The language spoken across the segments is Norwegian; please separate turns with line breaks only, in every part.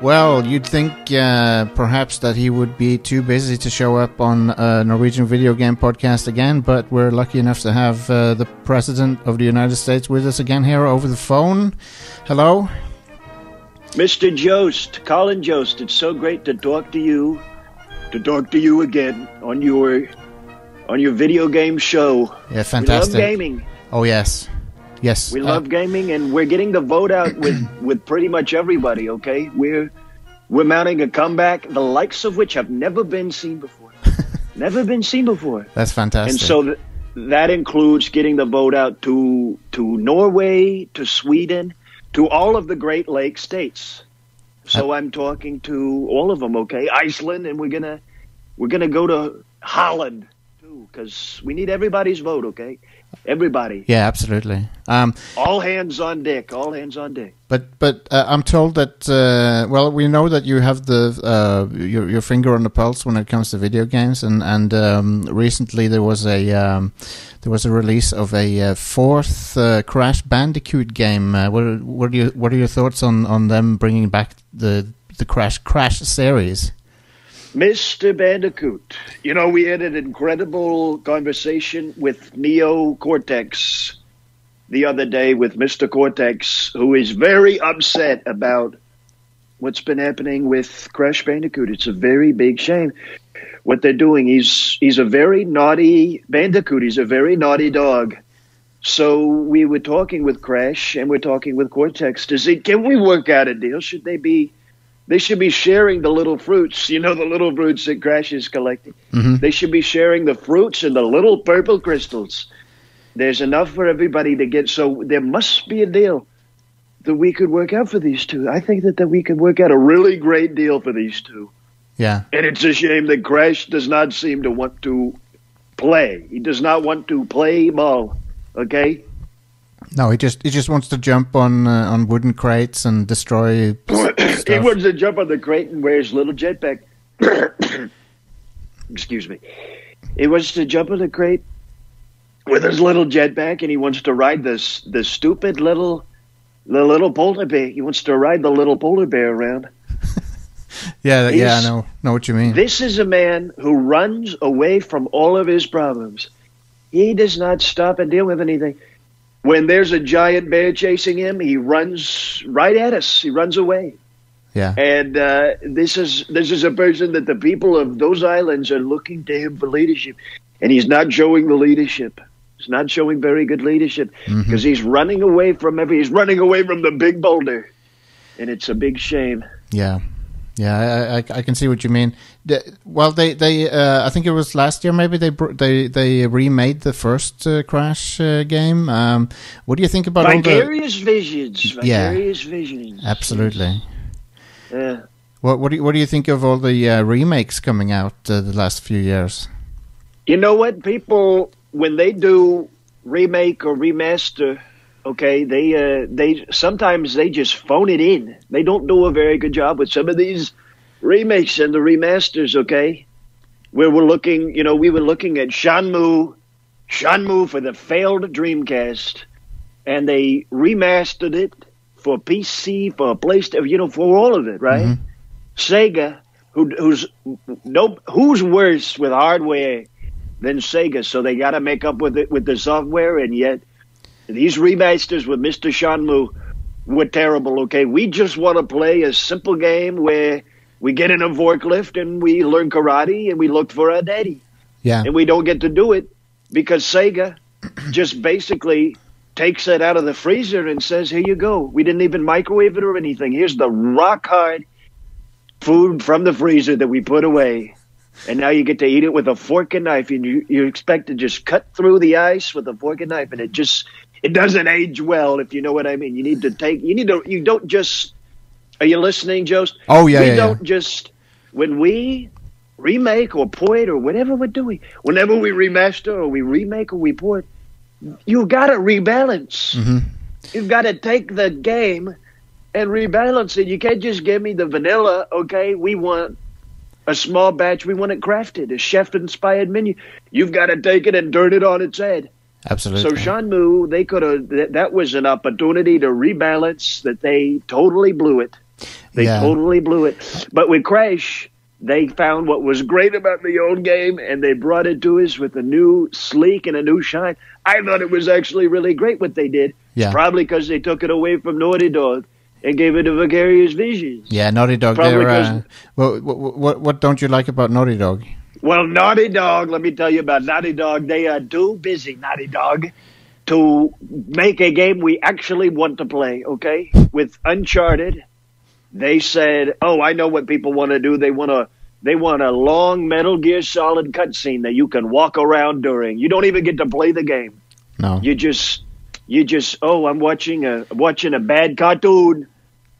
Well, you'd think uh, perhaps that he would be too busy to show up on a Norwegian video game podcast again, but we're lucky enough to have uh, the President of the United States with us again here over the phone. Hello?
Mr. Jost, Colin Jost, it's so great to talk to you, to talk to you again on your on your video game show.
Yeah,
We love
fantastic.
gaming.
Oh, yes. Yes.
We
uh,
love gaming, and we're getting the vote out with with pretty much everybody. Okay, we're we're mounting a comeback, the likes of which have never been seen before, never been seen before.
Uh, that's fantastic.
And so th- that includes getting the vote out to to Norway, to Sweden, to all of the Great Lake states. So I'm talking to all of them. Okay, Iceland, and we're gonna we're gonna go to Holland too because we need everybody's vote. Okay, everybody,
yeah, absolutely. Um,
all hands on deck, all hands on deck.
But but uh, I'm told that uh, well we know that you have the uh, your your finger on the pulse when it comes to video games and and um, recently there was a um, there was a release of a uh, fourth uh, Crash Bandicoot game. Uh, what are, what are you what are your thoughts on, on them bringing back the the Crash Crash series?
Mr. Bandicoot, you know, we had an incredible conversation with Neo Cortex the other day with Mr. Cortex, who is very upset about what's been happening with Crash Bandicoot. It's a very big shame what they're doing. He's he's a very naughty bandicoot. He's a very naughty dog. So we were talking with Crash and we're talking with Cortex to see can we work out a deal? Should they be they should be sharing the little fruits, you know, the little fruits that Crash is collecting.
Mm-hmm.
They should be sharing the fruits and the little purple crystals. There's enough for everybody to get. So there must be a deal that we could work out for these two. I think that, that we could work out a really great deal for these two.
Yeah,
And it's a shame that Crash does not seem to want to play. He does not want to play ball. Okay?
no, he just he just wants to jump on uh, on wooden crates and destroy. s-
He
stuff.
wants to jump on the crate and wear his little jetpack. Excuse me. He wants to jump on the crate with his little jetpack, and he wants to ride this the stupid little the little polar bear. He wants to ride the little polar bear around.
Yeah, yeah, I
He's-
know know what you mean.
This is a man who runs away from all of his problems. He does not stop and deal with anything. When there's a giant bear chasing him, he runs right at us. He runs away.
yeah,
And uh, this is this is a person that the people of those islands are looking to him for leadership, and he's not showing the leadership. He's not showing very good leadership
Hmm. Mm-hmm.
because he's running away from every. He's running away from the big boulder, and it's a big shame.
Yeah, yeah, I, I, I can see what you mean. The, well, they they uh, I think it was last year maybe they br- they they remade the first uh, Crash uh, game. Um, what do you think about all the?
Vicarious visions.
Yeah.
Vicarious visions.
Absolutely.
Yeah.
What what do you, what do you think of all the uh, remakes coming out uh, the last few years?
You know what? People when they do remake or remaster, okay, they uh, they sometimes they just phone it in. They don't do a very good job with some of these remakes and the remasters, okay? Where we're looking, you know, we were looking at Shanmu, Shanmu for the failed Dreamcast, and they remastered it for PC, for PlayStation, you know, for all of it, right? Sega, who, who's no, who's worse with hardware than Sega, so they got to make up with it with the software, and yet these remasters with Mr. Shanmu were terrible. Okay, we just want to play a simple game where we get in a forklift and we learn karate and we look for our daddy
Yeah,
and we don't get to do it because Sega just basically takes it out of the freezer and says, "Here you go. We didn't even microwave it or anything. Here's the rock hard food from the freezer that we put away." And now you get to eat it with a fork and knife, and you, you expect to just cut through the ice with a fork and knife, and it just it doesn't age well, if you know what I mean. You need to take you need to you don't just are you listening, Jost?
Oh, yeah,
We
yeah, yeah.
don't just when we remake or port or whatever we're doing, whenever we remaster or we remake or we port, you've got to rebalance.
Mm. Mm-hmm.
You've got to take the game and rebalance it. You can't just give me the vanilla, okay? We want a small batch. We want it crafted, a chef inspired menu. You've got to take it and turn it on its head. So
absolutely.
Shanmu, they could have, that, that was an opportunity to rebalance that they totally blew it. They
Yeah.
totally blew it. But with Crash, they found what was great about the old game and they brought it to us with a new sleek and a new shine. I thought it was actually really great what they did.
Yeah.
Probably because they took it away from Naughty Dog and gave it to Vicarious Visions.
Yeah, Naughty Dog.
Probably
They're, uh,
'cause-
well, what, what what don't you like about Naughty Dog?
Well, Naughty Dog, let me tell you about Naughty Dog. They are too busy, Naughty Dog, to make a game we actually want to play, okay? With Uncharted, they said, "Oh, I know what people want to do. They want to they want a long Metal Gear Solid cutscene that you can walk around during. You don't even get to play the game.
No.
You just you just oh, I'm watching a watching a bad cartoon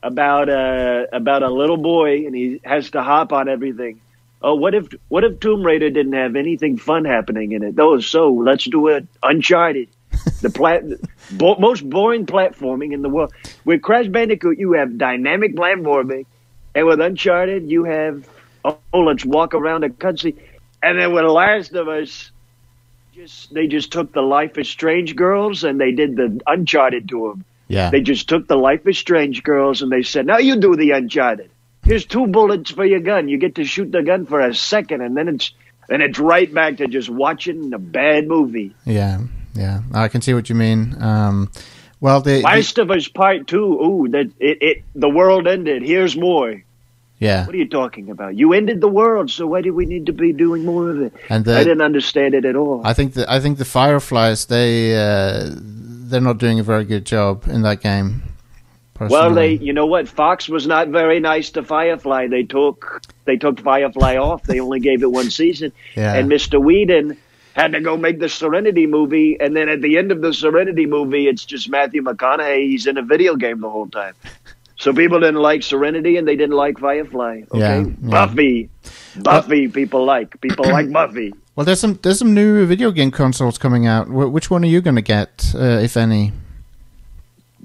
about a about a little boy and he has to hop on everything. Oh, what if what if Tomb Raider didn't have anything fun happening in it? Oh, so let's do it Uncharted, the plat bo- most boring platforming in the world. With Crash Bandicoot, you have dynamic platforming, and with Uncharted, you have oh, let's walk around a country, and then with Last of Us, just they just took the Life is Strange girls and they did the Uncharted to them.
yeah.
They just took the Life is Strange girls and they said, now you do the Uncharted. Here's two bullets for your gun. You get to shoot the gun for a second, and then it's and it's right back to just watching a bad movie.
yeah. Yeah. I can see what you mean. Um, well, the, the
Last of Us Part Two. Ooh, that it, it the world ended. Here's more.
yeah,
What are you talking about? You ended the world, so why do we need to be doing more of it?
and
I
the,
didn't understand it at all.
I think the I think the Fireflies they uh, they're not doing a very good job in that game.
well, they,
personally.
you know what? Fox was not very nice to Firefly. They took they took Firefly off. They only gave it one season.
Yeah.
And Mr. Whedon had to go make the Serenity movie, and then at the end of the Serenity movie, it's just Matthew McConaughey. He's in a video game the whole time. So people didn't like Serenity, and they didn't like Firefly. Okay,
Yeah, yeah. Uh,
Buffy, Buffy. people like people like Buffy.
well, there's some there's some new video game consoles coming out. Wh- which one are you going to get, uh, if any?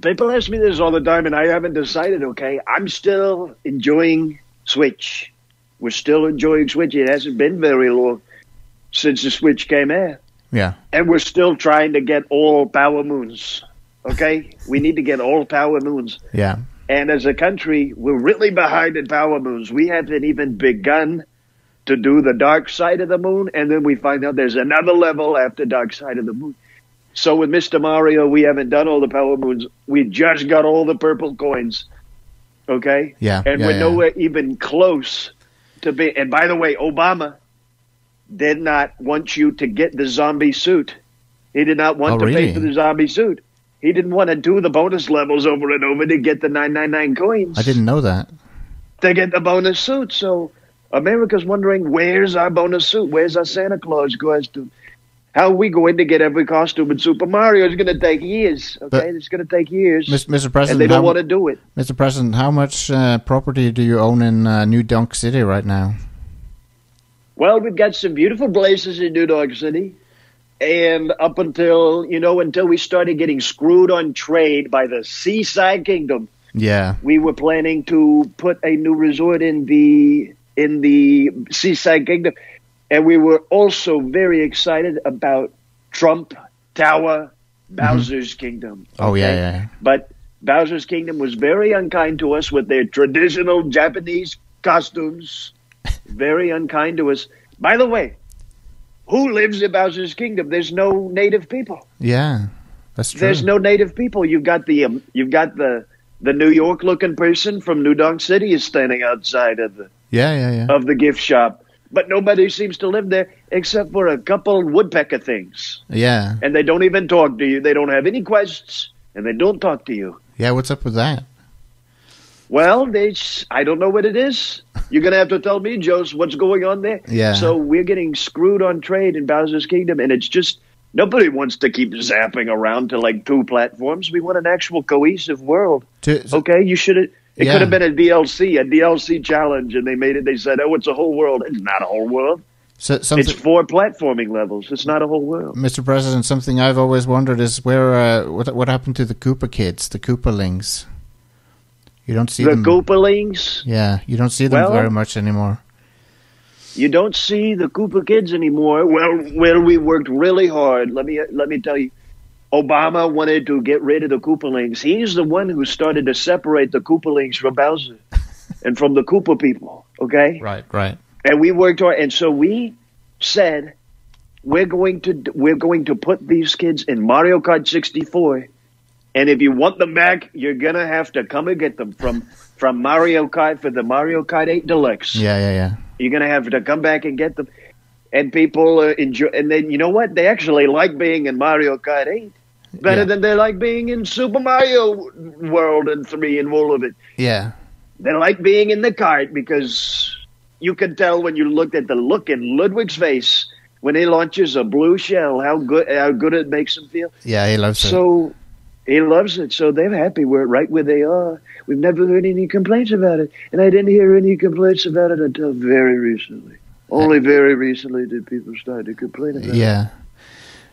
People ask me this all the time, and I haven't decided. Okay, I'm still enjoying Switch. We're still enjoying Switch. It hasn't been very long since the Switch came out,
Yeah.
and we're still trying to get all Power Moons. Okay, we need to get all Power Moons,
Yeah.
and as a country, we're really behind in Power Moons. We haven't even begun to do the Dark Side of the Moon, and then we find out there's another level after Dark Side of the Moon. So with Mr. Mario, we haven't done all the power moons. We just got all the purple coins. Okay?
Yeah,
And
yeah,
we're
yeah.
nowhere even close to be and by the way, Obama did not want you to get the zombie suit. He did not want
Oh,
to
really?
pay for the zombie suit. He didn't want to do the bonus levels over and over to get the nine nine nine coins.
I didn't know that.
to get the bonus suit. So America's wondering where's our bonus suit? Where's our Santa Claus costume? How are we going to get every costume in Super Mario? It's going to take years. Okay,
But-
it's going to take years,
Mis- Mr.
and
President,
they don't
how-
want to do it.
Mr. President, how much uh, property do you own in uh, New Dunk City right now?
Well, we've got some beautiful places in New York City. And up until, you know, until we started getting screwed on trade by the Seaside Kingdom,
Yeah.
we were planning to put a new resort in the in the seaside kingdom and we were also very excited about trump tower bowser's kingdom
Oh yeah,
okay?
yeah, yeah.
but bowser's kingdom was very unkind to us with their traditional japanese costumes very unkind to us by the way who lives in bowser's kingdom there's no native people
Yeah. That's true.
there's no native people. You've got the um, you've got the the New York looking person from New Dunk City is standing outside of the
yeah, yeah, yeah.
of the gift shop, but nobody seems to live there except for a couple woodpecker things,
yeah.
and they don't even talk to you. They don't have any quests, and they don't talk to you.
Yeah, what's up with that?
Well, they s- I don't know what it is. You're gonna have to tell me, Joe's, what's going on there.
Yeah.
So we're getting screwed on trade in Bowser's Kingdom, and it's just nobody wants to keep zapping around to like two platforms. We want an actual cohesive world.
To,
Okay, you should have. It
Yeah.
could have been a DLC, a DLC challenge, and they made it. They said, "Oh, it's a whole world." It's not a whole world.
so,
It's
something,
four platforming levels. It's not a whole world.
Mr. President, something I've always wondered is where uh, what what happened to the Koopa kids, the Koopalings? You don't see
The
them.
Koopalings.
yeah, you don't see them
Well-
very much anymore.
You don't see the Koopa kids anymore. Well, well, we worked really hard. Let me let me tell you. Obama wanted to get rid of the Koopalings. He's the one who started to separate the Koopalings from Bowser. and from the Cooper people. Okay,
Right, right.
and we worked hard, and so we said we're going to we're going to put these kids in Mario Kart 64, and if you want them back, you're gonna have to come and get them from from Mario Kart for the Mario Kart 8 Deluxe.
Yeah, yeah, yeah.
You're gonna have to come back and get them. And people uh, enjoy, and then you know what? They actually like being in Mario Kart 8 better
Yeah.
than they like being in Super Mario World and three and all of it.
Yeah.
They like being in the cart because you can tell when you looked at the look in Ludwig's face when he launches a blue shell how good how good it makes him feel.
Yeah, he loves it.
So he loves it. So they're happy. We're right where they are. We've never heard any complaints about it, and I didn't hear any complaints about it until very recently. Only very recently did people start to complain about it.
Yeah.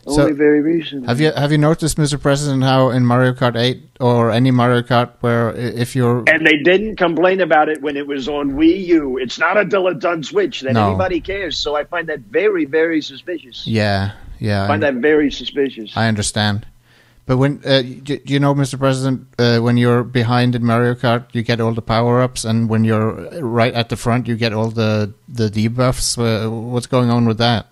so-
Only very recently.
Have you have you noticed, Mr. President, how in Mario Kart 8 or any Mario Kart where i- if you're
and they didn't complain about it when it was on Wii U. It's not until it's on Switch that
No.
anybody cares. So I find that very, very suspicious.
yeah yeah
I find that very suspicious.
I understand. But when uh, you, you know, Mr. President, uh, when you're behind in Mario Kart, you get all the power ups, and when you're right at the front, you get all the the debuffs. Uh, what's going on with that?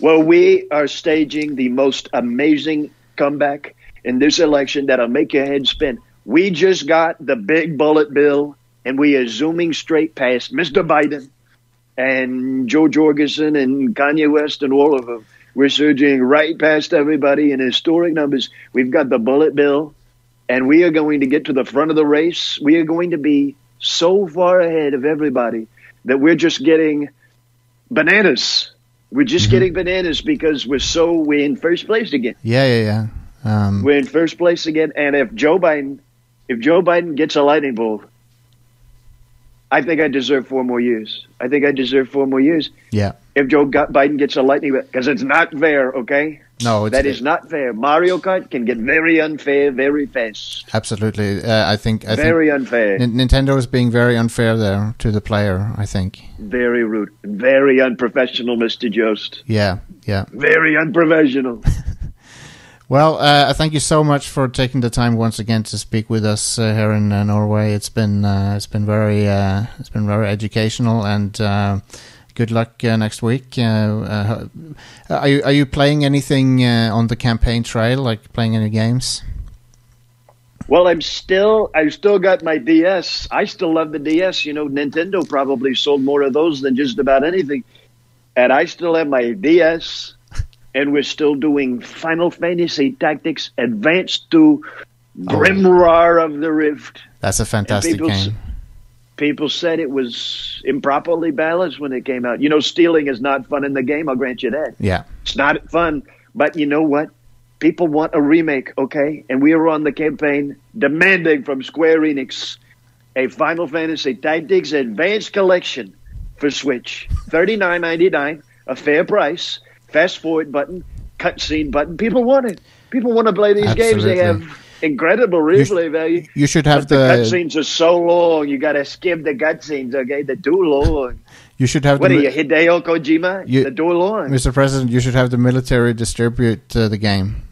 well, we are staging the most amazing comeback in this election that'll make your head spin. We just got the big bullet bill, and we are zooming straight past Mr. Biden and Joe Jorgensen and Kanye West and all of them. We're surging right past everybody in historic numbers. We've got the bullet bill, and we are going to get to the front of the race. We are going to be so far ahead of everybody that we're just getting bananas. We're just
Mm-hmm.
getting bananas because we're so we're in first place again.
Yeah, yeah, yeah. Um,
We're in first place again, and if Joe Biden, if Joe Biden gets a lightning bolt, I think I deserve four more years. I think I deserve four more years
yeah.
if Joe Go- Biden gets a lightning bolt because it's not fair. Okay,
No, it's,
that is not fair. Mario Kart can get very unfair very fast,
absolutely. Uh, I think I
very unfair,
think N- Nintendo is being very unfair there to the player. I think.
very rude, very unprofessional, Mister Jost.
Yeah, yeah.
Very unprofessional.
Well, uh, thank you so much for taking the time once again to speak with us uh, here in uh, Norway. It's been uh, it's been very uh, it's been very educational, and uh, good luck uh, next week. Uh, uh, are you are you playing anything uh, on the campaign trail, like playing any games?
Well, I'm still, I've still got my DS. I still love the DS. You know, Nintendo probably sold more of those than just about anything. And I still have my DS, and we're still doing Final Fantasy Tactics Advanced to Grimroar of the Rift.
That's a fantastic
people s-
game.
People said it was improperly balanced when it came out. You know, stealing is not fun in the game. I'll grant you that.
Yeah,
It's not fun, but you know what? People want a remake, okay? And we are on the campaign demanding from Square Enix a Final Fantasy Tactics Advanced Collection for Switch. Thirty nine ninety nine, a fair price. Fast forward button, cutscene button. People want it. People want to play these games. They
Absolutely.
have incredible replay value.
you should have
But the
the,
cutscenes are so long. You got to skip the cutscenes, okay? They're too long.
you should have
What
the,
are
mi-
you, Hideo Kojima?
You-
They're too long.
Mr. President. You should have the military distribute uh, the game,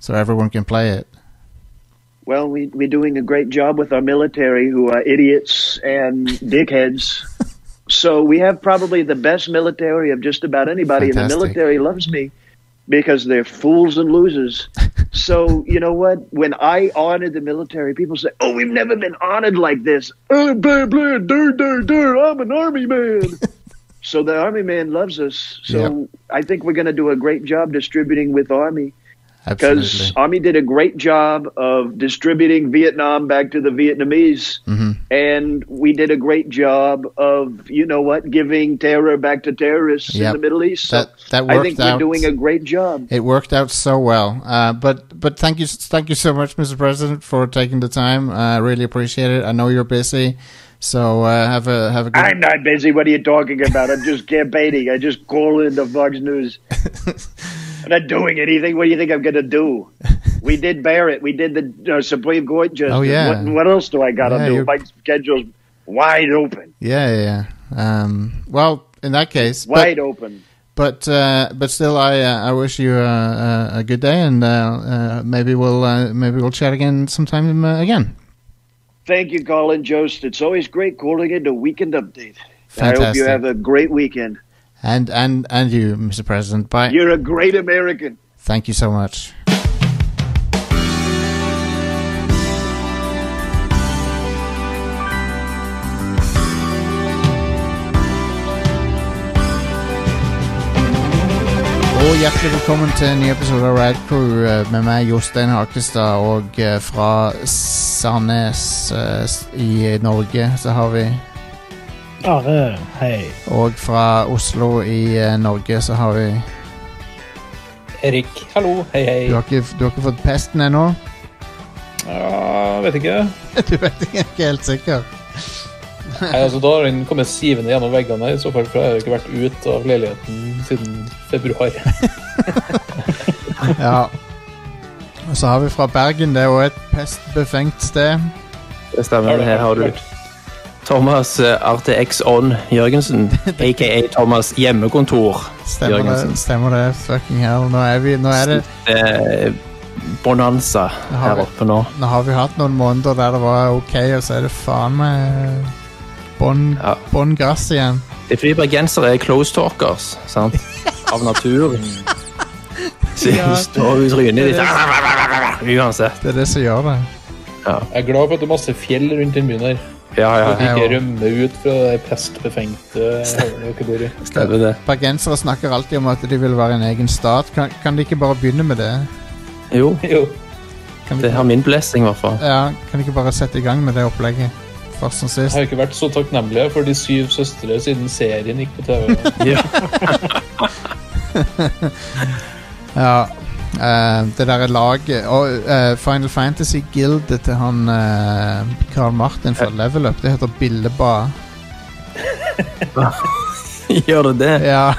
so everyone can play it.
Well, we, we're doing a great job with our military, who are idiots and dickheads. so we have probably the best military of just about anybody, and the
Fantastic.
military loves me because they're fools and losers. so you know what? When I honor the military, people say, "Oh, we've never been honored like this." Uh, blah, blah, dur, dur, dur, I'm an army man. so the army man loves us. So I think we're going to do a great job distributing with army because
Absolutely.
Army did a great job of distributing Vietnam back to the Vietnamese,
Mm-hmm.
and we did a great job of you know what giving terror back to terrorists in
Yep.
the Middle East. So
That- that
I think
worked out.
we're doing a great job.
It worked out so well. Uh, but but thank you thank you so much, Mr. President, for taking the time. Uh, I really appreciate it. I know you're busy, so uh, have a have a good.
I'm not busy. What are you talking about? I'm just campaigning. I just call into Fox News. I'm not doing anything. What do you think I'm going to do? We did Barrett. We did the uh, Supreme Court justice.
Oh, yeah.
What, what else do I got to
Yeah,
do?
you're-
My schedule's wide open.
yeah yeah. yeah. Um, well, in that case,
Wide open.
but but, uh, but still, I uh, I wish you uh, a, a good day, and uh, uh, maybe we'll uh, maybe we'll chat again sometime uh, again.
Thank you, Colin Jost. It's always great calling it a weekend update. I hope
Fantastic.
you have a great weekend.
And and and you, Mr. President. Bye.
You're a great American.
Thank you so much. Og hjertelig velkommen til en ny episode av Rad Crew eh, med meg, Jostein Hakestad. Og eh, fra Sandnes eh, s- i Norge så har vi
Are, hei.
Og fra Oslo i eh, Norge så har vi
Erik, hallo, hei, hei.
Du har ikke, du har ikke fått pesten ennå?
Ja, vet ikke.
Du vet ikke, jeg er ikke helt sikker.
Nei, altså Da har den kommet sivende gjennom veggene. her, I så fall for jeg har jo ikke vært ute av leiligheten siden februar.
Ja. Og så har vi fra Bergen. Det er jo et pestbefengt sted.
Det stemmer. Her har du Thomas eh, RTX On Jørgensen, aka Thomas Hjemmekontor.
Stemmer
Jørgensen.
det. Stemmer det. Fucking hell. Nå, er vi, nå, er det,
Eh, Bonanza
har vi.
her oppe nå.
nå har vi hatt noen måneder der det var ok, og så er det faen meg eh, bånn
Ja.
bånn gass igjen.
Det er fordi bergensere er close talkers, sant? Av natur. Så
Ja.
de står i trynet ditt uansett.
Det er det som gjør det.
Jeg er glad for at det er masse fjell rundt den byen her.
Ja,
At
ja,
vi
Ja,
ikke
ja.
rømmer ut fra det pestbefengte havnet dere bor i.
stemmer det.
Bergensere snakker alltid om at de vil være en egen stat. Kan, kan de ikke bare begynne med det?
Jo,
Jo,
Kan de,
det har
ikke-
min blessing, i hvert fall.
ja, kan de ikke bare sette i gang med det opplegget? Først som
Jeg
sist.
har ikke vært så takknemlig for De syv søstre siden serien gikk på TV.
Ja.
Ja, eh, det derre laget Og eh, Final Fantasy-gildet til han eh, Karl Martin fra Level Up, det heter Billeba.
Gjør du det?
Ja,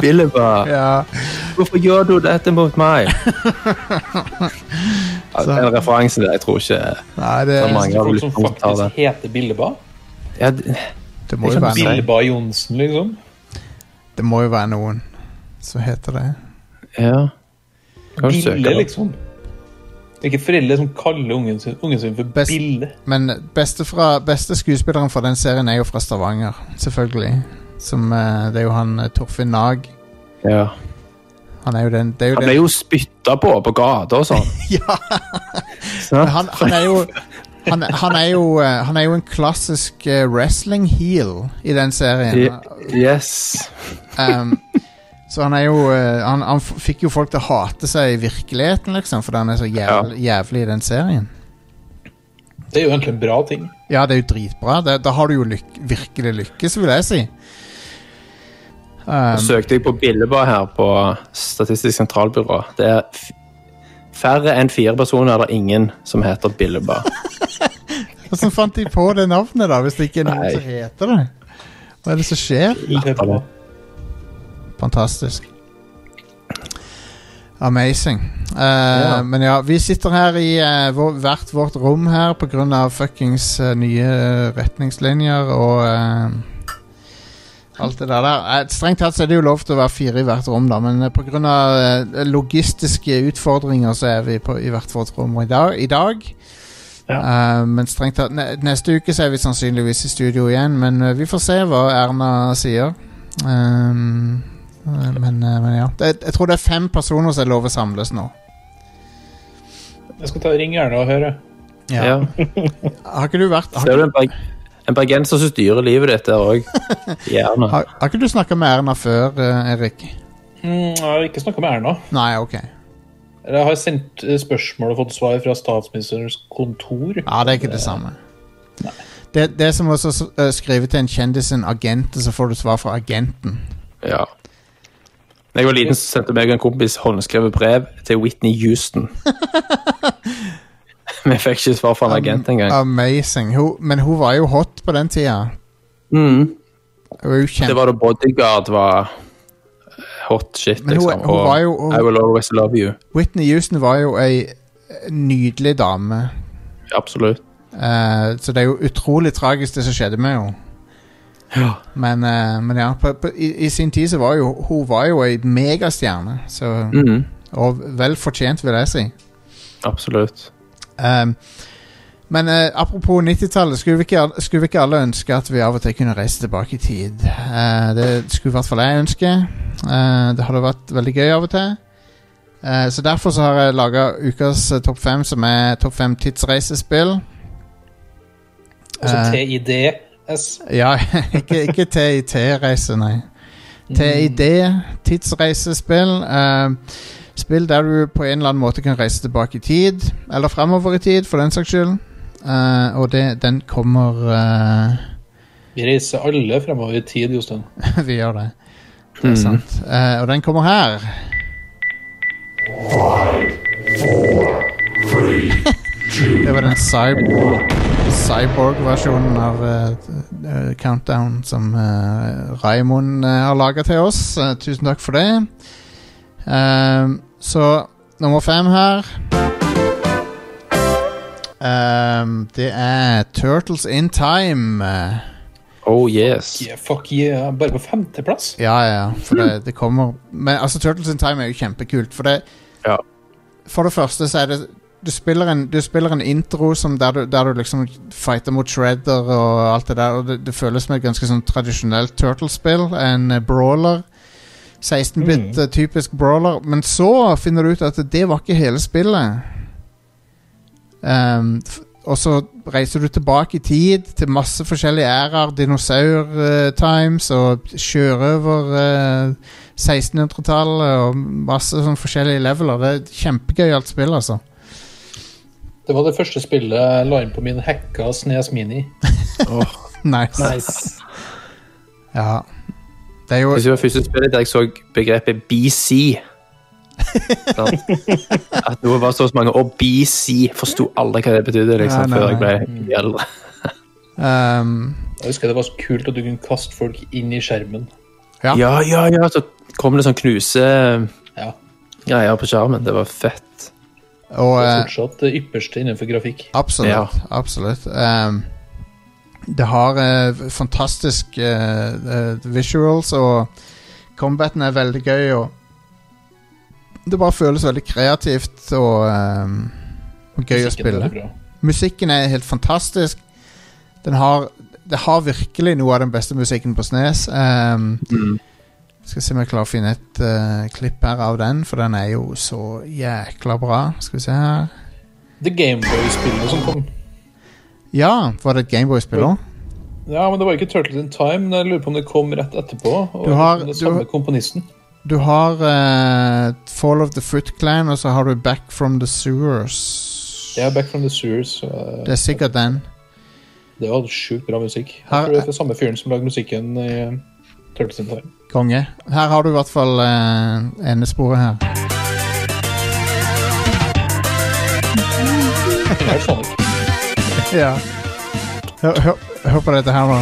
Billeba,
ja.
hvorfor gjør du dette mot meg? Ja,
Så-
den referansen der, jeg tror ikke
Nei, det,
Det er mange. Jeg har
Folk
lyst
som
til å ta det.
faktisk heter Billeba. sånn
ja, d-
det, må jo
det kan
være
Nei.
noen.
Billeba Johnsen, liksom.
det må jo være noen som heter det.
Ja. Kan du søke
Bille,
det?
liksom. Det er ikke foreldre som kaller ungen sin, ungen sin for
Best-
Bille.
Men beste, fra, beste skuespilleren fra den serien er jo fra Stavanger, selvfølgelig. Som eh, Det er jo han eh, Torfinn Nag.
Ja.
Han er jo den det er jo
Han
den,
ble jo spytta på på gata og sånn.
Ja.
Sant?
han, han er jo han, han, er jo, eh, han er jo en klassisk eh, wrestling heel i den serien.
Je- Yes.
Um, så han er jo eh, han, han f- fikk jo folk til å hate seg i virkeligheten, liksom, fordi han er så jævlig, jævlig i den serien.
Det er jo egentlig en bra ting.
Ja, det er jo dritbra. Det, da har du jo lyk virkelig lykkes, vil jeg si. Um,
Søkte jeg på Billeba her på Statistisk sentralbyrå. Det er f færre enn fire personer er det ingen som heter Billeba.
Hvordan fant de på det navnet, da, hvis det ikke er noen
Nei.
som heter det? Hva er det som skjer?
Latterlig.
Fantastisk. Amazing. Eh,
Ja.
Men ja, vi sitter her i eh, vår, hvert vårt rom her pga. fuckings eh, nye eh, retningslinjer og eh, alt det der. der. Eh, strengt tatt så er det jo lov til å være fire i hvert rom, da, men eh, pga. Uh, logistiske utfordringer så er vi på, i hvert vårt rom i dag. I dag. Eh, men strengt tatt ne Neste uke så er vi sannsynligvis i studio igjen, men eh, vi får se hva Erna sier. Ehm, eh, men, eh, men ja. Det, jeg tror det er fem personer som er lov å samles nå.
Jeg skal ta ring Erna og høre.
Ja.
Har ikke du vært
Ser
Har,
du en, berg en bergenser som styrer livet ditt der òg? Gjerne.
har, har ikke du snakka med Erna før, eh, Erik?
Mm, jeg har ikke snakka med Erna.
Nei, ok.
Jeg har sendt eh, spørsmål og fått svar fra statsministerens kontor.
Ja, det er ikke det samme. Det, det er som også s- eh, skrive til en kjendis en agent, og så får du svar fra agenten.
Ja. Da jeg var liten, så sendte meg og en kompis håndskrevet brev til Whitney Houston. Vi fikk ikke svar
Um,
fra en agent engang.
Amazing. Hun, men hun var jo hot på den tida.
Mm.
Hun var jo
Det
kjempe...
var da Bodyguard var hot shit,
Men hun-
liksom.
hun var jo- hun-
og I Will Always Love You.
Whitney Houston var jo ei eh, nydelig dame.
Absolutt.
Eh, så det er jo utrolig tragisk det som skjedde med henne.
Ja.
Men, eh, men ja, på, på, i, i sin tid så var jo hun var jo ei megastjerne. Så,
Mm,
og vel fortjent, vil jeg si.
Absolutt.
Ehm, Eh, Men eh, apropos 90-tallet, skulle, vi ikke al- skulle vi ikke alle ønske at vi av og til kunne reise tilbake i tid? Eh, det skulle i hvert fall jeg ønske. Eh, det hadde vært veldig gøy av og til. Eh, så derfor så har jeg laga ukas eh, topp fem, som er topp fem tidsreisespill.
Altså
Eh,
TIDS.
Ja, ikke, ikke TIT-reise, nei. TID, tidsreisespill. eh, spill der du på en eller annen måte kan reise tilbake i tid, eller framover i tid, for den saks skyld. Eh, og det, den kommer eh,
Vi reiser alle fremover i tid, Jostein.
Vi gjør det. Det er sant. Eh, og den kommer her. det var den cyborg cyborg-versjonen av eh, t- eh, Countdown som uh, Raimond eh, har laga til oss. Eh, tusen takk for det. Ehm, så nummer fem her Ehm, Det er Turtles in Time. eh.
Oh yes.
Yeah, fuck yeah. Bare på femteplass.
Ja, ja, ja, for det, det kommer Men altså, Turtles in Time er jo kjempekult, for det
Ja.
For det første så er det Du spiller en, du spiller en intro som der, du, der du liksom fighter mot Shredder og alt det der, og det, det føles som et ganske sånn tradisjonelt Turtles-spill. En eh, brawler. 16-bit, eh, typisk brawler. Men så finner du ut at det var ikke hele spillet. Ehm, f- og så reiser du tilbake i tid til masse forskjellige æraer. Dinosaur-times og sjørøver eh, 1600-tallet og masse sånn forskjellige leveler. Det er et kjempegøyalt spill, altså.
Det var det første spillet jeg la inn på min hacka Snes Mini.
Nice.
Nice.
Ja. Det er jo
Hvis det var første spillet der jeg så begrepet BC sant? At noe var så mange Og BC forsto alle hva det betydde
Nei,
liksom,
nei,
før jeg ble eldre.
ehm,
Jeg husker det var så kult at du kunne kaste folk inn i skjermen.
Ja.
Ja, ja, ja, så kom det sånn knusegreier
Ja,
på skjermen. Det var fett.
Og
det er
eh,
fortsatt det ypperste innenfor grafikk.
Absolutt.
Ja.
absolutt. Ehm, det har eh, fantastisk eh, eh, visuals, og combaten er veldig gøy. Og det bare føles veldig kreativt og, ehm, og gøy å
Musikken var
spille.
bra.
Musikken er helt fantastisk. Den har, det har virkelig noe av den beste musikken på Snes. Ehm,
Mm.
Skal se om jeg klarer å finne et eh, klipp her av den, for den er jo så jækla bra. Skal vi se her.
Det Gameboy-spillet som kom.
Ja, var det et Gameboy-spill òg?
Ja, men det var ikke Turtles in Time. men Jeg lurer på om det kom rett etterpå. Og
Du har-
det
du-
samme komponisten.
Du har eh, Fall of the Foot Clan, og så har du Back from the Sewers.
Ja, Back from the Sewers. eh,
Det er sikkert den.
Det var sjukt bra musikk. Jeg
Her-
tror det er fra samme fyren som lagde musikken i eh, Turtles in Time.
Konge. Her har du i hvert fall eh, endesporet her.
Det er Sonic.
Ja. Hør, hør, hør på dette her nå.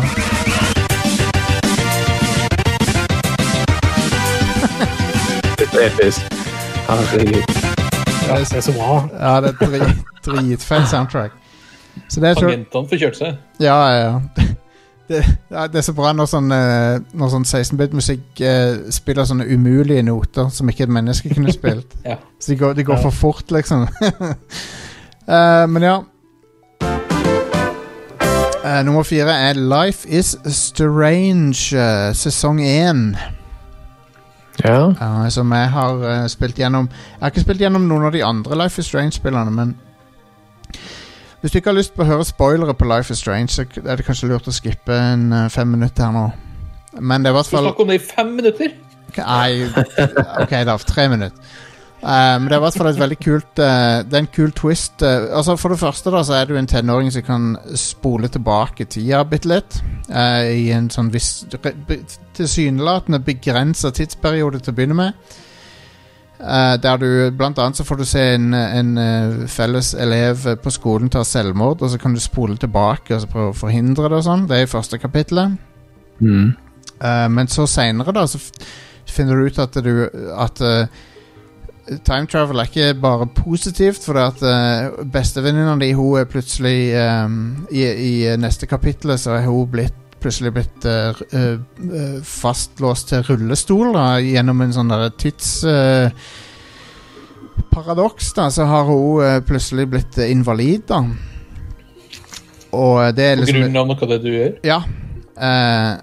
Episk. Herregud.
Ja, det er så bra.
Ja, det er drit, dritfett soundtrack. Så det er tur-
Tangentene får kjørt seg.
Ja, ja, ja. Det, ja, det er så bra når sånn, eh, når sånn 16-bit-musikk eh, spiller sånne umulige noter som ikke et menneske kunne spilt.
Ja.
Så det går, det går for fort, liksom. Eh, men ja. Eh, nummer fire er Life Is Strange, eh, sesong én.
Ja.
Ja, som jeg har eh, spilt gjennom Jeg har ikke spilt gjennom noen av de andre Life is Strange-spillerne, men Hvis du ikke har lyst på å høre spoilere på Life is Strange, så er det kanskje lurt å skippe en eh, fem minutter her nå. Men det er i hvert
Du
fall
snakker om det i fem minutter!
Nei, ok da, tre minutter. Eh, men det er i hvert fall et veldig kult eh, Det er en kul twist. eh, altså For det første da så er du en tenåring som kan spole tilbake tida bitte litt. eh, I en sånn viss re- be- tilsynelatende begrensa tidsperiode til å begynne med. Eh, der du Blant annet så får du se en, en eh, felles elev eh, på skolen ta selvmord, og så kan du spole tilbake og så prøve å forhindre det og sånn. Det er i første kapittelet.
Mm.
Eh, men så seinere, da, så f- finner du ut at du At eh, time travel er ikke bare positivt, for det at uh, bestevenninna di hun er plutselig ehm, i, I neste kapittel så er hun blitt plutselig blitt eh, r- eh, eh, fastlåst til rullestol da, gjennom en sånn der tids... eh, Paradoks, da, så har hun eh, plutselig blitt eh, invalid, da. Og det er
På
liksom
grunn av noe av det du gjør.
Ja. eh,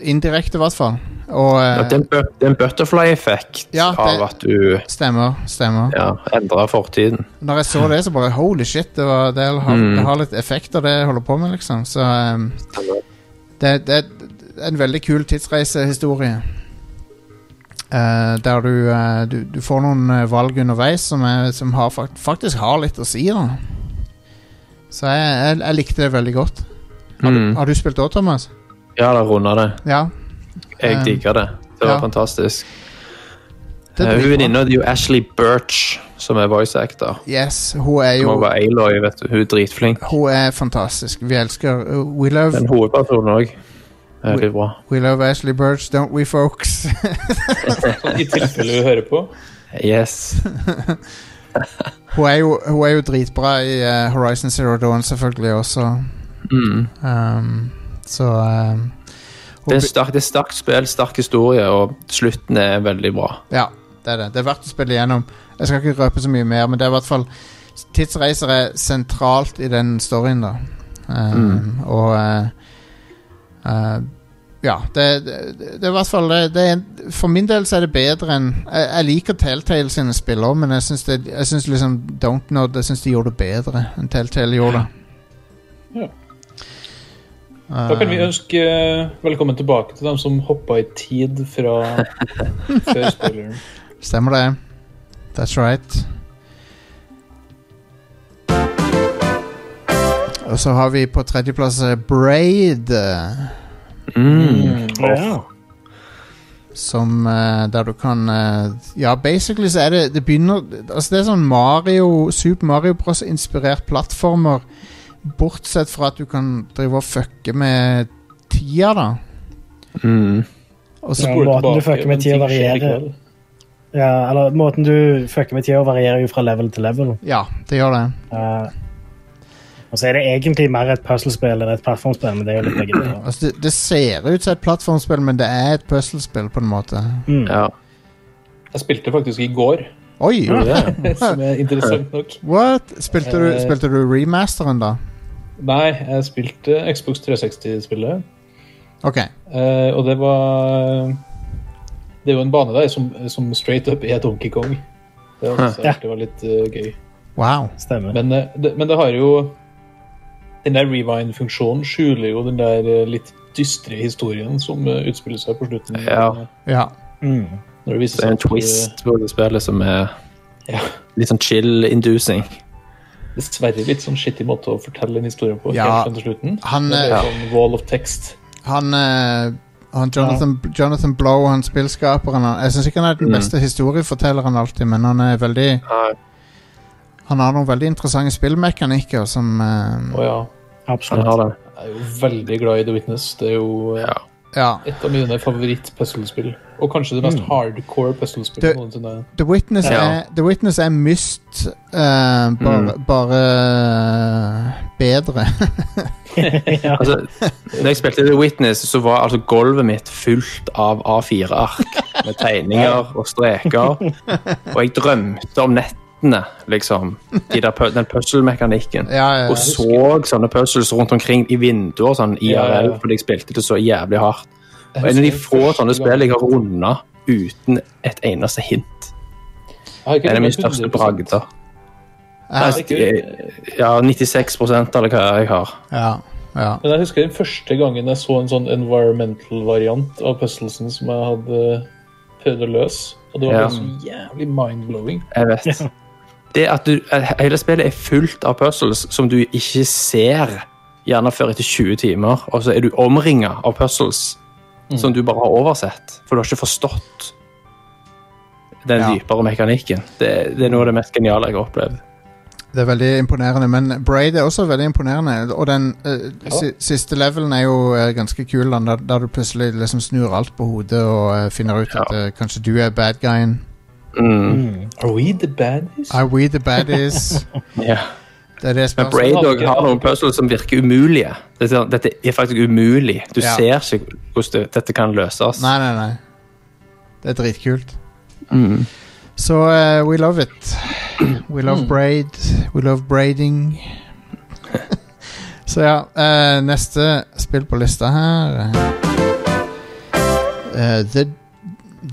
indirekte, i hvert fall. Og eh,
Ja, det er en bu- det er en butterfly-effekt
Ja, det-
av at du
stemmer. stemmer.
ja, endrer fortiden.
Når jeg så det, så bare holy shit, det, var, det, har, det
Mm.
har litt effekter, det jeg holder på med, liksom. Så ehm, det, det er en veldig kul tidsreisehistorie. Eh, der du, eh, du, du får noen eh, valg underveis som, er, som har fakt faktisk har litt å si. Da. Så jeg, jeg, jeg likte det veldig godt. Har du,
Mm.
har du spilt òg, Thomas?
Ja, da runder det.
Ja.
Jeg
Um,
digger det. Det var
ja.
fantastisk.
Det
Eh,
blir
Hun
bra.
venninna di er jo Ashley Birch, som er voice actor.
Yes, hun er
Hun
jo
var Aloy, vet du. Hun er dritflink.
Hun er fantastisk. Vi elsker uh, We love,
Den hovedpersonen òg. Veldig bra.
we love Ashley Birch, don't we, folks?
Sånn, I tilfelle du hører på.
Yes. Mm.
hun, er jo, hun er jo dritbra i eh, Horizon Zero Dawn, selvfølgelig også.
Mm.
Um, så um, hun
Det er
bli-
sterk- det er sterkt spill, sterk historie, og slutten er veldig bra.
Ja, det er det. Det er verdt å spille igjennom. Jeg skal ikke røpe så mye mer, men det er i hvert fall Tidsreiser er sentralt i den storyen, da. Um,
Mm.
Og eh, eh, Ja, det, det, det er i hvert fall det, det er, en- For min del så er det bedre enn Jeg, jeg liker Telltale sine spill òg, men jeg syns det- jeg syns liksom Dontnod Jeg syns de gjorde det bedre enn Telltale gjorde.
Ja.
Eh,
Da kan vi ønske eh, velkommen tilbake til dem som hoppa i tid fra før spoileren.
Stemmer det. That's right. Og så har vi på tredjeplass eh, Braid, eh,
Mm.
Ja.
som eh, der du kan eh, Ja, basically så er det Det begynner Altså, det er sånn Mario Super Mario Bros.-inspirert plattformer, bortsett fra at du kan drive og fucke med tida, da.
Mm.
Og så
Ja,
Spoler
måten du
tilbake,
fucker med
men
tida
ting skjer
varierer.
likevel.
ja, eller måten du fucker med tida varierer jo fra level til level.
Ja, det gjør det.
Eh, og så er det egentlig mer et puzzlespill enn et plattformspill, men det er jo litt begge deler.
Altså, det, det ser ut som et plattformspill, men det er et puslespill, på en måte.
Mm.
Ja.
Jeg spilte faktisk i går,
Oi! Ja.
som er interessant nok.
What? Spilte du,
Eh,
spilte du remasteren, da?
Nei, jeg spilte Xbox 360-spillet,
Ok.
eh, og det var eh, Det er jo en bane der som, som straight up er Donkey Kong. Det var,
Ja.
det var litt eh, gøy.
Wow.
Stemmer.
Men, eh, det, men det har jo Den der rewind-funksjonen skjuler jo den der eh, litt dystre historien som eh, utspiller seg på slutten.
Ja.
Ja.
Mm.
Når det viser seg
Det er en
at, eh,
twist på det spillet som er
Ja.
litt sånn chill-inducing.
Dessverre litt sånn skittig måte å fortelle en historie på.
Ja.
helt frem til slutten.
Han,
Det er
eh,
sånn wall of text.
han, eh, han Jonathan, Jonathan Blow, han spillskaperen han, Jeg syns ikke han er den
Mm.
beste historiefortelleren alltid, men han er veldig
Nei.
Han har noen veldig interessante spillmekanikker som eh,
Å ja.
Han
Absolutt.
har det.
Jeg er jo veldig glad i The Witness. Det er jo eh,
Ja.
Ja.
et av mine favoritt-puzzlespill. Og kanskje det mest
Mm.
hardcore puzzlespillet
Det-
noensinne.
The Witness,
Ja. Mm.
er, The Witness er myst eh, bare, bare eh, bedre.
ja.
Altså, når jeg spilte The Witness, så var altså gulvet mitt fullt av A4-ark med tegninger og streker. Og jeg drømte om nettene, liksom. De der, pu- den puzzle-mekanikken.
ja, ja,
Og så sånne puzzles rundt omkring i vinduer, sånn
Ja, ja,
IRL,
ja.
fordi jeg spilte det så jævlig hardt.
Jeg
Og en av de
husker
få
første
sånne
gang-
spill jeg har runda uten et eneste hint.
Jeg har ikke
Det er
rundet
min største
100%.
bragder.
ja,
Nei.
Ja, 96 eller hva jeg har.
ja, ja.
Men jeg husker den første gangen jeg så en sånn environmental-variant av puzzlesen som jeg hadde prøvd å løse. Og det var
Ja.
bare så jævlig mind-blowing.
Jeg vet. Det at du, at hele spillet er fullt av puzzles som du ikke ser gjerne før etter 20 timer, og så er du omringa av puzzles som du bare har oversett, for du har ikke forstått den
Ja.
dypere mekanikken. Det, det er noe av det mest geniale jeg har opplevd.
Det er veldig imponerende, men Braid er også veldig imponerende. Og den eh, si, siste levelen er jo eh, ganske kul, da, der, der du plutselig liksom snur alt på hodet og eh, finner ut at eh, kanskje du er bad guyen.
Mm.
Are we the baddies?
Are we the baddies?
Ja.
det er det
Men
spørsmålet.
Braid også har noen puzzles som virker umulige. Dette, dette er faktisk umulig. Du
Ja.
ser ikke hvordan det, dette kan løses.
Nei, nei, nei. Det er dritkult.
Mm.
Så eh, we love it. We love braid. We love braiding. Så ja, eh, neste spill på lista her eh, det,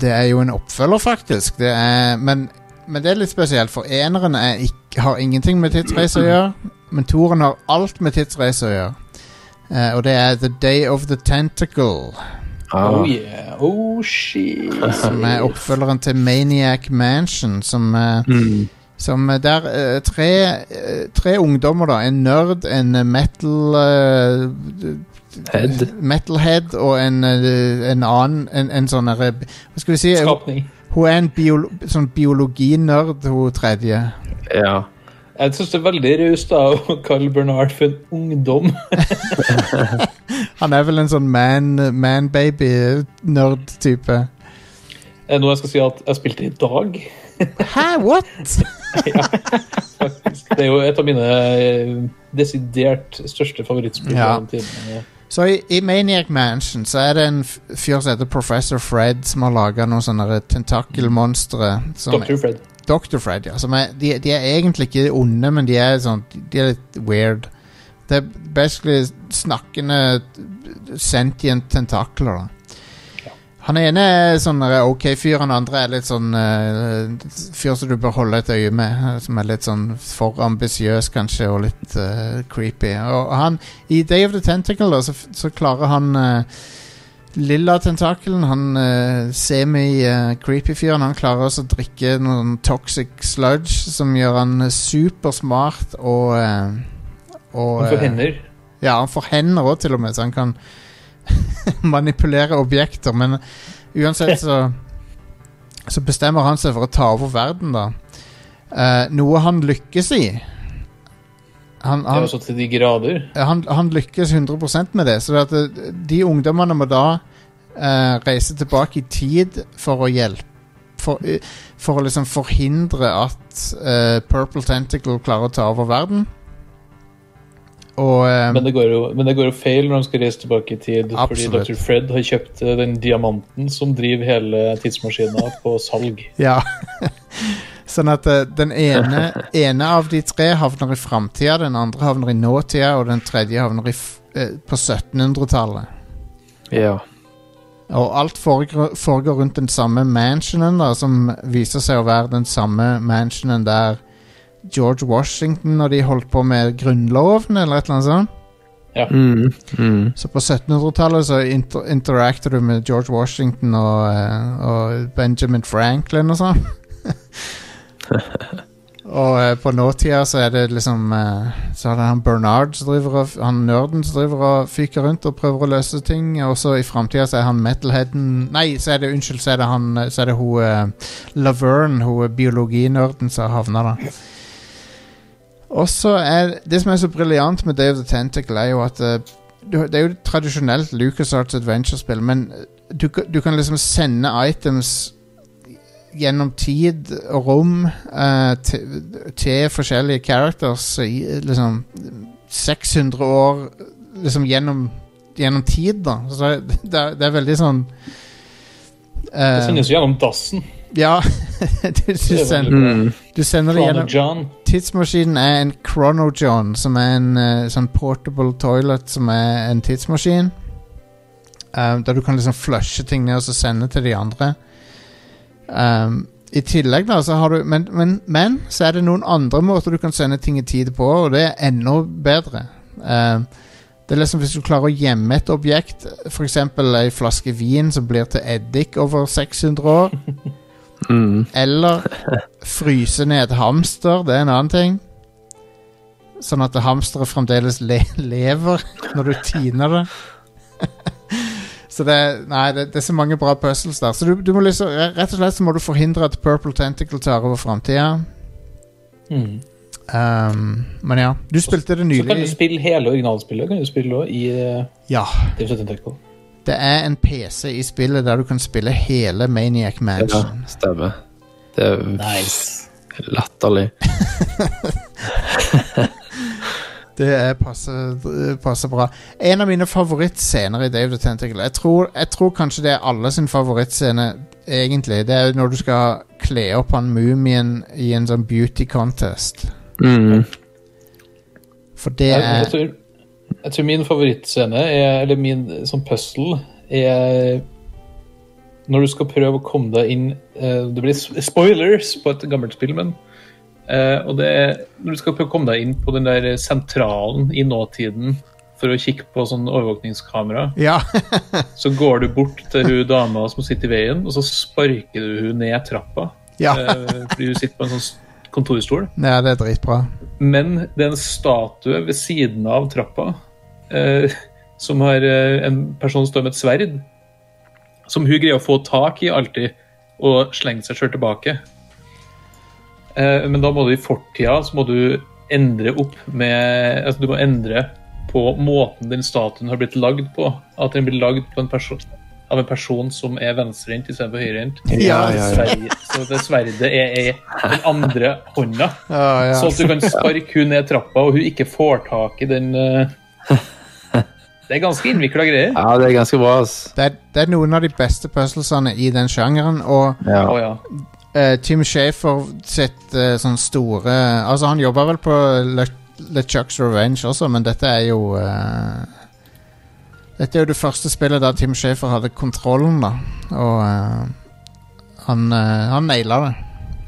det er jo en oppfølger, faktisk. Det er, men, men det er litt spesielt, for eneren er ikk- har ingenting med tidsreise å gjøre. Men toeren har alt med tidsreise å gjøre. Eh, og det er The Day of the Tentacle,
Ah.
Oh yeah. Oh shit.
som er oppfølgeren til Maniac Mansion, som eh,
Mm.
Som eh, der eh, tre, eh, tre ungdommer, da. En nerd, en eh, metal eh, d-
Head.
Metalhead og en, eh, en annen En, en sånn herre Hva skal vi si?
Skapning.
Hun er en biolo, sånn biologinerd, hun tredje.
Ja.
Jeg syns det er veldig raust av å kalle Bernard for en ungdom.
Han er vel en sånn man-baby-nerd-type.
Er det noe jeg skal si at jeg spilte i dag?
Hæ, what?!
Faktisk. Det er jo et av mine eh, desidert største favorittspill.
Ja.
gjennom tidene.
Så i, i Maniac Mansion så er det en f- fyr som heter Professor Fred, som har laga noen sånne herre tentakelmonstre. som-
Dr. Fred.
Dr. Fred, ja. Som er, de, de er egentlig ikke onde, men de er, sånn, de er litt weird. Det er basically snakkende sentient tentakler, da. Han ene er sånn der ok fyr, han andre er litt sånn eh, fyr som du bør holde et øye med. eh, Som er litt sånn for ambisiøs, kanskje, og litt eh, creepy. Og han, I Day of the Tentacle da, så, så klarer han eh, lilla tentakelen, han eh, semi-creepy fyren, han klarer også å drikke noen toxic sludge som gjør han eh, supersmart og, eh, og
Han får
eh,
hender.
ja, han får hender òg, til og med, så han kan manipulere objekter. Men uansett så Så bestemmer han seg for å ta over verden, da. Eh, noe han lykkes i. Han,
Det er
han,
også til de grader.
han, han lykkes 100 med det. Så at det- de ungdommene må da eh, reise tilbake i tid for å hjelpe For, eh, for å liksom forhindre at eh, Purple Tentacle klarer å ta over verden. Og eh,
Men det, går jo, men det går jo feil når de skal reise tilbake i tid.
Absolutt.
Fordi Dr. Fred har kjøpt eh, den diamanten som driver hele tidsmaskina på salg.
Ja. sånn at eh, den ene, ene av de tre havner i framtida, den andre havner i nåtida, og den tredje havner i f eh, på 1700-tallet.
ja.
Og alt foregår, foregår rundt den samme mansionen, da, som viser seg å være den samme mansionen der George Washington og de holdt på med grunnloven, eller et eller annet sånt.
Mm. Mm.
Så på 1700-tallet så inter interacter du med George Washington og, eh, og Benjamin Franklin og sånn. og eh, på nåtida så er det liksom eh, Så er det han Bernard som driver og Han nerden som driver og fyker rundt og prøver å løse ting. Og så i framtida så er han metalheaden Nei, så er det, unnskyld, så er det han eh, Så er det hun eh, Laverne, hun eh, biologinerden, som havner der. Og så er Det som er så briljant med Dave the Tentacle, er jo at eh, du- Det er jo et tradisjonelt LucasArts Adventure-spill, men eh, du, ka- du kan liksom sende items gjennom tid og rom eh, til, til forskjellige characters i eh, liksom 600 år liksom gjennom, gjennom tid, da. Så det, er- det er veldig sånn eh,
Det sånn sendes jo gjennom dassen.
Ja. du, du,
er veldig
sender,
Mm.
du sender det
Planer
gjennom
John.
Tidsmaskinen er en Chronojohn, som er en eh, sånn portable toilet som er en tidsmaskin. Um, der du kan liksom flushe ting ned og så sende til de andre. Um, I tillegg, da, så har du men, men, men så er det noen andre måter du kan sende ting i tid på, og det er enda bedre. Um, det er liksom Hvis du klarer å gjemme et objekt, f.eks. ei flaske vin som blir til eddik over 600 år,
Mm.
eller fryse ned et hamster, det er en annen ting. Sånn at hamsteret fremdeles le lever når du tiner det. så det er, Nei, det, det er så mange bra puzzles der. Så du, du må liksom, rett og slett så må du forhindre at Purple Tentacle tar over framtida.
Mm.
Um, men ja. Du spilte det
Så kan du
nylig.
spille hele originalspillet kan du spille også i eh,
Ja.
Deep Set Tentacle.
Det er en PC i spillet der du kan spille hele Maniac
Ja,
Mansion.
stemmer. Det er
Nice.
latterlig.
Det er passe, passe bra. En av mine favorittscener i Dave the Tentacle jeg tror, jeg tror kanskje det er alle sin favorittscene, egentlig. Det er jo når du skal kle opp han mumien i en sånn beauty contest.
Mm.
For det
Jeg,
er
jeg tror- Jeg tror min favorittscene, er, eller min sånn puzzle, er når du skal prøve å komme deg inn eh, Det blir s- spoilers på et gammelt spill, men eh, Og det er når du skal prøve å komme deg inn på den der sentralen i nåtiden for å kikke på sånn overvåkningskamera,
Ja.
så går du bort til hun dama som sitter i veien, og så sparker du hun ned trappa
ja.
eh, fordi hun sitter på en sånn s- kontorstol.
ja, det er dritbra.
Men det er en statue ved siden av trappa eh, som har eh, en person står med et sverd, som hun greier å få tak i alltid, og slenge seg sjøl tilbake. Eh, men da må du i fortida så må du endre opp med altså Du må endre på måten den statuen har blitt lagd på. At den blir lagd på en person, av en person som er venstrehendt istedenfor høyrehendt.
Ja, ja, ja.
Sverd- Så det sverdet er i den andre hånda.
Ja, ja.
Så at du kan sparke hun ned trappa, og hun ikke får tak i den eh, Det er ganske innvikla greier.
Ja, det er ganske bra, ass.
Det er, det er noen av de beste puzzlesene i den sjangeren, og
Ja.
Å, ja.
Eh, Tim Shafer sitt eh, sånn store Altså, han jobber vel på LeChucks Revenge også, men dette er jo eh, Dette er jo det første spillet der Tim Shafer hadde kontrollen, da. Og eh, han, eh, han naila det.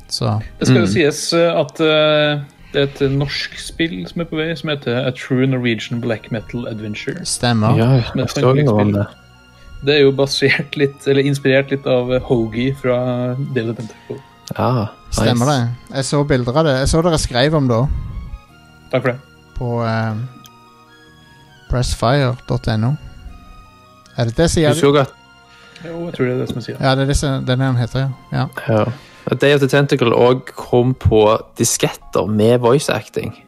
Så
Det skal jo
Mm.
sies eh, at eh, det er et norsk spill som er på vei, som heter A True Norwegian Black Metal Adventure.
stemmer.
Ja, jeg så noe om det.
Det er jo basert litt, eller inspirert litt av eh, Hoagie fra David of Tentacle.
Ja, nice.
Stemmer det. Jeg så bilder av det. Jeg så dere skrev om det òg,
Takk for det.
på eh, pressfire.no. Er det det som
Du
gjør det?
så at
Jo, jeg tror det er det som jeg sier.
Ja, det er det som- den han heter, ja. ja.
ja. At Day of the Tentacle òg kom på disketter med voice acting.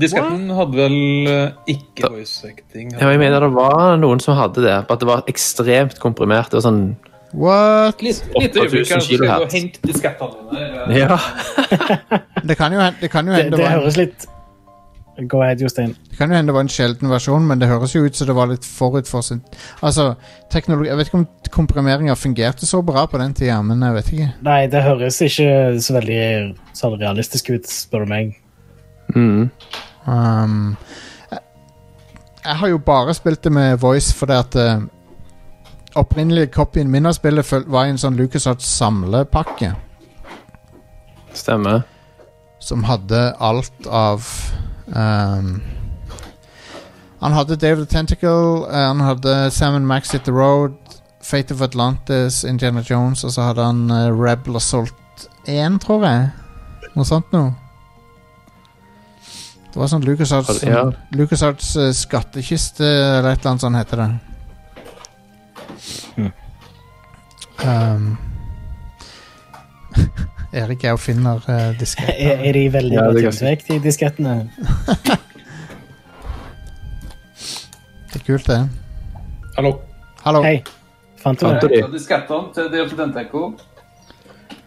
Disketten hadde vel eh, ikke voice acting.
Ja, jeg mener det var noen som hadde det. At det var ekstremt komprimert. Det var sånn
What?
Litt, litt
8000
øyeblikk, kanskje,
kilo
skal
her.
du hente diskettene dine. eh,
Ja.
Det kan jo hen- det kan jo
Det,
hende
det
var-
høres litt Go ahead, Jostein.
Det kan jo hende det var en sjelden versjon, men det høres jo ut som det var litt forut for sin Altså, teknologi Jeg vet ikke om komprimeringa fungerte så bra på den tida, men jeg vet ikke.
Nei, det høres ikke så veldig sånn realistisk ut, spør du meg.
Mm.
Um, jeg, jeg har jo bare spilt det med voice fordi at uh, opprinnelige copyen min av spillet føl- var i en sånn LucasArts-samlepakke
Stemmer.
som hadde alt av um, Han hadde David Tentacle, eh, han hadde Sam Max Hit The Road, Fate of Atlantis, Indiana Jones, og så hadde han eh, Rebel Assault 1, tror jeg. Noe sånt noe. Det var sånn LucasArts,
Ja.
LucasArts eh, skattkiste, eller et eller annet sånt heter det. Um, Erik er og finner uh,
Er, er de veldig
Ja,
godt
det er
godt vekt, de diskettene?
Det er kult, det.
Hallo.
Hallo.
Hei, fant du
Fant du
det?
de?
Ja, Diskettene til Delta Denteco.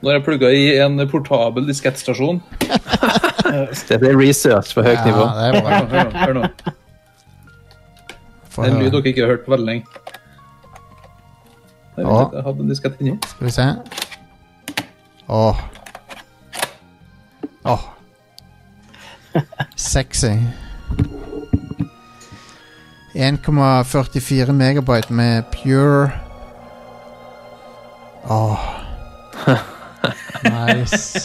Nå har jeg plugga i en portabel diskettstasjon.
Dette er research på høyt nivå.
Ja, det er bra.
Hør nå, hør nå.
Få
Det er en
høre.
lyd dere ikke har hørt på veldig lenge. Jeg vet
Ja.
ikke, jeg hadde en diskett inni.
Skal vi se. Åh. Åh. Sexy. 1,44 megabyte med pure Åh. Nice.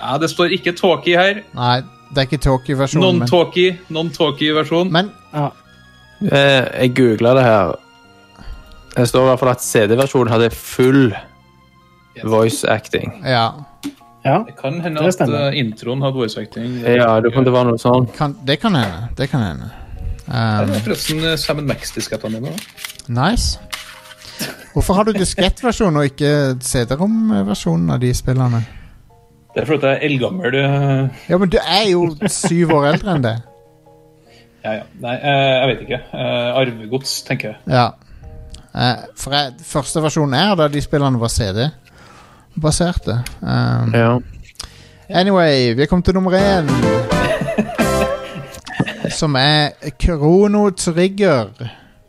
Ja, det står ikke talkie her.
Nei, det er ikke Tokyo-versjonen, men,
Non-talkie, non-talkie versjon.
men
Eh, Jeg googla det her. Det står i hvert fall at CD-versjonen hadde full voice acting.
Ja.
Ja.
Det kan hende
Det
at
stemmer.
eh, introen hadde voice acting.
Ja, du kan det var noe sånn.
Kan, det kan hende. Det kan hende.
Her
Um,
er Forresten, eh, Sam Max-diskettene mine. da.
Nice. Hvorfor har du diskettversjon og ikke CD-rom-versjonen av de spillene?
Det er fordi jeg er eldgammel. eh,
Ja, men du er jo syv år eldre enn det.
Ja, ja. Nei, eh, jeg vet ikke. Eh, Arvegods, tenker jeg.
Ja. Eh, For jeg, første versjonen jeg hadde av de spillene, var CD-baserte. Um,
Ja.
anyway, vi kom til nummer én. Som er Krono Trigger.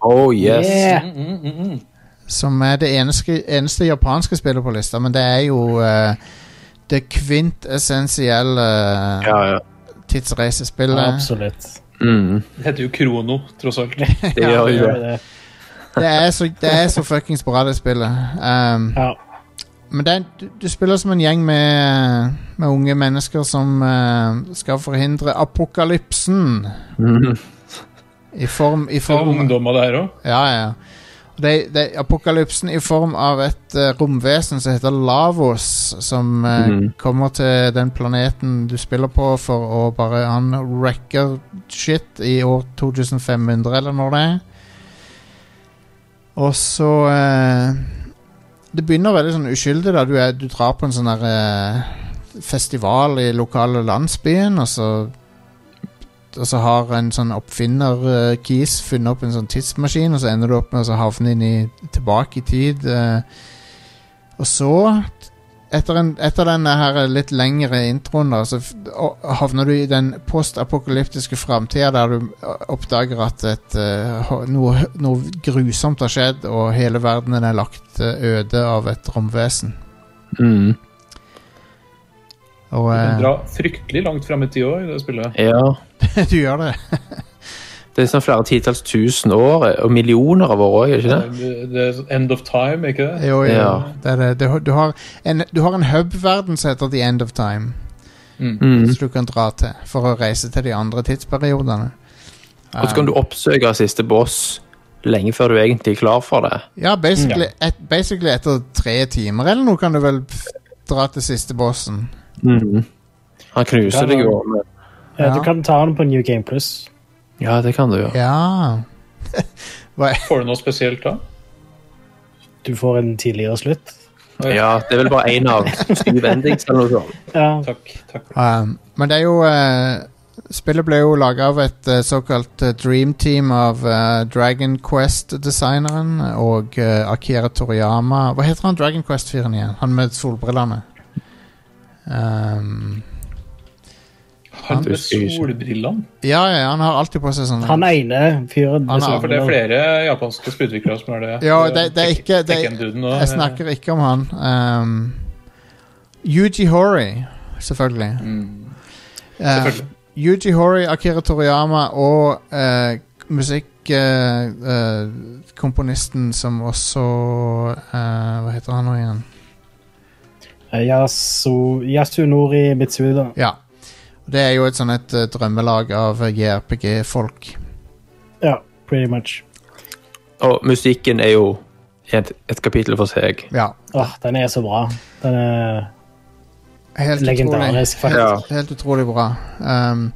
Oh yes.
Yeah.
Mm, mm, mm, mm.
Som er det eneste, eneste japanske spillet på lista, men det er jo eh, det kvintessensielle
Ja, ja.
eh, tidsreisespillet.
Absolutt.
Mm.
Det heter jo Krono, tross alt.
Det gjør jo det.
det.
Det er så, det er så fuckings bra, det spillet. Um,
Ja.
men det, er- du, du spiller som en gjeng med, med unge mennesker som eh, skal forhindre apokalypsen.
Mm.
I form, i
For
form
ungdommer der òg.
Ja, ja. Og Det, det, apokalypsen i form av et eh, romvesen som heter Lavos, som eh,
Mhm.
kommer til den planeten du spiller på for å bare Han wrecker shit i år 2500, eller når det er. Og så eh, Det begynner veldig sånn uskyldig, da. Du, er, du drar på en sånn der eh, festival i lokale landsbyen, og så og så har en sånn oppfinner eh, Keys funnet opp en sånn tidsmaskin, og så ender du opp med å så havne inn i, tilbake i tid. eh. og så, etter, en, etter denne her litt lengre introen, da, så f- og- havner du i den postapokalyptiske framtida der du oppdager at et, eh, ho- noe, noe grusomt har skjedd, og hele verdenen er lagt eh, øde av et romvesen.
Mm.
Og, eh,
Dra fryktelig langt fram i tid òg i det spillet.
Ja.
du gjør det.
Det er sånn flere titalls tusen år, eh, og millioner av år òg, er det ikke det?
Eh, Det er End of time, ikke det?
Jo, jo,
Ja.
det er det. Du, du har en, du har en hub-verden som heter The End of Time.
Mm.
Som du kan dra til for å reise til de andre tidsperiodene.
Og så kan du oppsøke siste boss lenge før du egentlig er klar for det.
Eh, Ja, basically,
Mm.
Et, basically etter tre timer eller noe kan du vel f- dra til siste bossen.
Mm. Han knuser deg jo. men-
Ja,
Ja.
Du kan ta den på New Game Plus.
Ja, det kan du gjøre.
Ja
Får du noe spesielt da?
Du får en tidligere slutt.
Ja, det er vel bare én av syv endings eller noe sånt.
Ja,
Takk. takk.
um, Men det er jo eh, Spillet ble jo laga av et eh, såkalt eh, dream team av eh, Dragon Quest-designeren og eh, Akira Toriyama. Hva heter han Dragon Quest-fyren igjen? Han med solbrillene. Um,
Han med
husker jeg ikke.
solbrillene.
ja, ja, han har alltid på seg sånne
Han ene fyren
Han
med
er-
For det er
solbriller.
flere japanske spillutviklere som har det.
Ja, det- det er ikke- det er-
Tekken-duden og-
Jeg snakker ikke om han. Um, Yuji Horii, selvfølgelig.
Mm.
Uh,
Selvfølgelig.
Yuji Horii, Akira Toriyama og uh, musikkomponisten eh, som også uh, Hva heter han nå igjen?
Eh, Yasu, Yasunori Mitsuda.
Ja. Det er jo et sånn et uh, drømmelag av uh, JRPG-folk.
Ja, pretty much.
Og musikken er jo et, et kapittel for seg.
Ja.
Åh, den er så bra. Den er
Helt utrolig.
legendarisk, faktisk.
Ja.
Helt, helt utrolig bra. Um,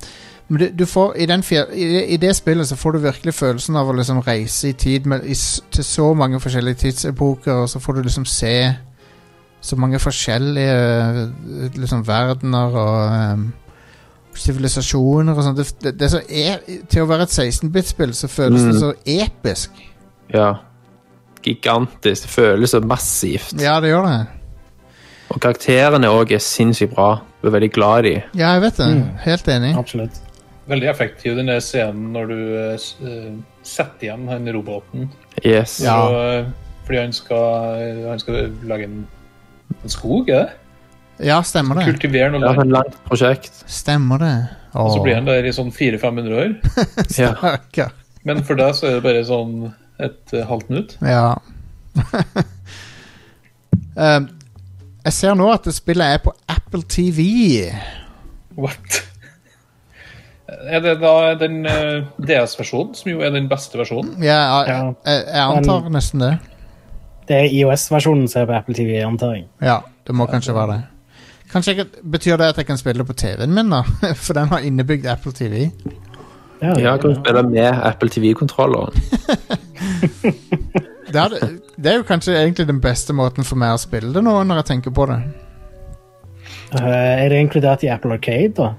men du, du får, i, den fjer, i, det- I det spillet så får du virkelig følelsen av å liksom reise i tid med, i, s- til så mange forskjellige tidsepoker, og så får du liksom se så mange forskjellige eh, liksom, verdener og um, sivilisasjoner og sånn. Det, det, det er så e til å være et 16-bit-spill så føles det
Mm.
så episk.
Ja. Gigantisk. Det føles så massivt.
Ja, det gjør det.
Og karakterene òg er sinnssykt bra. Du er veldig glad i dem.
Ja, jeg vet det. Helt enig.
Absolutt.
Veldig effektiv den der scenen når du eh, s- eh, setter igjen han roboten.
Yes.
Ja.
Så, eh, fordi han skal, eh, han skal lage en, en skog, er det?
Ja, stemmer det.
Kultivere noe
Det er
land.
et langt prosjekt.
Stemmer det.
Og så
Åh,
blir han der i sånn 400-500 år.
Ja.
stakkar.
Men for deg så er det bare sånn et eh, halvt minutt.
Ja. um, jeg ser nå at det spillet er på Apple TV.
What? Er det da den eh, DS-versjonen, som jo er den beste versjonen?
Ja, jeg,
Ja.
jeg, jeg antar nesten det.
Det er iOS-versjonen som er på Apple TV, antar jeg.
Ja, det må kanskje være det. Kanskje jeg, kan- Betyr det at jeg kan spille det på TV-en min, da? For den har innebygd Apple TV.
Ja, kan du spille med Apple TV-kontrolleren?
Det er, det er jo kanskje egentlig den beste måten for meg å spille det nå, når jeg tenker på det.
Eh, er det inkludert i Apple Arcade, da?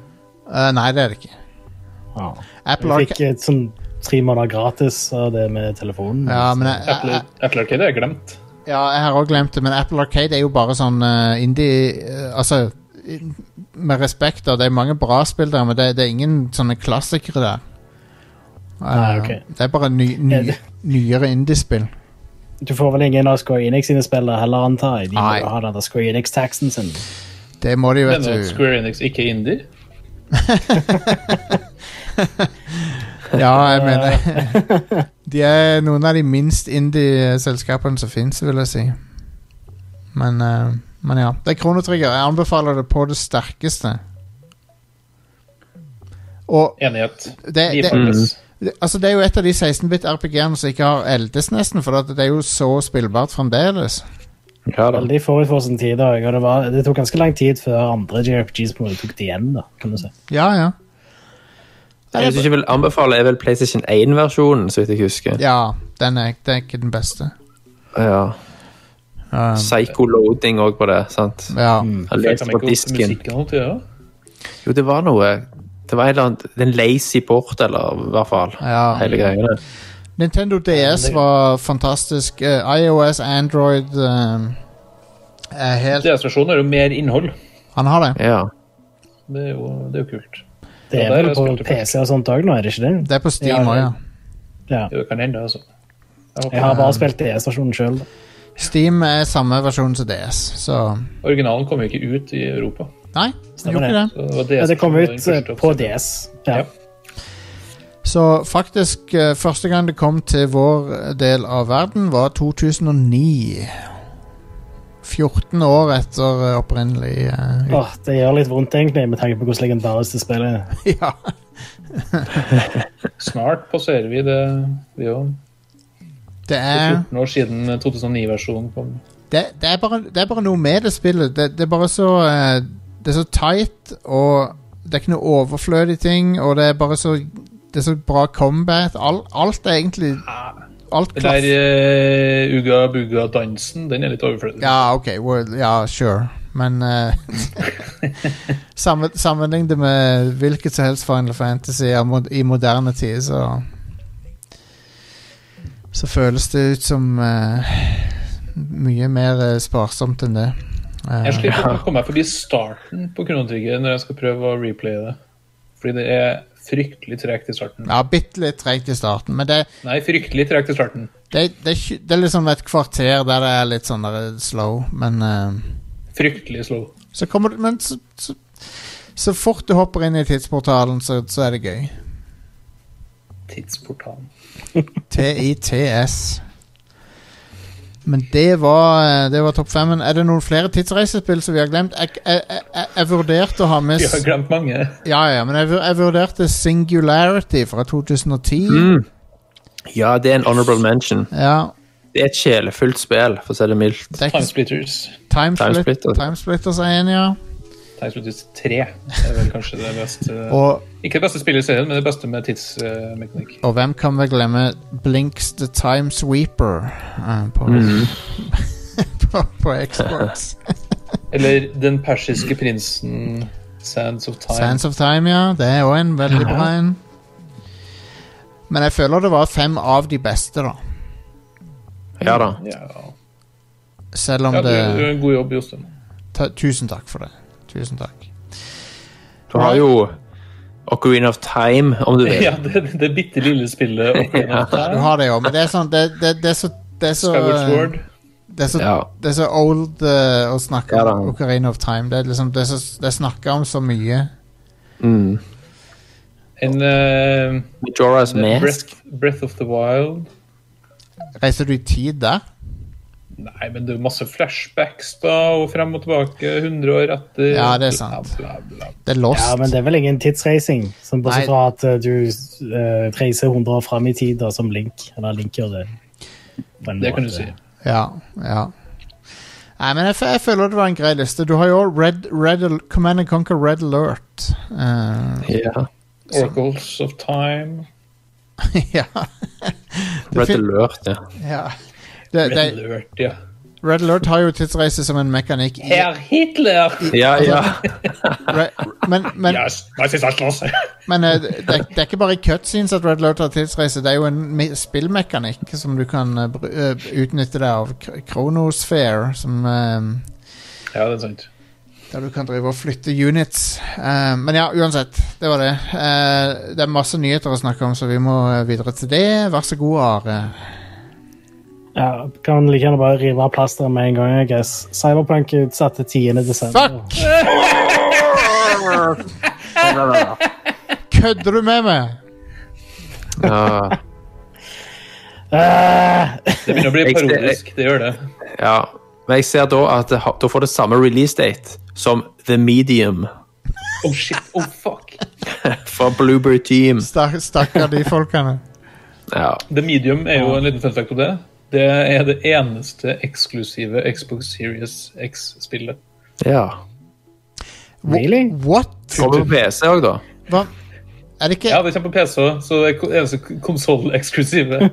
Eh, nei, det er det ikke. Apple
Jeg
Arcade
fikk eh, sånn tre måneder gratis av det med telefonen.
ja, men jeg, jeg,
Apple,
jeg,
Apple Arcade har jeg glemt.
ja, jeg har òg glemt det, men Apple Arcade er jo bare sånn eh, indie eh, Altså, i- med respekt, da, det er mange bra spill der, men det, det er ingen sånne klassikere der.
Nei, ok.
Eh, Det er bare ny,
Er
ny,
det-
nyere indiespill.
Du får vel ingen av Square Enix sine spillere heller, antar jeg. De
Nei.
må jo ha den der Square Enix-taxen sin.
Det må de,
Men
vet
at
du.
Square Enix ikke er indie?
Ja, jeg mener De er noen av de minst indie-selskapene som fins, vil jeg si. Men, eh, men ja. Det er Kronotrigger. Jeg anbefaler det på det sterkeste. Og
Enighet.
det,
De
det,
følges.
det, altså det er jo et av de 16-bit RPG-ene som ikke har eldes, nesten, for at det er jo så spillbart fremdeles.
Ja da.
Veldig forut for sin tid òg. Og det, var, det tok ganske lang tid før andre JRPGs på en måte tok det igjen. da, kan du si.
Ja, ja.
Det jeg ikke vil anbefale, er vel PlayStation 1-versjonen, så vidt jeg husker.
Ja, den er, det er ikke den beste.
Ja.
Um,
Psycho-loading òg på det, sant?
ja.
Jeg
Følte
leste
de
på
ikke opp
disken.
musikken og alt, ja.
Jo, det var noe Det var en eller annen det er En lazy port, eller i hvert fall.
Ja.
Hele greia. der.
Nintendo DS var fantastisk. Eh, iOS, Android eh, er helt
DS-versjonen har jo mer innhold.
Han har det.
Ja.
Det er jo, det er jo kult.
Det
Ja,
er
der
vel
er
på
spilt det først.
PC og sånt òg nå, er det ikke det?
Det er på Steam
Ja,
òg, ja.
Ja.
Det kan hende, altså. Jeg håper
Jeg har bare spilt DS-versjonen sjøl.
Steam er samme versjon som DS, så
Originalen kom jo ikke ut i Europa.
Nei, det gjorde ikke det.
Så det, var
Ja,
DS
det kom
som var
ut
den første
eh, på
oppsetningen.
DS. Ja.
Ja.
Så faktisk, eh, første gang det kom til vår del av verden, var 2009. 14 år etter eh, opprinnelig eh,
Åh, det gjør litt vondt, egentlig, med tanke på hvordan legendarisk det spillet er.
ut- Ja.
Snart passerer vi det. Vi er jo
Det er
14 år siden eh, 2009-versjonen kom.
det, det, er bare, det er bare noe med det spillet. Det, det er bare så eh, Det er så tight, og det er ikke noe overflødig ting, og det er bare så Det er så bra combat. All, alt er egentlig Alt
Den der
klaff.
eh, Uga Buga-dansen, den er litt overflødig.
Ja, OK. Well, ja, sure. Men eh, sammen, sammenlign det med hvilket som helst Final Fantasy av mod- i moderne tid, så Så føles det ut som eh, mye mer eh, sparsomt enn det. Eh,
Jeg sliter med å komme meg forbi starten på Kronotrigger når jeg skal prøve å replaye det. Fordi det er fryktelig tregt i starten.
Ja, bitte litt tregt i starten, men det,
Nei, fryktelig tregt i starten.
det, det, er ikke- det er liksom et kvarter der det er litt sånn der eh, slow, men eh,
Fryktelig slow.
Så kommer det Men så, så, så fort du hopper inn i tidsportalen, så, så er det gøy.
Tidsportalen.
TITS. Men det var, eh, det var topp femmen. Er det noen flere tidsreisespill som vi har glemt? Jeg, jeg, jeg, jeg vurderte å ha med
Vi
s-
har glemt mange.
Ja, ja, men jeg, vur- jeg vurderte Singularity fra 2010.
Mm. ja, det er en honorable mention.
Ja,
Det er et sjelefullt spill, for å si det mildt.
det er ikke
Time Splitters.
Timesplit-
Timesplitter.
Timesplitters er en, ja.
Time Splitters 3 er vel kanskje det beste
Og,
Ikke det beste spillet i serien, men det beste med eh, tidsmekanikk.
og hvem kan vel glemme Blinks The Time Sweeper eh, på, på, på Xbox.
Eller Den persiske prinsen, Sands of Time.
Sands of Time, ja. Det er òg en veldig bra en. Men jeg føler det var fem av de beste, da.
Ja da.
Ja,
Selv om
ja du
det
gjør en god jobb, Jostein.
ta, Tusen takk for det. Tusen takk.
Du har jo Ocarina of Time, om du vil.
Ja, det, det bitte lille spillet. Ocarina of
Du
Time,
har det jo, men det er sånn Det, det, det er så det er så,
Skyward Sword.
det er så,
Ja.
det er så old eh, å snakke
Ja da.
om Ocarina of Time. Det er liksom Det er, så, det er snakka om så mye.
Mm.
En eh,
Majora's Mask.
Breath, Breath of the Wild.
Reiser du i tid der?
Nei, men det er jo masse flashbacks da, og frem og tilbake 100 år etter.
Ja, det er sant.
Bla, bla, bla.
Det er lost.
Ja, men det er vel ingen tidsreising, som
Nei.
bortsett fra at eh, du eh, reiser 100 år fram i tid, da, som Link. Eller Link gjør det. på en
Det kan
måte.
du si.
Ja, ja. Nei, men jeg, f- jeg føler det var en grei liste. Du har jo Red, Red Al- Command and Conquer Red Alert. Eh,
Ja.
Oracles of Time.
ja. Det
Red
fin-
Alert, ja.
ja. Det,
Red
det,
Alert, ja.
Red Alert har jo tidsreise som en mekanikk. i-
Herr Hitler!
Ja, ja.
Re, men men,
Ja, nazistene slåss!
men eh, det, det er ikke bare i cutscenes at Red Alert har tidsreise. Det er jo en mi- spillmekanikk som du kan eh, br- eh, utnytte deg av. K- Chronosphere, som eh,
Ja, det er sant.
Der du kan drive og flytte units. Eh, men ja, uansett. Det var det. Eh, det er masse nyheter å snakke om, så vi må eh, videre til det. Vær så god, Are.
Ja, kan like gjerne bare rive av plasteret med en gang. I guess. Cyberpunk er utsatt til 10. desember.
Fuck! Kødder du med meg?
Ja,
Eh,
Det begynner å bli
Jeg-
parodisk. Det gjør det.
ja. Men jeg ser da at det, har- da får det samme release date som The Medium
Oh shit, oh fuck.
fra Blueberry Team.
Stak- Stakkar de folkene.
Ja.
The Medium er jo en liten fun fact om det. Det er det eneste eksklusive Xbox Series X-spillet.
ja.
Wha-
Really?
What?
Kommer på PC òg, da.
Hva? Er det ikke
Ja, det kommer på PC, også, så det er ko- eneste konsoll-eksklusive.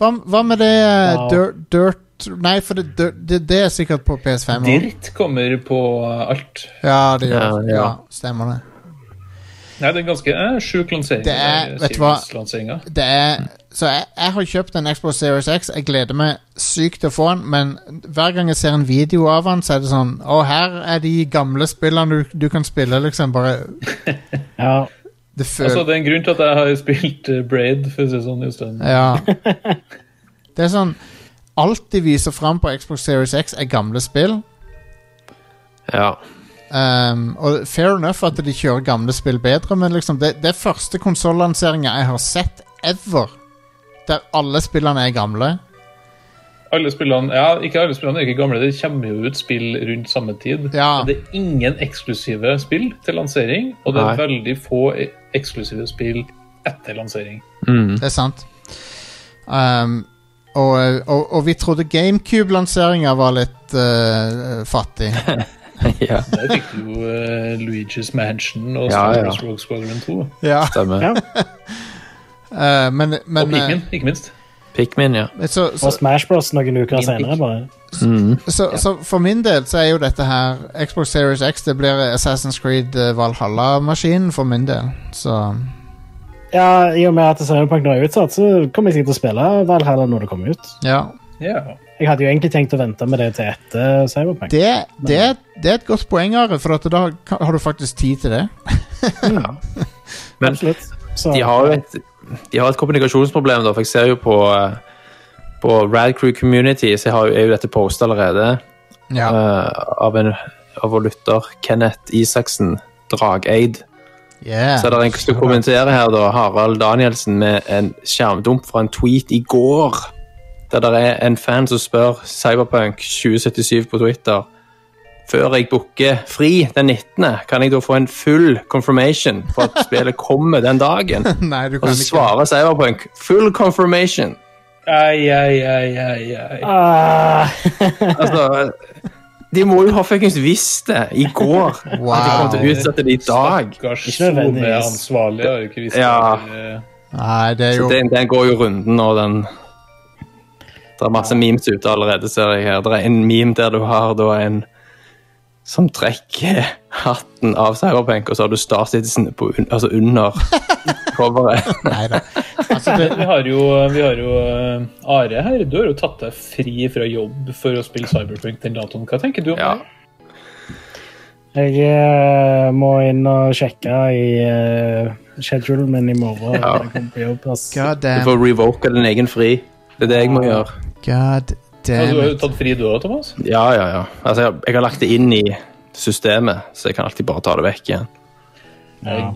Hva, hva med det eh,
Wow.
dirt, dirt Nei, for det, dirt, det, det er sikkert på PS5 også.
Dirt kommer på alt.
Ja, det gjør
Ja,
det.
ja.
Ja, stemmer det.
Nei, det er en ganske eh, sjuk lansering. eh,
Det er-
den
vet du hva?
Series-lanseringen.
det er Så jeg, jeg har kjøpt en Xbox Series X. Jeg gleder meg sykt til å få den, men hver gang jeg ser en video av den, så er det sånn Å, her er de gamle spillene du, du kan spille, liksom. Bare
ja.
Det føles
Altså, det er en grunn til at jeg har spilt eh, Braid, for å si det sånn. Jostein.
Ja. Det er sånn Alt de viser fram på Xbox Series X, er gamle spill.
Ja.
Um, og fair enough at de kjører gamle spill bedre, men liksom det, det er første konsollanseringa jeg har sett ever, der alle spillene er gamle.
Alle spillene, ja, ikke alle spillene er ikke gamle. Det kommer jo ut spill rundt samme tid.
Ja.
Men Det er ingen eksklusive spill til lansering, og det er
Nei.
veldig få e- eksklusive spill etter lansering.
Mm.
Det er sant. Um, og, og, og vi trodde GameCube-lanseringa var litt eh, fattig.
ja.
Der fikk du jo eh, Luigi's Mansion og
Ja,
Star
ja.
Wars Rogue Squadron 2.
ja.
Stemmer.
Ja.
Eh, men men
og Pikmin, ikke minst.
Pikmin, ja.
eh, så, så,
Og Smash Bros noen uker senere, bare.
så, så for min del så er jo dette her Xbox Series X det blir Assassin's Creed eh, Valhalla-maskinen for min del. Så
Ja, I og med at Cyberpunk nå er utsatt, så kommer jeg sikkert til å spille Valhalla når det kommer ut.
ja.
Ja.
Jeg hadde jo egentlig tenkt å vente med det til etter Cyberpunk.
Det, det, det er et godt poeng, Are, for at da kan- har du faktisk tid til det.
Men
Absolutt. Så,
de har jo et, de har et kommunikasjonsproblem, da, for jeg ser jo på eh, på Rad Crew Community så har jo, er jo dette postet allerede
Ja.
eh, av, en, av vår lytter Kenneth Isaksen Drageid.
Yeah.
Så er det en som kommenterer her, da, Harald Danielsen, med en skjermdump fra en tweet i går. Der det er en fan som spør Cyberpunk 2077 på Twitter Før jeg booker fri den 19., kan jeg da få en full confirmation for at spillet kommer den dagen?
Nei, du
Og
kan
så
ikke.
svarer Cyberpunk full confirmation.
Ai, ai, ai, ai, ai.
Ah,
Altså, de må jo ha fuckings visst det i går. At de kommer til å
Wow.
utsette det i dag.
Stakkars
Ikke nødvendigvis.
SoMe-ansvarlig har jo ikke visst
Ja.
det.
Nei, det er
Så
jo
den, den går jo runden nå, den. Det er masse memes ute allerede, ser jeg her. Det er en meme der du har da en som trekker hatten av Cyberpunk, og så har du Star Citizen på, un- altså under coveret.
Nei da. Altså, det,
Vi har jo, vi har jo eh, Are her. Du har jo tatt deg fri fra jobb for å spille Cyberpunk den datoen. Hva tenker du om
Ja.
det?
jeg eh, må inn og sjekke i eh, schedulen min i morgen.
Ja.
når jeg kommer på jobb, ass.
God
Du
damn,
får revoke din egen fri. Det er det jeg må gjøre.
god
Ja, Altså, du
damn
har jo
it.
tatt fri du òg, Thomas.
Ja, ja, ja. Altså, jeg, jeg har lagt det inn i systemet, så jeg kan alltid bare ta det vekk igjen.
Ja.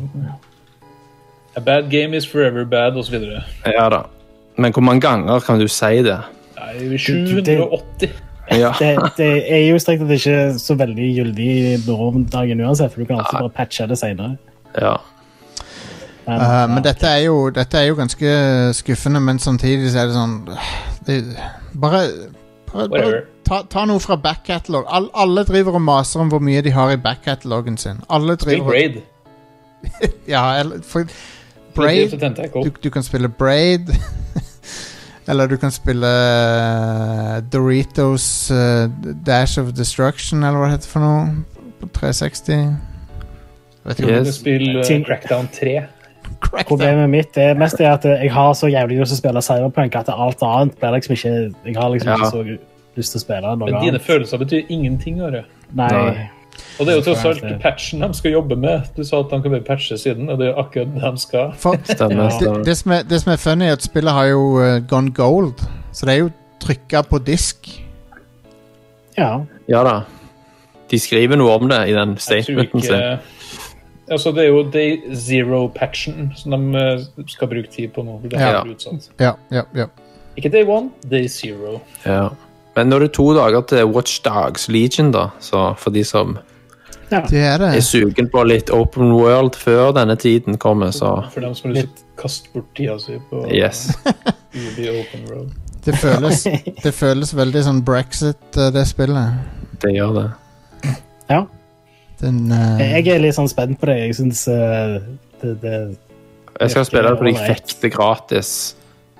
A bad game is forever bad, osv.
Ja da. Men hvor mange ganger kan du si det?
Nei,
du, det-
780.
Ja.
Det, det er jo strengt tatt ikke så veldig gyldig nå om dagen uansett, for du
Ah.
kan alltid bare patche det senere.
ja.
Men,
Uh, men dette er, jo, dette er jo ganske skuffende, men samtidig så er det sånn det, Bare, bare, bare
Whatever.
ta, ta noe fra backcatalog. All, alle driver og maser om hvor mye de har i backcatalogen sin. Alle
Spill
driver
Braid.
Ja, eller for,
Braid.
Braid du, du kan spille Braid. eller du kan spille eh, Doritos eh, Dash of Destruction, eller hva det heter for noe. På 360. Vet ikke om
Yes.
Du spiller eh,
Ting-
Crackdown 3.
Crackdown.
Problemet mitt er mest det at jeg har så jævlig lyst til å spille Cyberpunk at alt annet blir liksom ikke Jeg har liksom
Ja.
ikke så lyst til å spille noe
Men dine
annet.
følelser betyr ingenting. Are.
Nei.
Nei.
Og det er jo tross alt patchen de skal jobbe med. Du sa at de kan bare patche siden, og det er akkurat det de skal.
For,
Stemmer. stemmer.
det, det, som er, det som er funny, er at spillet har jo eh, gone gold. Så det er jo trykka på disk.
Ja.
Ja da. De skriver noe om det i den
Jeg tror
statementen
ikke
sin.
Altså, det er jo Day Zero-patchen som de eh, skal bruke tid på nå. Det her
Ja.
blir utsatt.
Ja, ja, ja.
Ikke Day One, Day Zero.
Ja. Men nå er det to dager til Watchdogs Legion, da. Så for de som
Det er
er
det.
sugen på litt open world før denne tiden kommer, så
For dem som har lyst til å kaste bort tida si på
yes.
UB Open Road.
Det føles, det føles veldig sånn brexit, eh, det spillet.
Det gjør det.
Ja.
Den eh,
Jeg er litt sånn spent på det. Jeg syns det, det
Jeg skal spille det fordi jeg fikk det gratis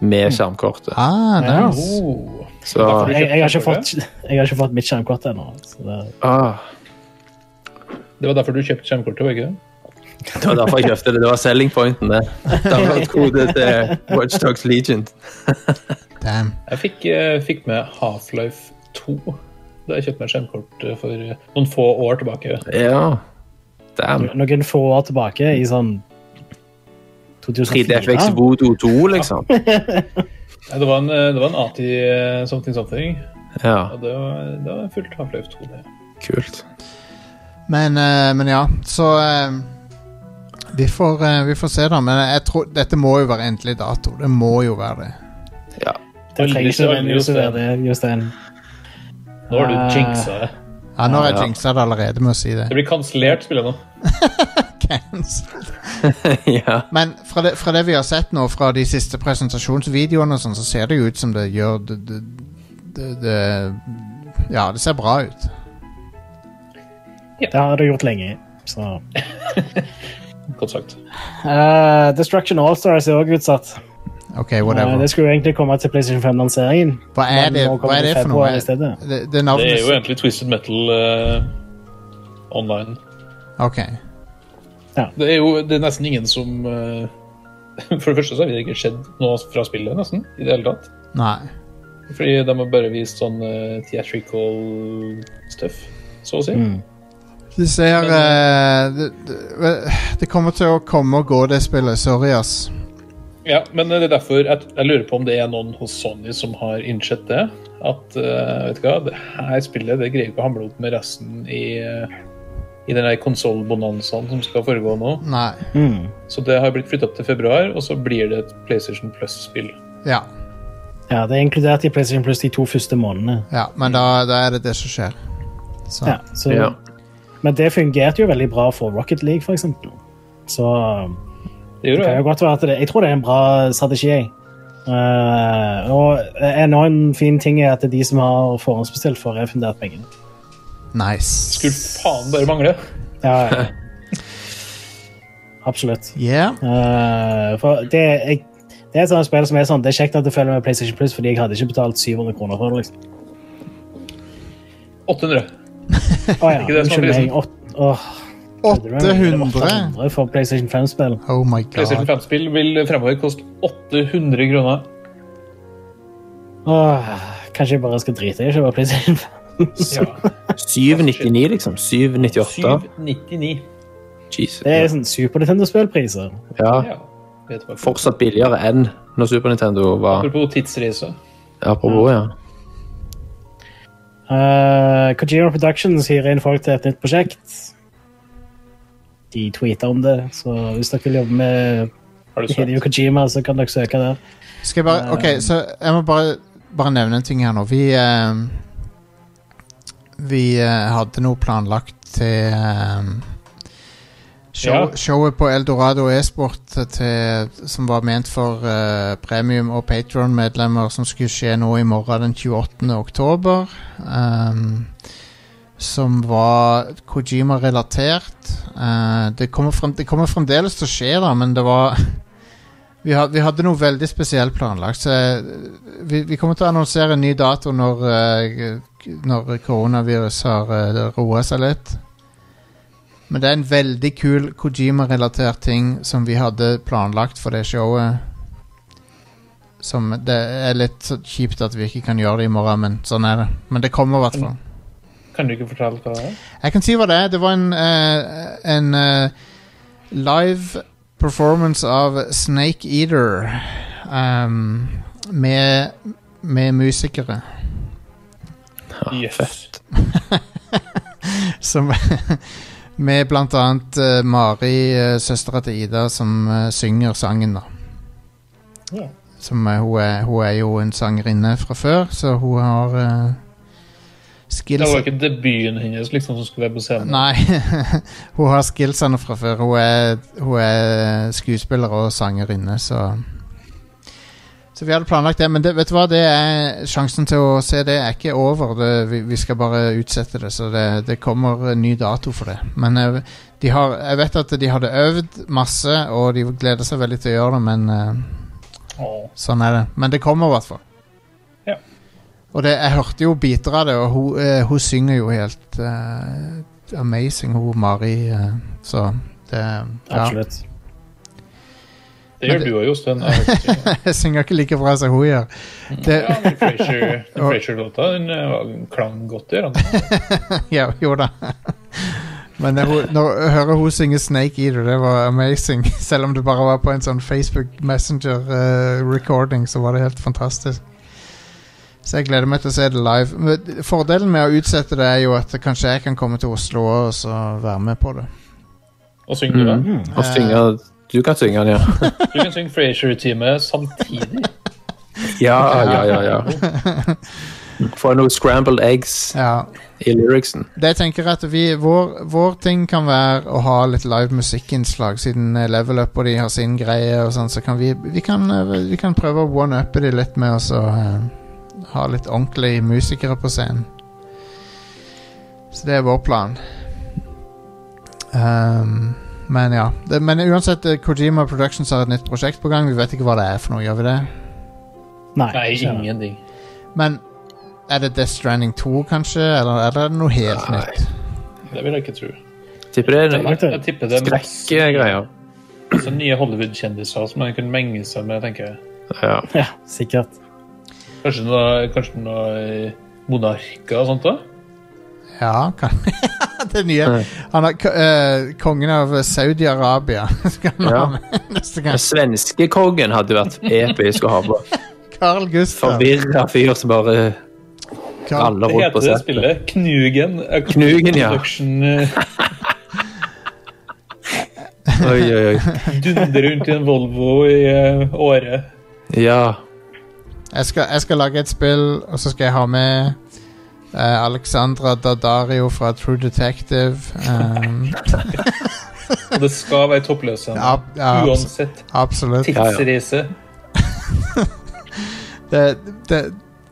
med skjermkortet.
Ah, nice.
Oh.
Så
jeg, jeg, har ikke fått, jeg har ikke fått mitt skjermkort ennå. så det-
ah,
Det var derfor du kjøpte skjermkortet, var ikke det?
Det var derfor jeg kjøpte det. Det var selling pointen, det. Download-kode til Watchdogs Legion.
Damn.
Jeg fikk, eh, fikk med Half-Life 2 da jeg kjøpte meg skjermkort eh, for eh, noen få år tilbake.
Ja. Damn.
Noen få år tilbake, i sånn
3DFX
2004
Voodoo 2, liksom.
Nei, Det var en, eh, det var en ATI eh, something something,
Ja,
og det var, det var fullt Half-Life 2. det.
kult.
Men, eh, men ja, så eh, vi, får, eh, vi får se, da. Men jeg tror, dette må jo være endelig dato. Det må jo være det.
Det trenger ikke nødvendigvis å være det, Jostein.
Nå har du
Ah.
jinxa det.
Ja, Nå har
Ja,
jeg
ja.
jinxa det allerede med å si det.
Det blir kansellert, spiller jeg nå.
Cancel.
ja.
Men fra det, fra det vi har sett nå, fra de siste presentasjonsvideoene, og sånn, så ser det jo ut som det gjør det, det, det, det Ja, det ser bra ut.
Det har du gjort lenge. Så.
Godt sagt.
Eh, Destruction Allstars er også utsatt.
OK,
Eh,
whatever.
det skulle jo egentlig komme til PlayStation 5-lanseringen.
Hva er det,
nå
hva
kommer
er det
i
for noe?
februar i stedet.
Det, det er
Det er jo
navnet
egentlig Twisted Metal eh, online.
OK.
Det er jo det er nesten ingen som eh, For det første så har vi ikke sett noe fra spillet, nesten. I det hele tatt.
Nei.
Fordi de har bare vist sånn eh, theatrical stuff, så å si.
Mm.
Det ser
Men,
eh, det, det, det kommer til å komme og gå, det spillet. Sorry, ass.
Ja, men det er derfor jeg, jeg lurer på om det er noen hos Sony som har innsett det. At eh, vet du hva, det her spillet det greier ikke å hamle opp med resten i, eh, i den der konsollbonanzaen som skal foregå nå.
Nei.
Mm.
Så det har blitt flytta opp til februar, og så blir det et PlayStation Plus-spill.
Ja,
Ja, det er inkludert i PlayStation Plus de to første månedene.
ja men da, da er det det som skjer. Så,
Ja, så,
Ja.
Men det fungerte jo veldig bra for Rocket League, for eksempel. Så
Det
det
gjør
kan jo
det.
godt være at det Jeg tror det er en bra strategi. jeg. Eh, og en annen fin ting er at de som har forhåndsbestilt, får refundert pengene.
nice.
Skulle faen bare mangle.
Ja, ja. Absolutt.
Yeah.
Eh, for det, jeg, det er et sånt spill som er sånn Det er kjekt at det følger med PlayStation Plus, fordi jeg hadde ikke betalt 700 kroner for det. liksom
800.
Å ja,
Ikke det som er liksom-
unnskyld
prisen.
meg. Åt, åh, kødder du med meg?
800?
800 for PlayStation 5-spill.
Oh my
PlayStation
god.
5-spill vil fremover koste 800 kroner.
Åh, kanskje jeg bare skal drite i å kjøpe PlayStation 5?
Ja.
799, liksom. 798.
799.
Jesus.
Det er sånn Super Nintendo-spillpriser.
Ja.
Ja. Vet du hva.
Fortsatt billigere enn når Super Nintendo var
Apropos tidsreise.
Apropos, ja.
Eh, Kojima Productions hyrer inn folk til et nytt prosjekt. De tweeter om det, så hvis dere vil jobbe med
Har du
Hideo
sagt?
Kojima, så kan dere søke der.
Skal jeg bare Ok, så jeg må bare, bare nevne en ting her nå. Vi ehm, Vi eh, hadde noe planlagt til ehm, show,
Ja.
showet på Eldorado e-sport til, som var ment for eh, premium- og Patron-medlemmer, som skulle skje nå i morgen den 28. oktober. ehm, som var Kojima-relatert. Eh, det, kommer frem, det kommer fremdeles til å skje, da, men det var vi, ha, vi hadde noe veldig spesielt planlagt. Så eh, vi, vi kommer til å annonsere en ny dato når, eh, k- når koronavirus har uh, roa seg litt. Men det er en veldig kul Kojima-relatert ting som vi hadde planlagt for det showet. Som Det er litt så kjipt at vi ikke kan gjøre det i morgen, men sånn er det. Men det kommer i hvert fall.
Kan du ikke fortelle hva det er?
Jeg kan si hva det er. Det var en, eh, en eh, live performance av Snake Eater ehm, med, med musikere.
ja.
Yes.
Fett.
Som Med blant annet eh, Mari, uh, søstera til Ida, som eh, synger sangen, da.
Ja.
Som, eh, hun, er, hun er jo en sangerinne fra før, så hun har eh,
Det
skills
var ikke debuten hennes liksom, som skulle være på scenen.
Nei, hun har skillsene fra før. Hun er, hun er skuespiller og sangerinne, så Så vi hadde planlagt det, men det, vet du hva? Det er, sjansen til å se det er ikke over. Det, vi, vi skal bare utsette det, så det, det kommer en ny dato for det. Men eh, de har, jeg vet at de hadde øvd masse, og de gleder seg veldig til å gjøre det, men eh,
Åh.
Sånn er det. Men det kommer i hvert fall.
Ja.
Og det, jeg hørte jo biter av det, og hun, eh, hun synger jo helt eh, amazing, hun Mari. eh, så det ja.
Absolutt.
Det gjør
Men det-
du òg, Jostein. Jeg har hørt det.
Jeg synger ikke like bra som hun gjør. Det,
Ja, men Frasier- den Frasier-låta den eh, var- klang godt i ørene.
ja, jo da. Men når hun, når jeg hører hun synge Snake Eater, det var amazing. Selv om det bare var på en sånn Facebook Messenger-recording, så var det helt fantastisk. Så jeg gleder meg til å se det live. Men fordelen med å utsette det er jo at kanskje jeg kan komme til Oslo og så være med på det. Eh,
Og synger du den?
Og synge Du kan synge den, ja.
Du kan synge Frasier-time samtidig.
Ja, ja, ja. ja. Få noen scrambled eggs
Ja,
i lyricsen.
Det jeg tenker er at vi, vår, vår ting kan være å ha litt live musikkinnslag, siden eh, Level Up og de har sin greie og sånn, så kan vi, vi, kan, eh, vi kan prøve å one-uppe de litt med oss og eh, ha litt ordentlige musikere på scenen. Så det er vår plan. Ehm, men ja. Det, men uansett, eh, Kojima Productions har et nytt prosjekt på gang. Vi vet ikke hva det er for noe, gjør vi det?
Nei.
Nei,
ikke det.
ingenting.
Men er det Death Stranding 2, kanskje? Eller er det noe helt
Nei.
nytt?
Det vil jeg ikke tro.
Tipper det er
Nei,
noen
vet du.
Jeg tipper det er masse,
skrekkgreier.
masse nye Hollywood-kjendiser som man kan menge seg med, tenker jeg.
Ja.
Ja, sikkert.
Kanskje noe, kanskje noe eh, monarker og sånt da?
Ja, kan Det nye
Ja.
Han er k- eh, kongen av Saudi-Arabia. Skal han
Ja.
ha med neste gang.
Den svenske kongen hadde vært episk å ha på.
Carl Gustav.
Forvirra fyr som bare
Carl,
Det
raller rundt på
heter det
settet.
spillet Knugen. A
Knugen, ja.
Production eh,
Oi, oi, oi.
dundrer rundt i en Volvo i eh, året.
Ja.
jeg, skal, jeg skal lage et spill, og så skal jeg ha med eh, Alexandra Daddario fra True Detective. Um,
Og det skal være toppløsende.
ja, ja, abs
Uansett.
absolutt.
ja.
Tidsreise.
Det, det,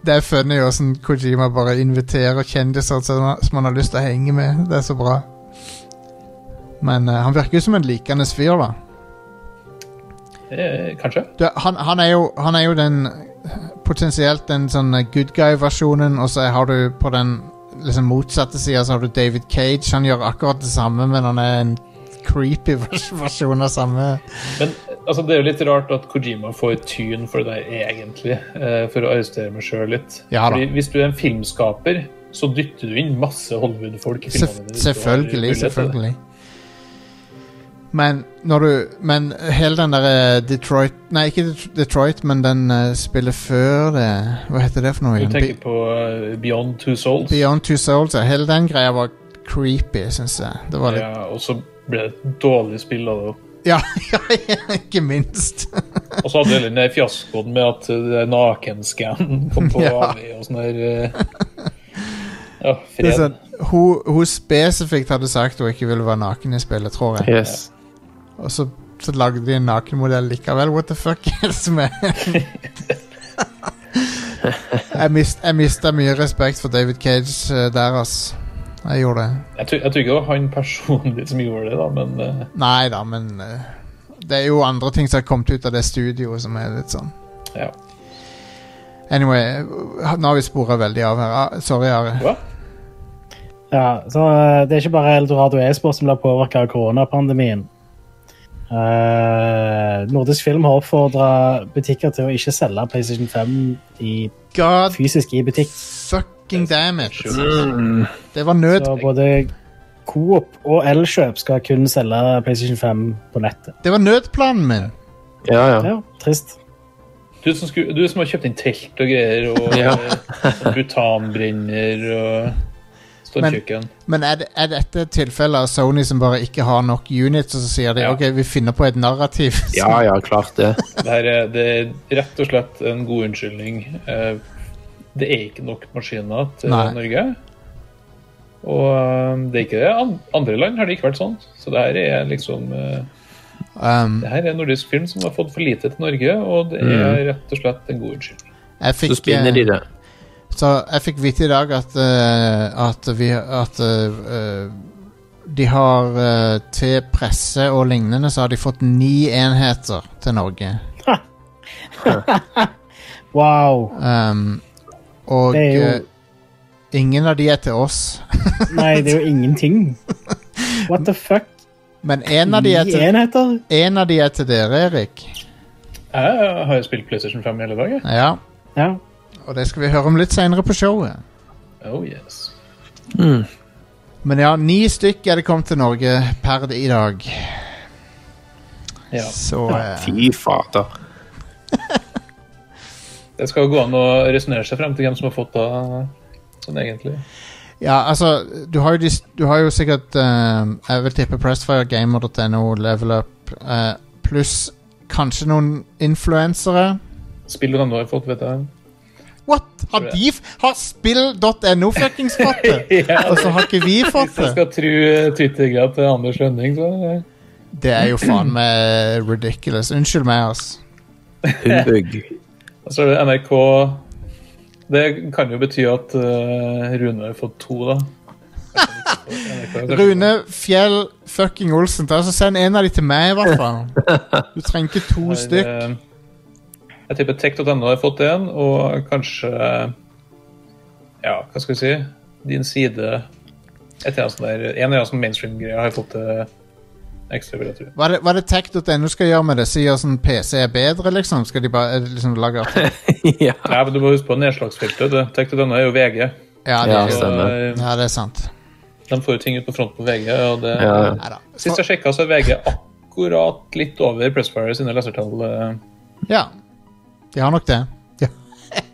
det er funny åssen Kojima bare inviterer kjendiser som han- som han har lyst til å henge med. Det er så bra. Men eh, han virker jo som en likende fyr, da.
Eh, kanskje.
du, han, han, er jo, han er jo den Potensielt den sånn good guy-versjonen, og så har du på den liksom motsatte sida så har du David Cage. Han gjør akkurat det samme, men han er en creepy vers- versjon av samme
Men altså, det er jo litt rart at Kojima får tyn for det der egentlig, eh, for å arrestere meg sjøl litt.
Ja da.
Fordi hvis du er en filmskaper, så dytter du inn masse Hollywood-folk i
Sef
filmene dine.
Selvfølgelig,
Du har mulighet til det.
selvfølgelig. Men når du Men hele den derre Detroit Nei, ikke Det- Detroit, men den eh, spillet før det Hva heter det for noe?
Du
igjen?
tenker på eh, Beyond Two Souls,
Beyond Two Souls. ja. Hele den greia var creepy, syns jeg. Det var litt
ja, og så ble det et dårlig spill av det.
Ja, ja, ja, ikke minst.
Og så hadde du den der fiaskoen med at eh, nakenscannen kom på
Ja.
AV og sånn der eh, Ja,
Det er
fred.
sånn, hun, hun spesifikt hadde sagt hun ikke ville være naken i spillet, tror jeg.
Yes.
Og så, så lagde de en nakenmodell likevel. What the fuck er det som er Jeg, mist, jeg mista mye respekt for David Cage eh, der, ass. Jeg gjorde det.
Jeg tror, jeg tror ikke det var han personlig som gjorde det, da, men eh,
Nei da, men eh, Det er jo andre ting som har kommet ut av det studioet som er litt sånn.
Ja.
Anyway, eh, nå har vi spora veldig av her. Ah, Sorry, Are.
hva?
Ja, så eh, Det er ikke bare Eldorado e-sport som blir påvirka av koronapandemien. Eh, Nordisk Film har oppfordra butikker til å ikke selge PlayStation 5 i,
God
fysisk i butikk.
fucking damn it.
Mm.
Det var nød.
Så både Coop og Elkjøp skal kun selge PlayStation 5 på nettet.
Det var nødplanen min.
Ja, ja.
Ja, trist.
Du som, skulle, du som har kjøpt inn telt og greier, og
Ja.
eh, butanbrenner og Står
Men-
tjukken.
Men er, det, er dette tilfellet av Sony som bare ikke har nok units, og så sier de
Ja.
ok, vi finner på et narrativ?
Ja, ja, klart det.
Det, her er, det er rett og slett en god unnskyldning. Eh, Det er ikke nok maskiner til
Nei.
Norge. Og eh, det er ikke det. An- Andre land har det ikke vært sånn. Så det her er liksom eh,
Um,
Det her er en nordisk film som har fått for lite til Norge, og det
Mm.
er rett og slett en god unnskyldning.
jeg fikk,
Så spinner de
eh,
det.
Så jeg fikk vite i dag at, eh, at, vi, at eh, eh, de har eh, til presse og lignende så har de fått ni enheter til Norge.
Wow.
Um, og
Det er jo-
eh, ingen av de er til oss,
Nei, det er jo ingenting. What the fuck?
men en av de
Ni
er til,
enheter?
en av de er til dere, Erik.
Jeg har jo spilt PlayStation 5 hele dagen.
Ja,
Ja.
og det skal vi høre om litt seinere på showet.
Oh yes.
Men ja, ni stykk er det kommet til Norge per i dag.
Ja.
Så eh,
Fy fader.
Det skal jo gå an å resonnere seg frem til hvem som har fått da sånn egentlig.
Ja, altså, du har jo, de, du har jo sikkert eh, Jeg vil tippe pressfiregamer.no, level up, eh, pluss kanskje noen influensere.
Spillerne har fått, vet jeg.
What?! Har de f Har spill.no fuckings fått det?!
Ja,
Og så har ikke vi fått
Hvis jeg
det!
skal tru Twitter-greia til Anders Lønning, så eh,
Det er jo faen meg ridiculous. Unnskyld meg, ass.
Humbug.
Og så er det NRK Det kan jo bety at eh, Rune har fått to, da.
Rune Fjell fucking Olsen, ta så send en av de til meg, i hvert fall. Du trenger ikke to stykk.
eh, Jeg tipper tech.no har fått en, og kanskje Ja, hva skal vi si? Din side et eller annet sånt der, En eller annen sånn mainstream-greie har jeg fått til ekstra, vil jeg tro.
Hva er det, hva er det tech.no skal gjøre med det? Sier sånn PC er bedre, liksom? Skal de bare eh, liksom lage artikler?
ja.
Nei, men du må huske på nedslagsfeltet. det. Tech.no er jo VG.
Ja, det,
Ja,
er-
Så,
stemmer.
eh,
ja, det er sant.
de får jo ting ut på front på VG, og det
Ja.
Neida.
Sist jeg sjekka, så er VG akkurat litt over Pressfire sine lesertall. eh.
Ja. De har nok det. Ja.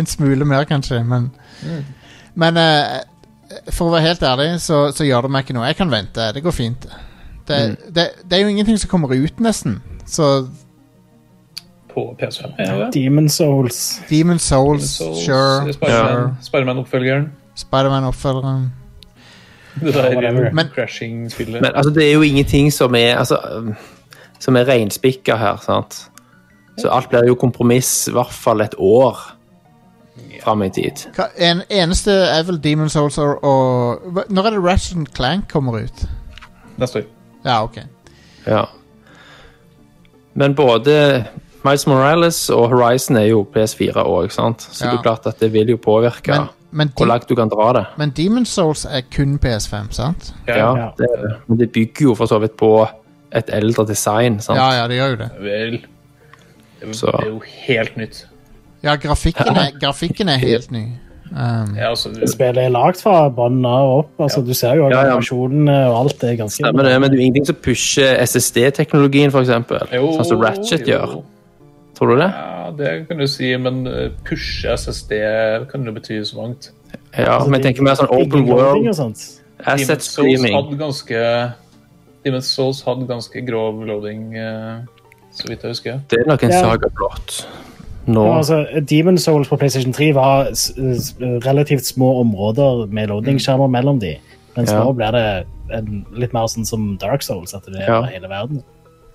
en smule mer, kanskje, men Men eh, for å være helt ærlig, så, så gjør det meg ikke noe. Jeg kan vente. Det går fint. Det, det, det er jo ingenting som kommer ut, nesten. Så
på PS5. er det det?
Demon Souls.
Demon Souls,
Souls,
sure. sure.
Spiderman- Spiderman-oppfølgeren.
Spiderman-oppfølgeren.
Det der
whatever.
eh,
Men-
crashing-spillet.
Men altså, det er jo ingenting som er altså, um, Som er reinspikka her, sant? Så alt blir jo kompromiss, i hvert fall et år fram i tid.
Hva- En, eneste er vel Demon Souls og, og hva- Når er det Ratchet Clank kommer ut?
Neste år.
Ja, ok.
Ja. Men både Miles Morales og Horizon er jo PS4 òg, sant? Så
Ja.
det er klart at det vil jo påvirke
Men, men,
hvor
de,
langt du kan dra det.
men Demon Souls er kun PS5, sant?
Ja,
Ja, det, men det bygger jo for så vidt på et eldre design, sant?
Ja, ja, det gjør jo det.
vel Det
Så-
er jo helt nytt.
Ja, grafikken er, grafikken er helt ny. Um,
Ja, altså, det-
Spillet er lagd fra bånn av og opp. Altså, Du ser jo
Ja, ja.
animasjonene og alt er ganske
Stemmer det, men det er jo ingenting som pusher SSD-teknologien, f.eks.
jo,
Sånn som Ratchet
jo.
gjør. Tror du det?
Ja, det kan du si, men eh, push SSD kan jo bety så mangt.
Ja,
Altså,
men jeg
det-
tenker mer sånn
det- altså.
open
det-
world,
og sånt.
asset
Demon's Souls
streaming.
hadde ganske Demon's Souls hadde ganske grov loading, eh, så vidt jeg husker.
Det er nok en
Ja.
saga blått. Nå.
Ja, altså, Demon Souls på PlayStation 3 var s s relativt små områder med loading-skjermer mellom de. Mens
Ja.
nå blir det en, litt mer sånn som Dark Souls, at det er
Ja.
over hele verden.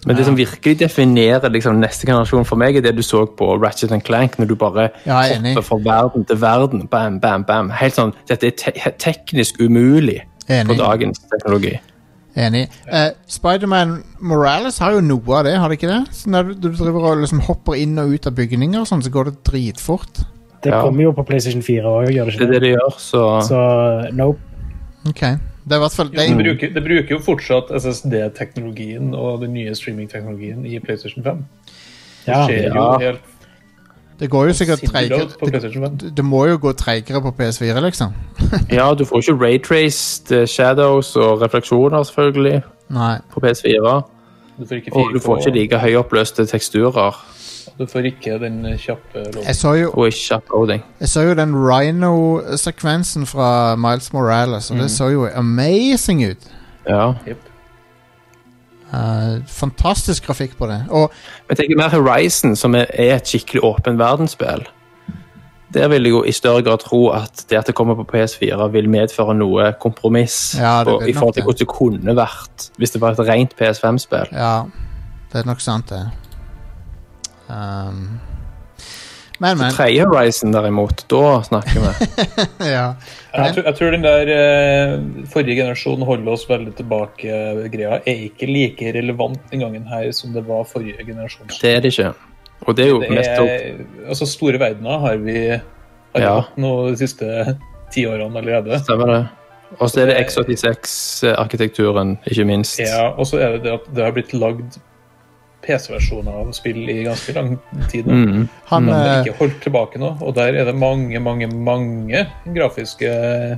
Men det som virkelig definerer liksom, neste generasjon for meg, er det du så på Ratchet and Clank, når du bare
Ja, jeg er enig.
hopper fra verden til verden. Bam, bam, bam. Helt sånn, Dette er te teknisk umulig
Enig.
for dagens teknologi.
enig. Eh, Spiderman Morales har jo noe av det, har det ikke det? Så når du, du driver og liksom hopper inn og ut av bygninger, og sånn, så går det dritfort.
Det
Ja.
kommer jo på PlayStation 4 òg, gjør det
Det
ikke?
er det de gjør, så,
Så eh, nope.
Ok. Det er i hvert fall det
Det
er,
bruker, det bruker jo fortsatt SSD-teknologien og den nye streaming-teknologien i PlayStation 5. Det
Ja.
skjer jo
Ja.
helt
Det går jo sikkert
sinnssykt
treigere
ut på
det,
PlayStation 5.
det må jo gå treigere på PS4, liksom.
Ja, du får ikke raytraced eh, shadows og refleksjoner, selvfølgelig,
Nei.
på PS4.
Du får ikke
Og du får
4K.
ikke like høyoppløste teksturer.
Du får ikke den kjappe loven.
Jeg så jo,
Og ikke uploading.
jeg så jo den Rhino-sekvensen fra Miles Morales, og
Mm.
det så jo amazing ut.
Ja.
Jep.
Eh, fantastisk grafikk på det. Og
Men jeg tenker mer Horizon, som er er et skikkelig åpen verdensspill. Der vil jeg jo i større grad tro at det at det kommer på PS4, vil medføre noe kompromiss
Ja, det
på,
vil
i forhold til
nok
hvordan det kunne vært hvis det var et rent PS5-spill.
ja, det er nok sant, det. Um, men, men.
Tredje Horizon, derimot, da snakker vi.
Ja.
Jeg, tror, jeg tror den der eh, forrige generasjonen holder oss veldig tilbake. eh, Greia er ikke like relevant den gangen her som det var forrige generasjon.
Det er det ikke. Og det er jo
Det
mest opp
er, altså Store verdener har vi har
Ja.
hatt nå de siste ti årene allerede.
Stemmer det? Og så er det X86-arkitekturen, ikke minst.
Ja, Og så er det det at det har blitt lagd PC-versjoner av spill i ganske lang tid. nå.
Mm.
Han,
Men det er
eh,
ikke holdt tilbake nå, og der er det mange, mange, mange grafiske eh,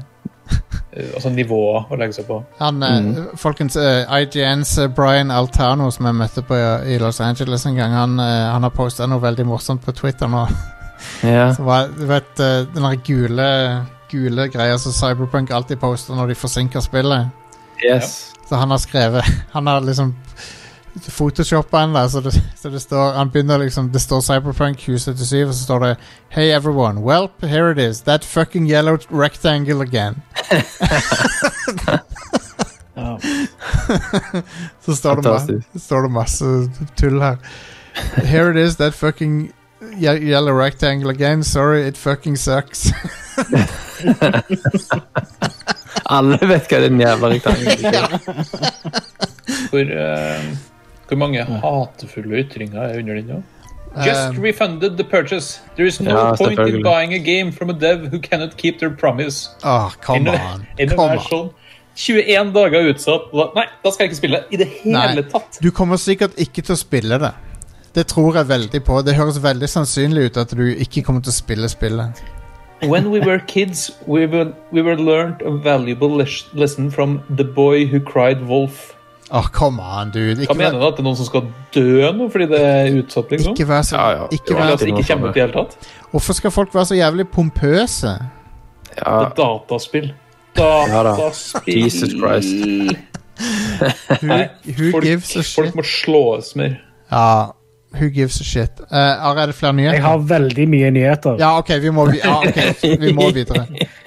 altså nivåer å legge seg på.
han eh,
Mm.
Folkens, eh, IGNs eh, Brian Altano, som jeg møtte på eh, i Los Angeles en gang, han, eh, han har posta noe veldig morsomt på Twitter nå.
Ja.
Som var, du vet, eh, den der gule, gule greia som Cyberpunk alltid poster når de forsinker spillet.
Yes.
Så han har skrevet Han har liksom photoshoppa den der, så det, så det står Han begynner liksom Det står Cyberpunk 2077, og så står det Hey everyone, welp, here it is. That fucking yellow rectangle again.
Ja.
Så står det, ma
Fantastisk.
så står det masse tull her. Here it is, that fucking ye- yellow rectangle again. Sorry, it fucking sucks.
Alle vet hva den jævla rektangelen er.
Hvor, eh, hvor mange hatefulle ytringer er under den nå? Just
Um,
refunded the purchase. There is no
Ja,
point in
selvfølgelig.
buying a game from a dev who cannot keep their promise.
Åh, Ah, come
Inno-
on. Come on.
Innovasjon. 21 dager utsatt. Da- Nei, da skal jeg ikke spille i det hele
Nei.
tatt.
Du kommer sikkert ikke til å spille det. Det tror jeg veldig på. Det høres veldig sannsynlig ut at du ikke kommer til å spille spillet.
When we were kids, we were, we were learned a valuable les lesson from the boy who cried wolf.
Åh, Ah, come on, dude.
Hva
Ikke,
mener
vær,
du? At det er noen som skal dø nå fordi det er utsatt, liksom?
ikke vær så
Ja, ja.
Ikke
Eller
Jo,
vær,
at det altså ikke kommer ut i det hele tatt?
Hvorfor skal folk være så jævlig pompøse?
Ja.
Det er dataspill.
da.
Dataspill.
Jesus Christ.
Who, who
folk,
gives a
folk
shit?
må slås mer.
Ja, who gives a shit? Eh, Are, er det flere
Jeg
nyheter?
har veldig mye nyheter.
Ja, OK, vi må, vi, ja, ok, vi må videre.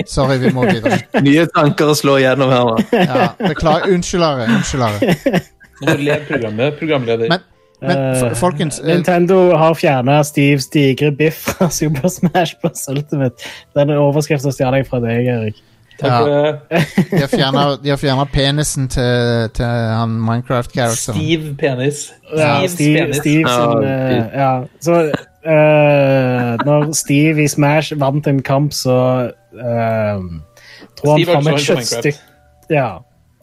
Sorry, vi må videre.
Nye tanker slår gjennom her, da.
Ja, beklager. Unnskyld, Are. Unnskyld, Are.
Nå må du leve programmet, programleder.
Men- Men f-
Eh,
folkens eh,
Nintendo har fjerna Steve Stigre Biff fra Super Smash Bros. Ultimate. Den overskriften stjal jeg fra deg, Erik.
Takk for det.
de har fjernet- de har fjerna penisen til, til han Minecraft-characteren.
Stiv penis.
Ja,
Steve's
Steve,
penis.
Steve
Ja,
sin eh,
Steve.
Ja, så eh, Når Steve i Smash vant en kamp, så eh, dro han
Steve
fram
Armstrong til
et
Minecraft.
kjøttstykke Ja,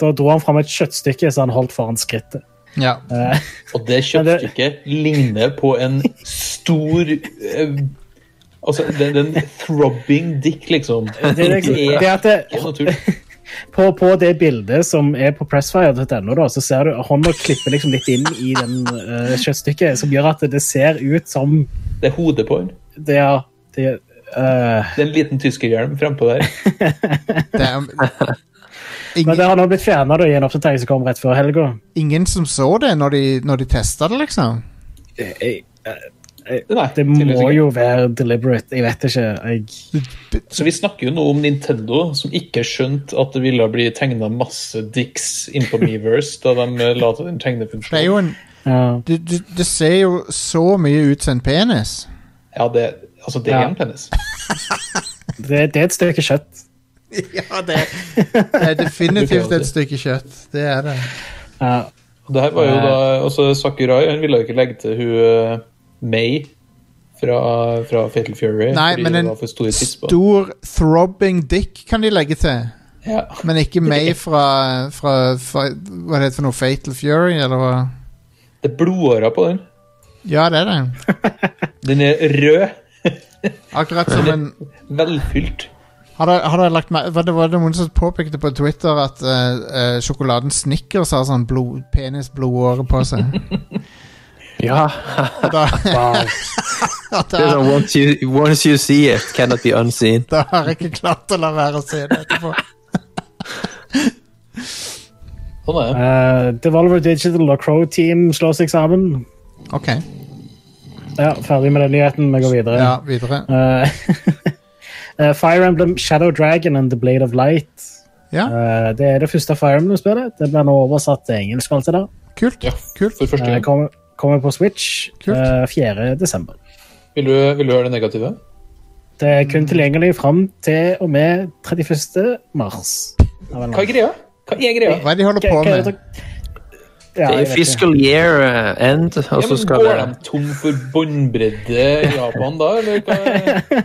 da dro han fram et kjøttstykke som han holdt foran skrittet.
Ja.
Eh,
Og det kjøttstykket ligner på en stor eh, Altså, den, den throbbing dick, liksom.
det, er liksom, det at det,
Ikke noe tull.
på, på det bildet som er på pressfire.no, da, så ser du hånda klipper liksom litt inn i den eh, kjøttstykket, som gjør at det ser ut som
Det er hodet på den.
det er det, eh,
Det er en liten tyskerhjelm frempå der.
Det er,
Men
ingen,
det har nå blitt fjerna i en oppdatering som kom rett før helga.
ingen som så det når de, når de testa det, liksom?
Nei,
Det
tydeligvis
må
ikke.
jo være deliberate. Jeg vet ikke. Jeg,
Så vi snakker jo nå om Nintendo, som ikke skjønte at det ville bli tegna masse dicks innpå Meverse da de eh, la til den
Det er
tegnefunksjonen.
jo en
ja.
Det, det, det ser jo så mye ut som en penis.
Ja, det, altså, det er
Ja.
en penis.
det, det er et stykke kjøtt.
Ja, det er definitivt et stykke kjøtt. Det er det.
Ja.
Og Det her var jo da altså Sakurai han ville jo ikke legge til hun eh, May fra, fra Fatal Fury.
Nei,
fordi
men
det
en
var for store tits på.
stor throbbing dick kan de legge til.
Ja.
Men ikke May fra, fra, fra Hva det heter for noe? Fatal Fury, eller hva?
Det er blodårer på den.
Ja, det er det.
Den er rød,
Akkurat som en
velfylt.
Har dere- har dere lagt mer- var det, var det noen som påpekte på Twitter at eh, eh, sjokoladen Snickers har sånn blod, penisblodåre på seg?
Ja.
Og da,
Wow.
Ja,
Det er
da,
sånn, once you, once you see it, cannot be unseen.
da har jeg ikke klart å la være å se det etterpå.
Sånn er det.
Eh, Devolver Digital og Crow Team slår seg sammen.
Ok,
Ja, Ferdig med den nyheten. Vi går videre.
ja, videre.
Eh, eh, Fire Emblem Shadow Dragon and The Blade of Light.
Ja,
Eh, det er det første Fire Emblem-spillet. Det blir nå oversatt til engelsk. og alt det der.
kult. kult.
For første
Eh,
gang.
kommer, kommer på Switch
Kult.
eh, 4. desember.
Vil du, vil du høre det negative?
Det er
Mm.
kun tilgjengelig fram til og med 31. mars. Av en
Hva er greia? Hva er greia?
Hva er det de holder
Hva-
på
hva er
med?
det dere- Ja,
Det
jeg
er
vet ikke.
fiscal year eh, end, og
Ja,
så
men
skal
går
det
de tom for båndbredde i Japan da? Eller hva?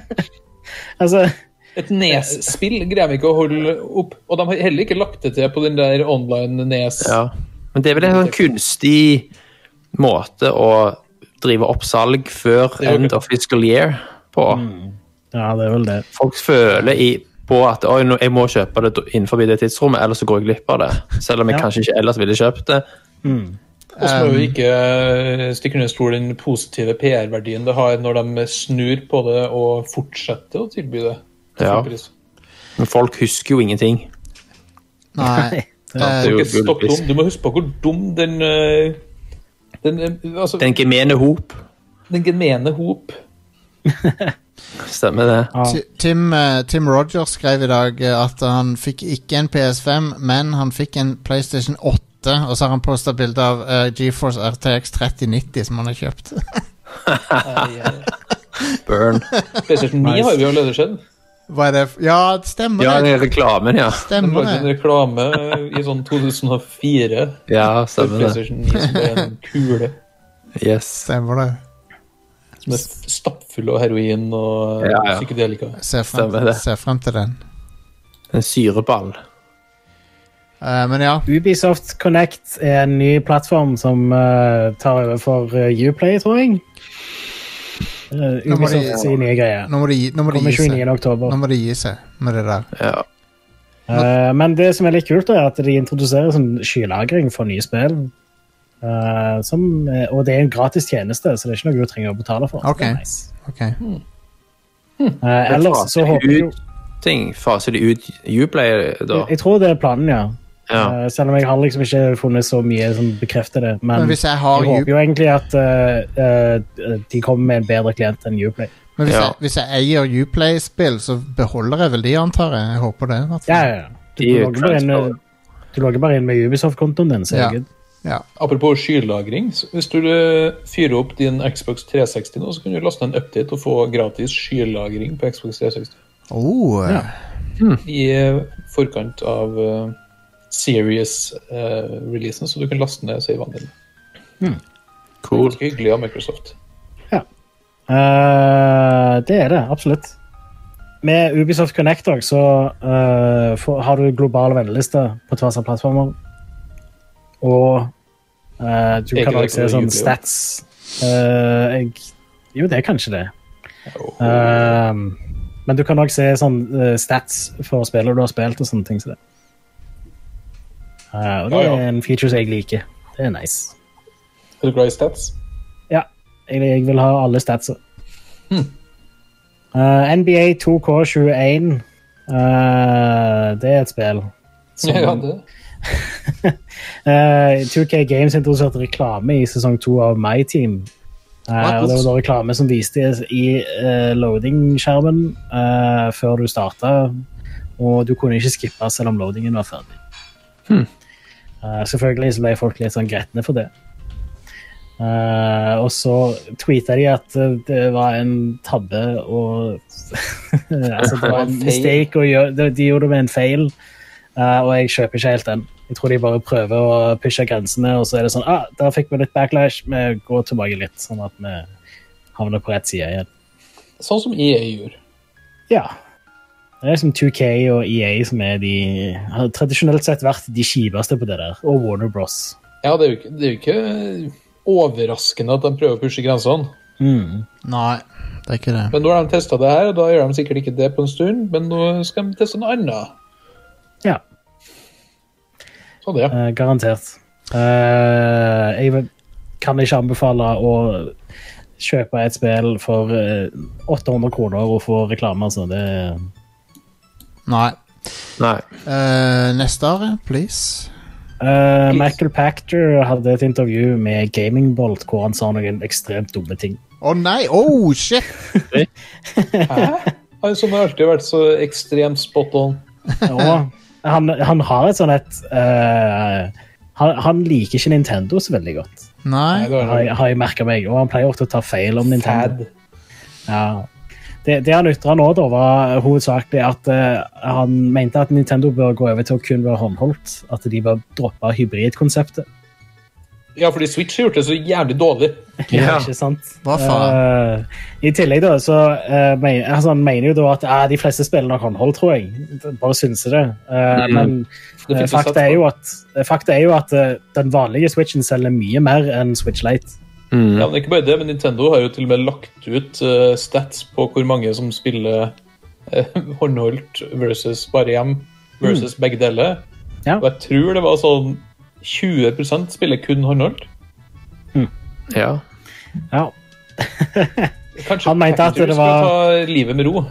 Altså,
Et NES-spill greier vi ikke å holde opp. Og de har heller ikke lagt det til på den der online NES.
Ja. Men det er vel en sånn kunstig måte å drive opp salg før
er jo
end
ikke-
of fiscal year på.
ja, det er vel det.
Folk føler i, på at Oi, nå, jeg må kjøpe det innenfor det tidsrommet, ellers så går jeg glipp av det. Selv om jeg
Ja.
kanskje ikke ellers ville kjøpt det.
Og så må vi ikke eh, stikke under stol den positive PR-verdien det har når de snur på det og fortsetter å tilby det. til
Ja.
full pris.
Men folk husker jo ingenting.
Nei. Eh,
Det er jo
Ikke stopp
gullfisk.
dum. Du må huske på hvor dum den eh, den, eh, altså, den,
Den gemene hop.
gemene hop
Stemmer det.
Ti- Tim, eh, Tim Rogers skrev i dag eh, at han fikk ikke en PS5, men han fikk en PlayStation 8. Og så har han posta bilde av eh, GeForce RTX 3090 som han har kjøpt.
Nei, eh,
Burn.
PlayStation 9 har vi jo allerede sett.
Hva er det f Ja, det stemmer
Ja,
det.
den reklamen, ja.
De
Stemmer
lagde en
det.
reklame i sånn 2004
Ja,
for
stemmer det.
PlayStation 9 som ble en kule.
Yes.
Stemmer det.
Som er stappfull av heroin og
Ja, ja.
psykedelika.
Ser frem,
Stemmer det.
ser frem til den.
En syreball.
Eh, men ja.
Ubisoft Connect er en ny plattform som eh, tar over for eh, Uplay, tror jeg. Uh,
Nå må de-
Ubisoft sin nye greie.
Nå må de, gi- nå må de
Kommer
gi seg.
29. oktober.
Nå må de gi seg med det der.
Ja.
Eh, men det som er litt kult, er at de introduserer sånn skylagring for nye spill. Eh, som, eh, og det er en gratis tjeneste, så det er ikke noe du trenger å betale for.
Ok.
Det er nice.
Ok.
Eh, ellers så håper jeg jo
ut ting. Faser de ut Uplay, da?
Jeg tror det er planen, ja.
Ja.
Eh, selv om jeg har liksom ikke funnet så mye som bekrefter det. Men,
Men hvis jeg har
jeg håper
Uplay-
jo egentlig at eh, eh, de kommer med en bedre klient enn Uplay.
Men hvis,
Ja.
jeg, hvis jeg eier Uplay-spill, så beholder jeg vel de, antar jeg. Jeg håper det. i hvert fall.
Ja, ja, ja. Du,
De
logger bare inn,
transfer-
eh, du logger bare inn med Ubisoft-kontoen din, så er
Ja.
det good.
Ja.
Apropos skylagring. så Hvis du eh, fyrer opp din Xbox 360 nå, så kan du laste ned en update og få gratis skylagring på Xbox 360
Oh, eh,
i eh, forkant av eh, Series-releasen, så du kan laste ned savene dine.
Cool.
Ganske hyggelig av Microsoft.
Eh, det er det, absolutt. Med Ubisoft Connect også, så eh, får, har du global venneliste på tvers av plattformer. Og eh, du
Er ikke
kan
det
også se
ikke
sånn
noe
stats. Eh, jeg, jo, det er kanskje det.
Og-
Eh, men du kan også se sånn eh, stats for spillet du har spilt og sånne ting. Så det. Eh, og det
Ja, ja.
er en feature som jeg liker. Det er nice.
Er du glad i stats?
Ja, jeg, jeg vil ha alle statsa. Eh, NBA 2K21 eh, Det er et spill. Som,
Ja, det.
eh, 2K Games introduserte reklame i sesong to av My Team. Eh,
What?
og det var da reklame som viste i eh, loading-skjermen eh, før du starta, og du kunne ikke skippe selv om loadingen var ferdig. Eh, selvfølgelig så ble folk litt sånn gretne for det. Eh, og så tweeta de at eh, det var en tabbe og Altså, det var en
Feil.
mistake, å gjøre, de- de gjorde det med en feil. Eh, og jeg kjøper ikke helt den. Jeg tror de bare prøver å pushe grensene, og så er det sånn ah, der fikk vi litt backlash, vi går tilbake litt, sånn at vi havner på rett side igjen.
Sånn som EA gjorde.
Ja. Det er liksom 2K og EA som er de har tradisjonelt sett vært de kjipeste på det der, og Warner Bros.
Ja, det er jo ikke, det er jo ikke eh, overraskende at de prøver å pushe grensene.
Nei, det er ikke det.
Men nå har de testa det her, og da gjør de sikkert ikke det på en stund. Men nå skal de teste noe annet.
Ja,
Sånn, ja.
eh, garantert. Eh, jeg vil- kan ikke anbefale å kjøpe et spill for eh, 800 kroner og få reklame. Altså. Det,
Nei.
Nei.
Eh, neste år, please.
Eh, Michael Pactor hadde et intervju med Gamingbolt hvor han sa noen ekstremt dumme ting.
Å nei! Oh, shit!
Han som har alltid vært så ekstremt spot on.
Og han, han har et sånn et eh, han, han liker ikke Nintendo så veldig godt,
Nei.
Nei, det
har
var
jeg, har jeg merket meg. Og han pleier ofte å ta feil om Nintendo.
Fad.
Ja. Det, det han ytra nå, da, var hovedsakelig at eh, han mente at Nintendo bør gå over til å kun være håndholdt. At de bør droppe hybridkonseptet.
Ja, fordi Switch har gjort det så jævlig dårlig.
Ja.
Ikke sant?
Hva faen?
Eh, I tillegg da, så eh, men, altså, han mener jo da at eh, de fleste spiller nok håndhold, tror jeg. Bare synser det. Eh,
Mhm.
Men
Mm. Det
eh,
finnes jo
fakta
sats
er
på.
jo at, fakta er jo at eh, den vanlige Switchen selger mye mer enn Switch Lite.
Mm.
Ja, men ikke bare det, men Nintendo har jo til og med lagt ut eh, stats på hvor mange som spiller eh, håndholdt versus bare hjem versus begge deler.
Mm. Ja.
Og jeg tror det var sånn 20 spiller kun håndholdt.
Ja.
Ja.
Kanskje
Han mente at
Packers
det var-
skulle ta livet med ro.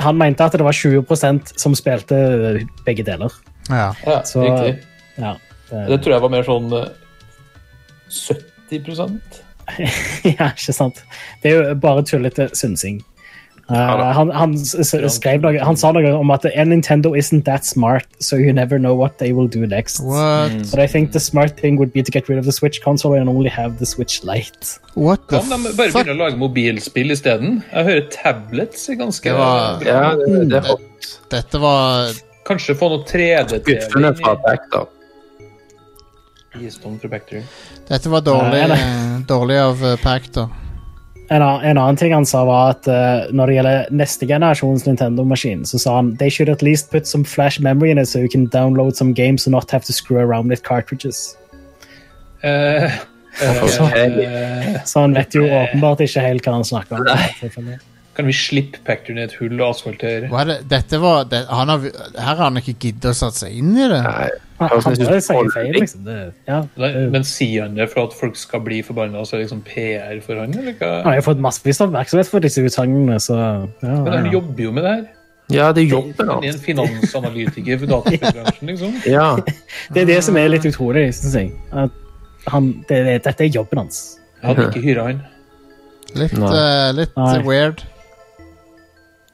Han mente at det var 20 som spilte eh, begge deler.
Ja.
Ja,
Så-
riktig.
Ja.
Det tror jeg var mer sånn eh, 70
ja, ikke sant. Det er jo bare tullete synsing. Uh,
da.
han, han, s- s- skrev noe, han sa noe om at «And Nintendo isn't that smart, so you never know what they will do next.
What,
But I think the smart thing would be to get rid of the Switch console and only have the Switch Lite.
what the
Kan de bare
fuck?
begynne å lage mobilspill isteden? Jeg hører tablets er ganske
Det var-
ja det,
Mm.
det er
Dette var
Kanskje få noe 3D-TV
skuffende fra Pactor.
Dette var dårlig,
Nei, nei.
eh, dårlig av eh, Pactor.
En, a- en annen ting han sa var at eh, når det gjelder neste generasjons Nintendo-maskin, så sa han «They should at least put some flash memory in it so you can download some games and not have to screw around with cartridges».
Eh,
Så han vet jo åpenbart ikke helt hva han snakker om.
Kan vi slippe Pactor ned et hull og asfaltere?
Hva er det? Dette var det, han har, Her har han ikke giddet å satse seg inn i det.
Nei.
Han,
Høres
han
nesten
bare sier
ut som
feil,
trolling.
liksom. Det, ja,
Nei,
det, er jo-
Men sier han det for at folk skal bli forbanna, så er det liksom PR for han? eller
han
hva?
har jo fått massevis av oppmerksomhet for disse utsagnene, så ja,
Men
ja.
han jobber jo med det her.
Ja, det er jobben
Han er
hans.
en finansanalytiker for databransjen, liksom.
Ja.
Det er det som er litt utrolig, syns jeg. At han, det, det, dette er jobben hans.
Jeg hadde ikke hyra han.
Litt,
Nei.
eh, litt
Nei.
eh, weird.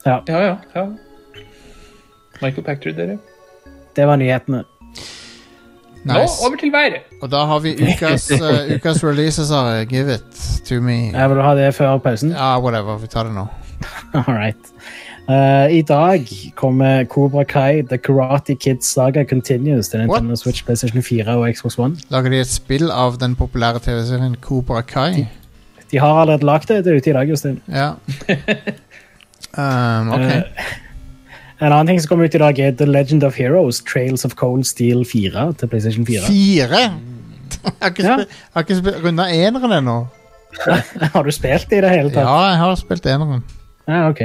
Ja, ja, ja. Michael Pactor, dere.
Det var nyhetene.
Nå
Nice.
over til været!
Og da har vi ukas, eh, ukas releases, Are. Give it to me.
Jeg vil du ha det før pausen?
Ja, whatever. Vi tar det nå.
All right. Eh, I dag kommer Cobra Kai The Karate Kid Saga Continues til Nintendo
What?
Switch, PlayStation 4 og Xbox One.
Lager de et spill av den populære TV-serien Cobra Kai?
De har allerede lagd det. Det er ute i dag, Justin.
Ja. Um,
Eh,
ok.
En annen ting som kommer ut i dag, er The Legend of Heroes Trails of Cold Steel 4 til PlayStation 4.
Fire?! Jeg har ikke,
Ja.
spi- jeg har ikke spi- runda eneren ennå.
Har du spilt det i det hele tatt?
Ja, jeg har spilt eneren.
Ja, ok.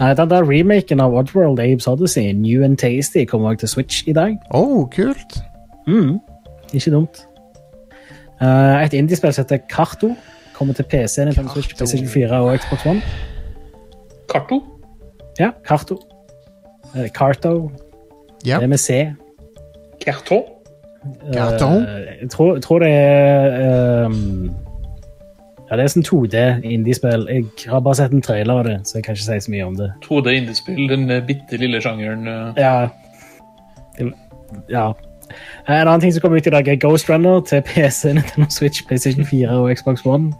Nei, Den der remaken av Oddworld Apes Odyssey, New and Tasty, kommer også til Switch i dag.
Å, oh, kult!
Mm. Ikke dumt. Eh, et indiespill som heter Karto, kommer til PC, Nintendo Switch,
Karto.
PlayStation 4 og Xbox One.
Karto?
Ja, Karto. Eh, Karto,
Ja.
det med C. Eh,
Karto?
Karto?
jeg tror, jeg tror det er ehm, Ja, det er sånn 2D indiespill. Jeg har bare sett en trailer av det, så jeg kan ikke si så mye om det.
2D indiespill, den eh, bitte lille sjangeren. eh.
Ja. Det- ja. Eh, En annen ting som kommer ut i dag, er Ghost Runner til PC, Nintendo Switch, PlayStation 4 og Xbox One.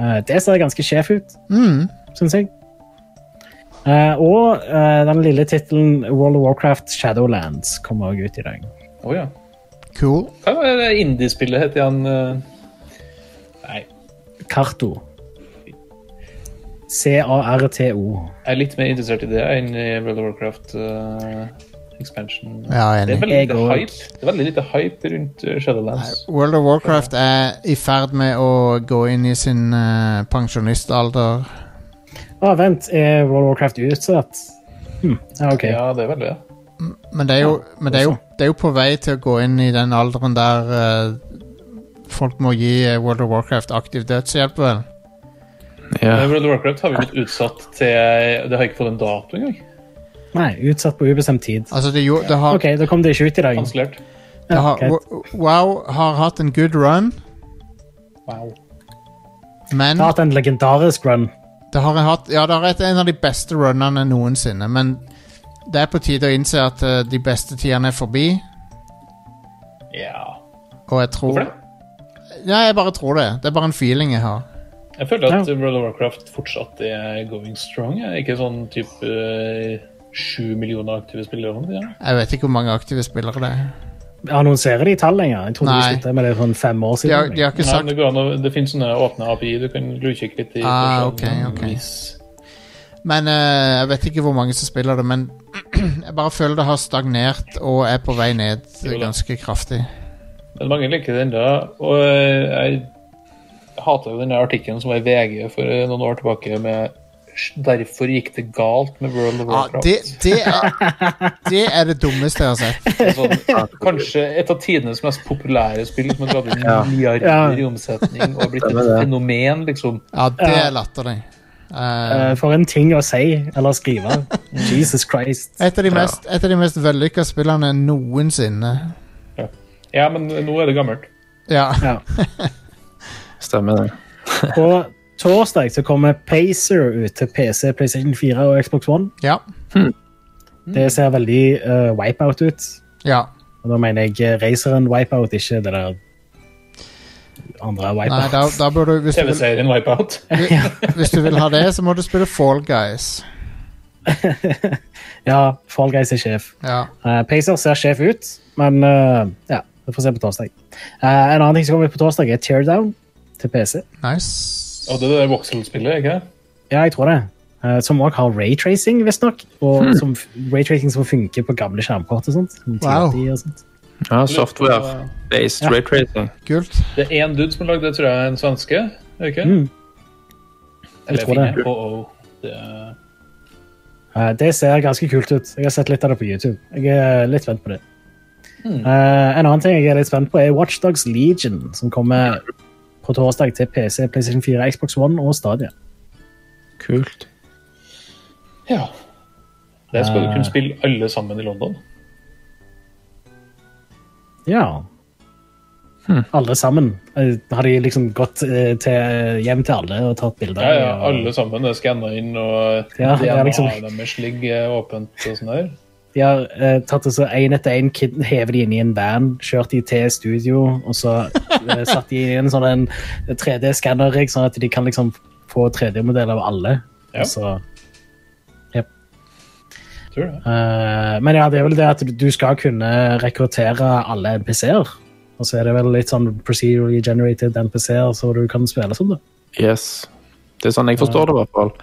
Eh, Det ser ganske sjef ut,
Mm.
syns jeg. Eh, Og eh, den lille tittelen World of Warcraft Shadowlands kommer også ut i dag.
Å ja.
Cool.
Hva var det indiespillet het igjen? eh? Nei,
Karto. C-A-R-T-O.
jeg er litt mer interessert i det enn i World of Warcraft eh, expansion.
Ja, jeg er
Det er
enig.
veldig
Jeg
lite
går-
hype. Det er veldig lite hype rundt eh, Shadowlands.
World of Warcraft er i ferd med å gå inn i sin eh, pensjonistalder.
Å, vent, er World of Warcraft utsatt? Hm, ja, OK.
Ja, det er vel det.
Men det er jo, men det er jo, det er jo på vei til å gå inn i den alderen der eh, folk må gi eh, World of Warcraft aktiv dødshjelp, vel?
Ja.
Men World of Warcraft har vi blitt utsatt til Det har ikke fått en dato engang.
Nei, utsatt på ubestemt tid.
Altså, det, jo, det har,
OK, da kom det ikke ut i dag.
Kansellert.
det har
greit.
Wo- Wow har hatt en good run,
Wow.
men Mm.
Det har hatt en legendarisk run.
det har hatt Ja, det har vært en av de beste runnene noensinne, men det er på tide å innse at eh, de beste tidene er forbi,
Ja.
og jeg tror
Hvorfor det?
Ja, jeg bare tror det. Det er bare en feeling jeg har.
Jeg føler at World of Warcraft fortsatt er going strong. jeg. Ikke sånn type eh, sju millioner aktive spillere. om det, ja.
Jeg vet ikke hvor mange aktive spillere det er.
Annonserer de tall lenger? Jeg trodde de
Nei.
sluttet med det for en fem år
De har,
siden.
de har ikke
Nei,
sagt
men det, går an å, det finnes sånne åpne API du kan glukikke litt i.
Ah,
for sånn,
ok, ok.
vis.
Men eh, jeg vet ikke hvor mange som spiller det, men jeg bare føler det har stagnert og er på vei ned
Jo da.
ganske kraftig.
Men mange liker det ennå. Og eh, jeg hater jo den der artikkelen som var i VG for eh, noen år tilbake med Derfor gikk det galt med World of
Ja,
Warcraft.
det, det, er, det er det dummeste jeg har sett.
sånn, kanskje et av tidenes mest populære spill som har dratt inn
Ja.
milliarder
Ja.
i omsetning og blitt et
Stemmer det.
fenomen, liksom.
Ja, det
Ja.
er latterlig. Eh,
Eh, for en ting å si eller skrive. Jesus Christ.
et, av de mest, et av de mest vellykka spillene noensinne.
Ja, men nå er det gammelt.
Ja.
Ja.
Stemmer det.
På torsdag så kommer Pacer ut til PC, PlayStation 4 og Xbox One.
Ja. Mm.
Det ser veldig eh, wipeout ut.
ja.
Og da mener jeg eh, raceren wipeout, ikke det der andre
Nei,
wipeout.
da, da burde du hvis du, vil,
TV-serien Wipeout.
hvis du vil ha det, så må du spille Fall Guys.
ja, Fall Guys er sjef.
Ja.
Eh, Pacer ser sjef ut, men eh, ja, vi får se på torsdag. Eh, en annen ting som kommer på torsdag, er Teardown til PC.
Nice.
Og det der voxel-spillet, ikke
Ja, jeg tror det. Eh, som òg har raytracing, visstnok. Og som f- raytracing som funker på gamle skjermkort og sånt. som
Wow.
1080 Og sånt.
Ja, Software-based
Ja.
raytracing.
Kult.
Det er én dude som har lagd det, tror jeg, en svenske. er det Ikke?
Mm.
Eller
tror det.
finner på å- det er-
Eh, Det ser ganske kult ut. Jeg har sett litt av det på YouTube. Jeg er litt spent på det. Eh, en annen ting jeg er litt spent på, er Watchdogs Legion, som kommer på torsdag til PC, PlayStation 4, Xbox One og Stadia.
Kult.
Ja. Det skal du
Eh.
kunne spille alle sammen i London.
Ja.
Hm.
Alle sammen. Eh, Har de liksom gått eh, til, hjem til alle og tatt bilder?
Ja, ja,
og-
alle sammen er skanna inn, og
Ja, det er
DNA-et
liksom-
deres ligger åpent og sånn der.
De har eh, tatt og så en etter en kid, hevet de inn i en van, kjørt de til studio, og så eh, satt de inn i en sånn en 3D-skanner-rigg, sånn at de kan liksom få 3D-modell av alle.
Ja.
Og så,
Tror det.
eh, men ja, det er vel det at du- du skal kunne rekruttere alle NPC-er. Og så er det vel litt sånn procedurally generated NPC-er, så du kan spille som det.
Yes. Det er sånn jeg forstår det, i hvert fall.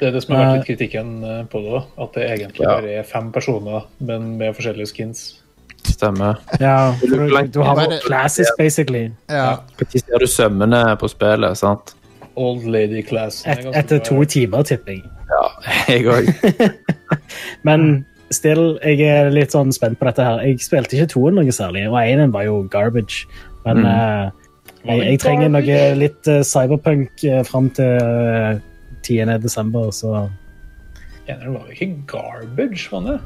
Det er det som har vært litt kritikken eh, på det. da, At det egentlig
Ja.
bare er fem personer, men med forskjellige skins.
Stemmer.
Ja, for
du
du,
blank-
du har
Hva er
jo
det-
classes, basically.
Ja.
Når ser du sømmene på spillet, sant?
Old lady class. den er
Et,
ganske
etter
bra.
to timer, tipper jeg.
Ja, jeg òg.
Mm.
Men still, jeg er litt sånn spent på dette her. Jeg spilte ikke toen noe særlig, og enen var jo garbage. Men
Mm.
eh, jeg, jeg trenger noe litt eh, cyberpunk uh, fram til eh, 10. desember, så
Eneren var jo ikke garbage, var det?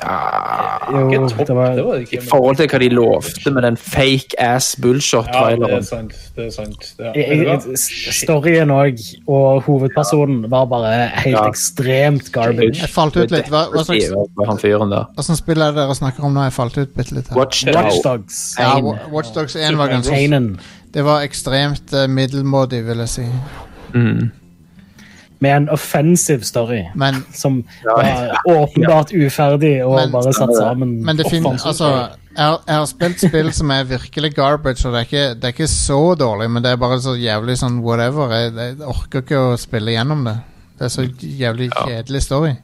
jo,
Ah, Ikke topp,
det var,
det var det
I
ikke. men-
forhold til hva de lovte med den fake ass
Ja, det er
bullshot-traileren.
sant. Det er sant. Det er,
jeg,
Vet du
jeg,
hva?
s- storyen òg, og hovedpersonen, var bare helt
Ja.
ekstremt garbage.
Jeg falt ut litt. Hva, hva slags
Han fyren der.
Hva slags spill er det dere snakker om nå? Jeg falt ut bitte litt her.
Watch it
Watch
out.
Dogs.
Ja,
Ein.
Wa- Watch Dogs 1 var ganske
Einen.
Det var ekstremt eh, middelmådig, vil jeg si.
Mm.
Med en offensive story.
Men,
Som var åpenbart uferdig og
Men-
bare satt sammen.
men det finnes
Offensive
Altså, jeg, har- jeg har spilt spill som er virkelig garbage, og det er ikke, det er ikke så dårlig, men det er bare så jævlig sånn whatever. Jeg, jeg orker ikke å spille gjennom det. Det er så jævlig kjedelig story.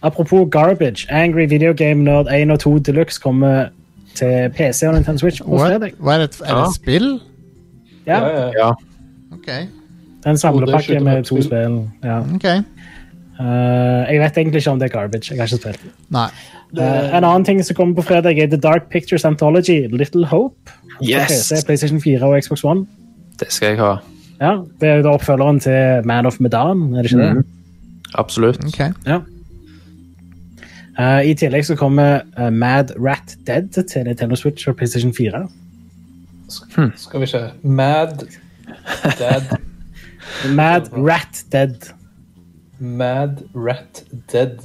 Apropos garbage, Angry Video Game Nerd 1 og 2 Deluxe kommer til PC og Nintendo Switch på
What?
fredag.
Hva er det, er det
Ja.
et spill?
Ja,
Ja,
ja, ja.
Ja.
Ok.
Oh,
en
det er
samlepakke
skyter
med
opp
to
spill.
spill. Ja.
ok
Eh, jeg vet egentlig ikke om det er garbage. Jeg har ikke spilt det.
Nei.
Eh, en annen ting som kommer på fredag, er The Dark Pictures Anthology, Little Hope. På
Yes!
PC, PlayStation 4 og Xbox One.
Det skal jeg ha.
Ja, Det er jo da oppfølgeren til Man of Medan, er det
Mm.
ikke det?
Absolutt.
Ok.
Ja. Eh, I tillegg så kommer eh, Mad Rat Dead til Nintendo Switch og PlayStation 4.
Skal vi se Mad Dad
Mad Rat Dead.
Mad Rat Dead.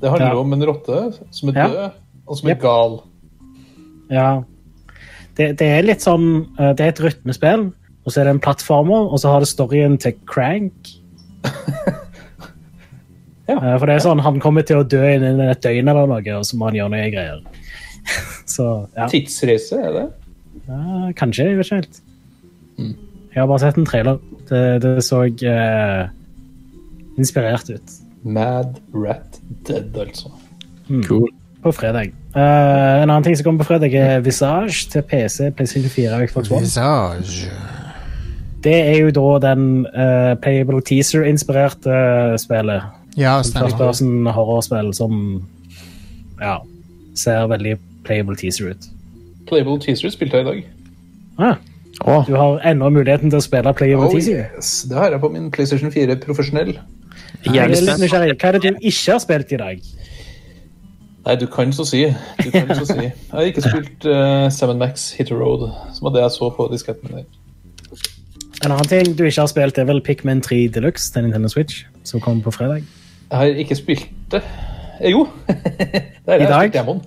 Det handler
Ja.
om en rotte som er
Ja.
død, og som er
Jep.
gal.
Ja. Det, det er litt sånn eh, Det er et rytmespill, og så er det en plattformer, og så har det storyen til Crank.
Ja.
Eh, For det er sånn, han kommer til å dø innen et døgn eller noe, og så må han gjøre noe greier. Så, ja.
Tidsreise, er det?
Ja, kanskje, jeg vet ikke helt. Jeg har bare sett en trailer. Det, det så eh, inspirert ut
Mad Rat Dead, altså.
Cool.
på fredag. Eh, en annen ting som kommer på fredag, er Visage til PC, PlayStation 4 og Xbox One.
Visage.
Det er jo da den eh, Playable Teaser-inspirerte eh, spillet.
Ja,
First
stemmer.
person horrorspill som ja, ser veldig Playable Teaser ut.
Playable Teaser spilte jeg i dag.
Ah,
Åh,
du har ennå muligheten til å spille
Oh,
Playable Teaser.
yes. Det har jeg på min PlayStation 4 profesjonell.
jeg er
Jeg er
jævlig
litt
spent.
nysgjerrig. Hva er det du ikke har spilt i dag?
Nei, du kan så si. Du kan så si. Jeg har ikke spilt uh, Seven Max Hit the Road, som var det jeg så på disketten der.
En annen ting du ikke har spilt, er vel Pikmin 3 Deluxe til Nintendo Switch, som kommer på fredag.
Jeg har ikke spilt det. Eh, jo. Der,
I dag?
Demon.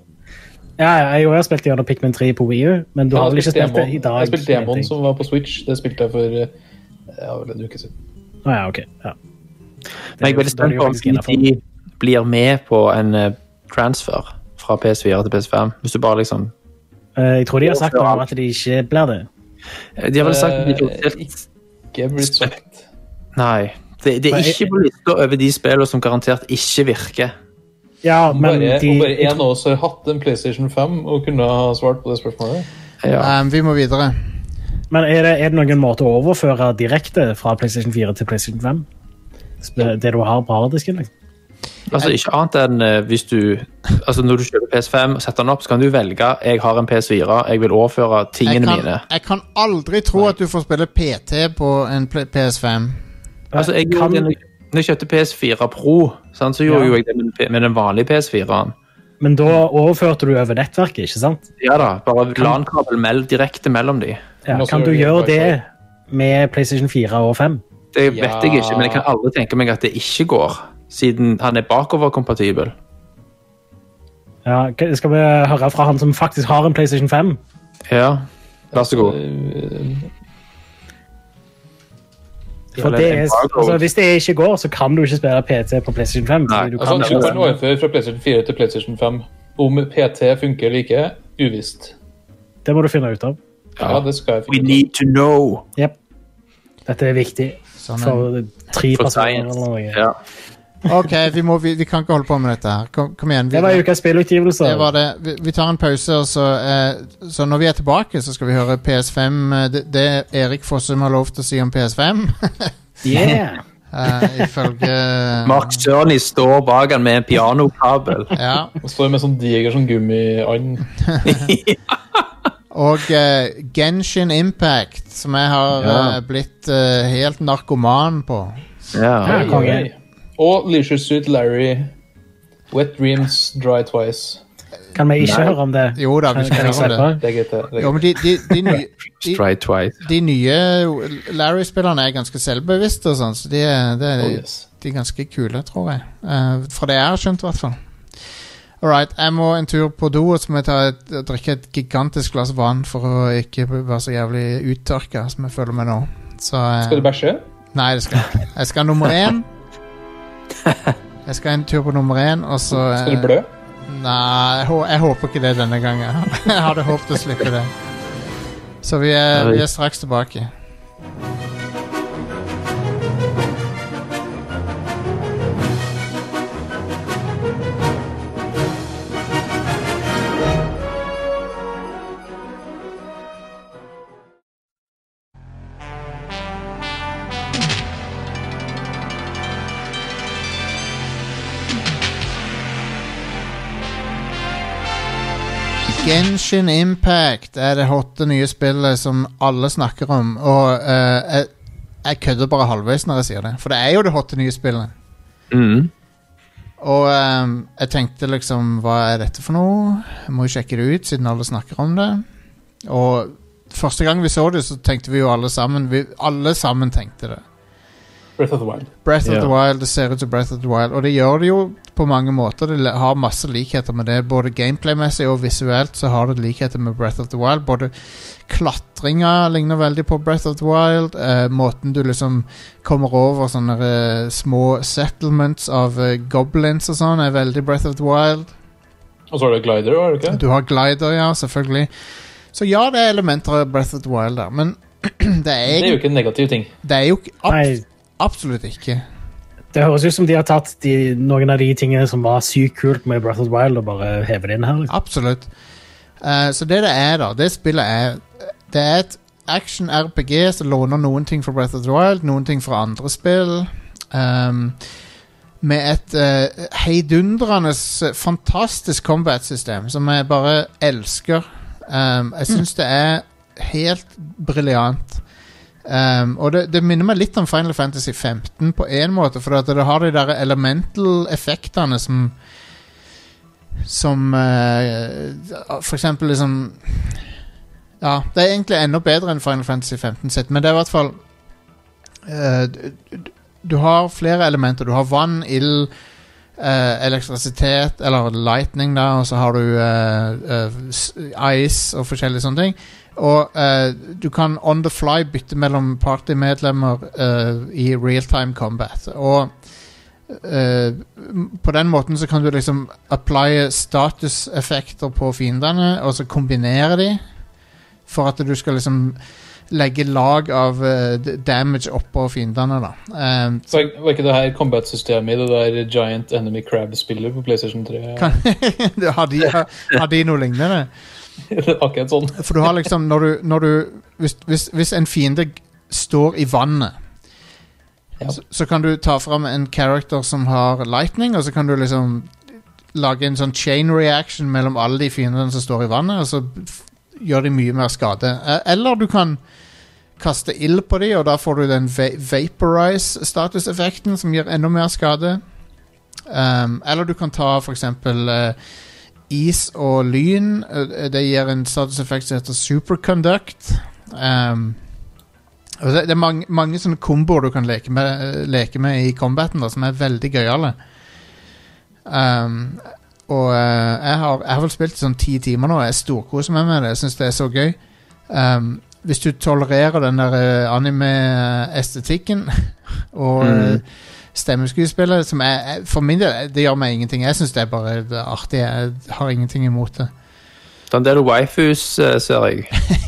Ja, ja, jeg har spilt gjennom Pikmin 3 på Wii U, men du har vel ikke spilt det i dag?
Jeg spilte
vet
Demon
jeg.
som var på Switch. Det spilte jeg for eh, ja, vel en uke siden.
Å Ah, ja, ok. Ja.
Men jeg er veldig
Da er
spent
det jo
på
faktisk innenfor.
om de blir med på en eh, transfer fra PS4 til PS5. Hvis du bare liksom
Eh, Jeg tror de har sagt noe om at de ikke blir det.
Eh, De har vel sagt at de ikke har
Eh,
spilt
Ikke blitt sagt.
Nei. Det, det er
Nei.
ikke på lista over de spillene som garantert ikke virker.
Ja,
Om
men
bare,
de
om bare en av oss har hatt en PlayStation 5 og kunne ha svart på det spørsmålet.
Ja.
Um, vi må videre.
Men er det, er det noen måte å overføre direkte fra PlayStation 4 til PlayStation 5? Sp- Det du har på harddisken? Liksom.
Altså, ikke annet enn eh, hvis du Altså, når du kjøper PS5 og setter den opp, så kan du velge jeg har en PS4, jeg vil overføre
Jeg
tingene
kan,
mine.
jeg kan aldri tro at du får spille PT på en pl- PS5.
Altså, jeg,
Kan-
gjorde det når- Når jeg kjøpte PS4 Pro, sant, så gjorde
Ja.
jo jeg det med, den P- med den vanlige PS4-en.
Men da overførte du over nettverket, ikke sant?
Ja da, bare LAN-kabel mell, direkte mellom de.
Ja,
Men også
kan du
gjør det
gjøre
i
det med PlayStation 4 og 5?
Det
Ja.
vet jeg ikke, men jeg kan aldri tenke meg at det ikke går, siden han er bakoverkompatibel.
Ja, k- skal vi høre fra han som faktisk har en PlayStation 5?
Ja, vær så god.
Eh,
For
Eller
det
en
er,
barcode.
altså, hvis det ikke går, så kan du ikke spille PT på PlayStation 5. fordi
Nei,
du kan
Altså, du kan
ikke-
overføre fra PlayStation 4 til PlayStation 5. Om PT funker eller ikke, uvisst.
det må du finne ut av.
Ja, det skal jeg
We
finne ut.
need to know.
Jep. Dette er viktig
Sånn en-
for tre
For
personer.
science.
Eller noe.
Ja.
Ok, vi, må, vi, vi kan ikke holde på med dette her. Kom, kom igjen. Vi,
Det var ukas spillutgivelser.
det var det. Vi, vi tar en pause, og så, eh, så når vi er tilbake, så skal vi høre PS5. eh, Det, det Erik Fossum har lov til å si om PS5,
Yeah.
eh, ifølge
Mark Sørny står bak han med en pianokabel.
Ja.
Det står med sånn diger sånn gummiand.
Og eh, Genshin Impact, som jeg har
Ja.
eh, blitt eh, helt narkoman på.
Ja.
Ja, konge.
Og Leisure Suit Larry. Wet Dreams Dry Twice.
Kan vi ikke høre om det?
Jo da, vi
Kan- kan
skal
jeg
høre om det.
slippe?
Det er greit, det. det. er
Jo, men de, de, de, nye- de,
Straight twice.
de nye Larry-spillerne er ganske selvbevisste og sånn, så de, er- det
greit.
er
Oh, yes.
de er ganske kule, tror jeg. Eh, fra det jeg har skjønt, i hvert fall. All right, jeg må en tur på do, og så må jeg ta et, drikke et gigantisk glass vann for å ikke være så jævlig uttørka som jeg føler meg nå. Så eh,
Skal du bæsje?
Nei, det skal jeg ikke. Jeg skal nummer én. Jeg skal en tur på nummer én, og så eh,
Skal du blø?
Nei, jeg, hå- jeg håper ikke det denne gangen. Jeg hadde håpet å slippe det. Så vi er, vi er straks tilbake. Genshin Impact er det hotte nye spillet som alle snakker om. Og eh, jeg, jeg kødder bare halvveis når jeg sier det, for det er jo det hotte nye spillet.
Mm.
Og ehm, jeg tenkte liksom Hva er dette for noe? Jeg må jo sjekke det ut, siden alle snakker om det. Og første gang vi så det, så tenkte vi jo alle sammen vi, Alle sammen tenkte det.
Breath of the Wild.
Breath of
Ja.
the Wild, det ser ut som Breath of the Wild, og det gjør det jo på mange måter. Det le- har masse likheter med det, både gameplay-messig og visuelt så har det likheter med Breath of the Wild. Både klatringa ligner veldig på Breath of the Wild, eh, måten du liksom kommer over sånne eh, små settlements av eh, goblins og sånn, er veldig Breath of the Wild.
Og så har du Glider, har du ikke?
Du har glider, ja, selvfølgelig. Så ja, det er elementer av Breath of the Wild der, men det er,
Det er jo
egentlig-
ikke en negativ ting.
det er jo ikke
Nei.
abs Absolutt ikke.
Det høres ut som de har tatt de, noen av de tingene som var sykt kult med Breath of the Wild, og bare hevet det inn her. Liksom.
Absolutt. Eh, så det det er, da Det spillet er Det er et action-RPG som låner noen ting fra Breath of the Wild, noen ting fra andre spill. ehm, med et uh, heidundrende s- fantastisk combat-system som jeg bare elsker. Ehm, jeg syns det er helt briljant. Ehm, og det, det minner meg litt om Final Fantasy 15 på én måte, for at det har de der elemental-effektene som som eh, For eksempel liksom Ja, det er egentlig enda bedre enn Final Fantasy 15 sitt, men det er i hvert fall eh, du- du- Du har flere elementer. Du har vann, ild, eh, elektrisitet, eller lightning, da, og så har du eh, eh, s- ice og forskjellige sånne ting. Og eh, du kan on the fly bytte mellom partymedlemmer eh, i real time combat. Og eh, m- på den måten så kan du liksom applye statuseffekter på fiendene, og så kombinere de, for at du skal liksom legge lag av eh, d- damage oppå fiendene, da. Eh,
Så var- var ikke det her combat-systemet i det der Giant Enemy Crab-spillet på PlayStation 3?
kan, har, de, har, har de noe lignende?
Det er Akkurat sånn.
For du har liksom Når du, når du hvis, hvis, hvis en fiende g- står i vannet
Ja.
så, så kan du ta fram en character som har lightning, og så kan du liksom lage en sånn chain reaction mellom alle de fiendene som står i vannet, og så f- gjør de mye mer skade. Eh, Eller du kan kaste ild på de, og da får du den va vaporize-statuseffekten som gir enda mer skade. Um, eller du kan ta for eksempel eh, is og lyn. Eh, det gir en statuseffekt som heter superconduct. Um, og altså, det, det er mange, mange sånne komboer du kan leke med, eh, leke med i combaten, da, som er veldig gøyale. Um, og eh, jeg, har, jeg har vel spilt i sånn ti timer nå, og jeg storkoser meg med det. Jeg syns det er så gøy. Um, hvis du tolererer den der eh, anime-estetikken og
Mm.
eh, stemmeskuespillet, som er, er- for min del eh, det gjør meg ingenting. Jeg syns det er bare det er artig. Jeg har ingenting imot det.
Den del waifus, eh, ser jeg.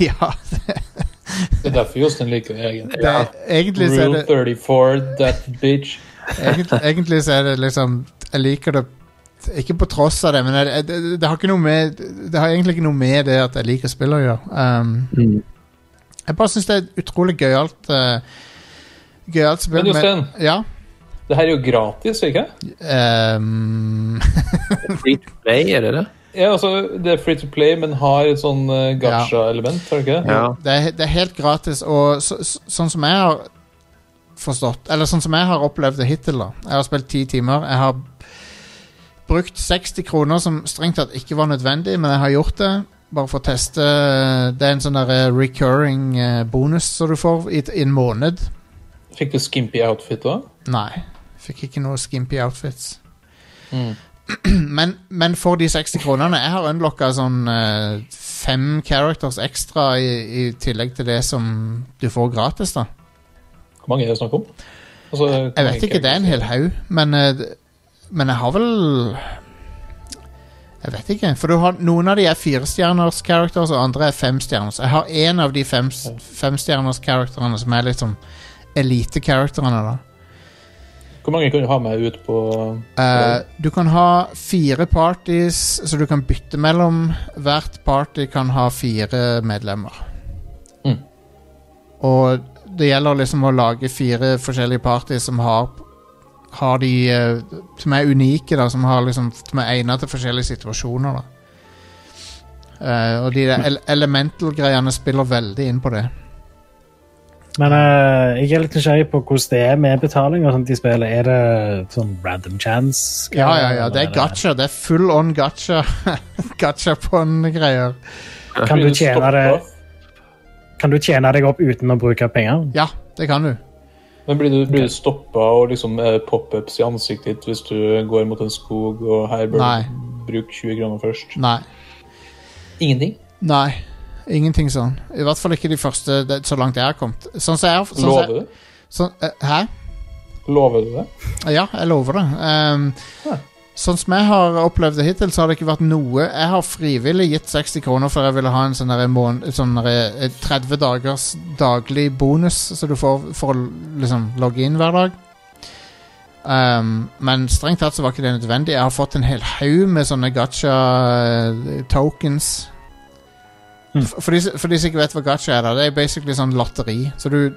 ja,
Det er derfor Jostein liker det. egentlig.
det, egentlig så er
Rule
det
34, that bitch.
egentlig, egentlig så er det liksom Jeg liker det ikke på tross av det, men jeg, det, det, har ikke noe med, det har egentlig ikke noe med det at jeg liker spill å gjøre. Um,
Mm.
Jeg bare syns det er et utrolig gøyalt uh, Gøyalt spill.
Men Jostein,
med- Ja.
det her er jo gratis, ikke sant?
Um,
Free to play, er det det?
Ja, altså, det er free to play, men har et sånn eh, gacha-element, har det ikke det?
Ja.
det, er, he- det er helt gratis, og så, så, sånn som jeg har forstått Eller sånn som jeg har opplevd det hittil, da. Jeg har spilt ti timer. Jeg har brukt 60 kroner, som strengt tatt ikke var nødvendig, men jeg har gjort det. Bare for å teste. Det er en sånn der eh, recurring eh, bonus som du får i, i en måned.
Fikk du skimpy outfit da?
Nei. Fikk ikke noe skimpy outfits. Hmm.
Mm.
Men, men for de 60 kronene Jeg har unlocka sånn eh, fem characters ekstra i, i tillegg til det som du får gratis, da.
Hvor mange er det snakk om? Altså,
Jeg vet ikke, det er en hel haug, men, eh, d- men jeg har vel Jeg vet ikke. For du har, noen av de er firestjerners characters, og andre er femstjerners. Jeg har én av de fem, femstjerners characterene som er liksom elite-characterene, da.
Hvor mange kan du ha med ut på
Eh, du kan ha fire parties, så du kan bytte mellom. Hvert party kan ha fire medlemmer.
Mm.
Og det gjelder liksom å lage fire forskjellige parties som har Har de eh, Som er unike, da. Som, har liksom, som er egnet til forskjellige situasjoner, da. Eh, og de der ele elemental-greiene spiller veldig inn på det.
Men eh, jeg er litt nysgjerrig på hvordan det er med betaling og sånt i spillet. Er det sånn random chance?
Ja, ja, ja, det er
Eller
gacha. Det er full on gacha. Gachapon-greier.
Kan du,
Kunne
tjene
stoppe.
det, kan du tjene deg opp uten å bruke penger?
Ja, det kan du.
Men blir du, blir du stoppa og liksom eh, pop-ups i ansiktet ditt hvis du går mot en skog, og her bør
Nei.
du bruke 20 kroner først?
Nei.
Ingenting.
Nei. Ingenting sånn. I hvert fall ikke de første det, så langt jeg har kommet. Sånn som jeg sånn som
Lover
jeg-
du det?
Sånn, eh, hæ?
Lover du det?
Ja, jeg lover det. Ehm,
Ja.
Sånn som jeg har opplevd det hittil, så har det ikke vært noe Jeg har frivillig gitt 60 kroner for jeg ville ha en sånn derre mån- sånn derre, eh, 30 dagers daglig bonus, så du får for å liksom logge inn hver dag. Ehm, men strengt tatt så var ikke det nødvendig. Jeg har fått en hel haug med sånne gacha-tokens. For, de, for de som ikke vet hva gacha er, da det er basically sånn lotteri. Så du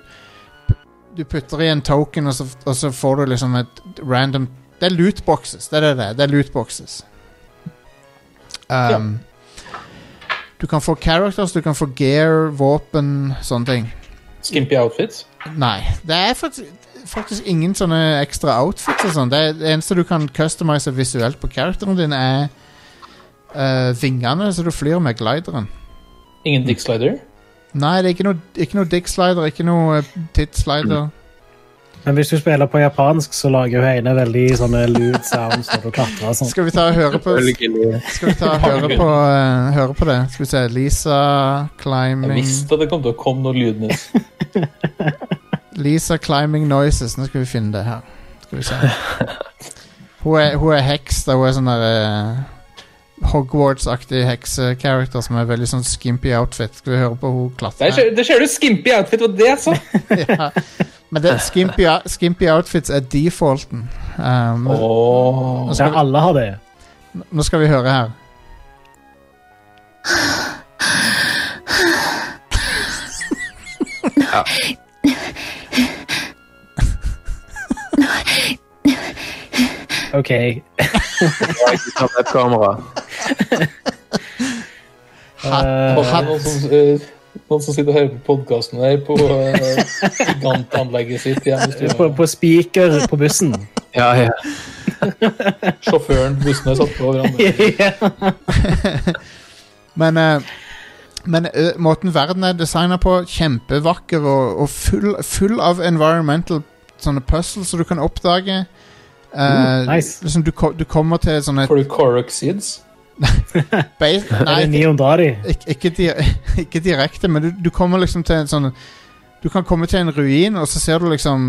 du putter i en token, og så, og så får du liksom et random Det er lootboxes, det er det det er. Det er lootboxes. Um, Du kan få characters, du kan få gear, våpen, sånne ting.
Skimpy outfits?
Nei. Det er faktisk, faktisk ingen sånne ekstra outfits og sånn. Det, er- det eneste du kan customize visuelt på characteren din, er eh, vingene, så du flyr med glideren.
Ingen dick slider?
Nei, det er ikke noe, ikke noe dick slider, ikke noe eh, tit slider.
Men hvis du spiller på japansk, så lager jo Heine veldig sånne lewd sounds når du klatrer og sånn. sånt.
Skal vi ta og høre på Skal vi ta og høre på, eh, høre på det? Skal vi se Lisa
Jeg
climbing
visste at det kom til å komme noe lydnytt.
Lisa climbing noises. Nå skal vi finne det her. Skal vi se. Hun er, hun er heks. Da. Hun er sånn der eh, Hogwarts-aktig heksekarakter som er veldig sånn skimpy outfit. Skal vi høre på hun klatre?
Der ser, der ser du skimpy outfit, og det, så!
ja. Men det, skimpy, skimpy outfits er defaulten. Um,
Åh.
nå,
Ja,
skal vi,
alle har det.
nå skal vi høre her.
OK.
Webkamera.
Ha-
Og
Eh,
det er Noen som, eh, noen som sitter og hører på podkasten der på eh, gigantanlegget sitt hjemme i
på,
stua.
på speaker på bussen.
Ja, ja.
Sjåføren, bussen er satt på hverandre.
ja.
Men, eh, men eh, måten verden er designa på, kjempevakker og, og full, full av environmental sånne puzzles som du kan oppdage. Eh,
Mm, nice.
liksom du, ko- du kommer til sånne
Får du Corrock seeds?
base,
Er det
Nei,
900 av de?
ikke, ikke, di- ikke direkte, men du, du kommer liksom til en sånn Du kan komme til en ruin, og så ser du liksom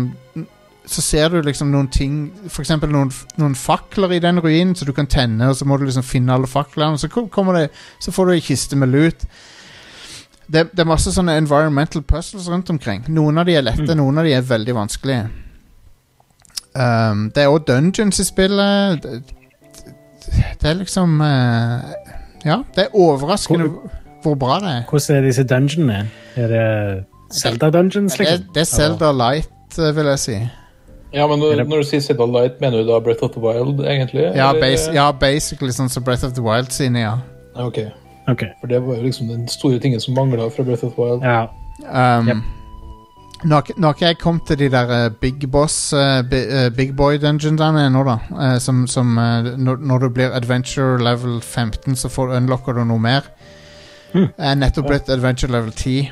så ser du liksom noen ting F.eks. Noen, f- noen fakler i den ruinen som du kan tenne, og så må du liksom finne alle faklene. Så, kom- kommer det, så får du ei kiste med lut. Det, det er masse sånne environmental puzzles rundt omkring. Noen av de er lette, noen av de er veldig vanskelige. Um, det er òg dungeons i spillet. Det, det er liksom eh, Ja, det er overraskende hvor, hvor bra det er.
Hvordan er disse dungeonene? Er det Zelda Dungeons,
Det,
liksom?
det er Zelda Light, eh, vil jeg si.
Ja, men når,
Eller-
når du sier Zelda Light, mener du da Breath of the Wild, egentlig?
Ja,
eller?
bas ja basically sånn som Breath of the Wild sine, ja.
Ok,
Ok.
for det var jo liksom den store tingen som mangla fra Breath of the Wild.
Ja.
Um,
Yep.
Nå har ikke- nå har ikke jeg kommet til de der eh, Big Boss, eh, bi- eh, Big Boy Dungeonene ennå, da. eh, som som eh, når, når du blir Adventure level 15, så får, unlocker du noe mer. Jeg er nettopp blitt Adventure level 10.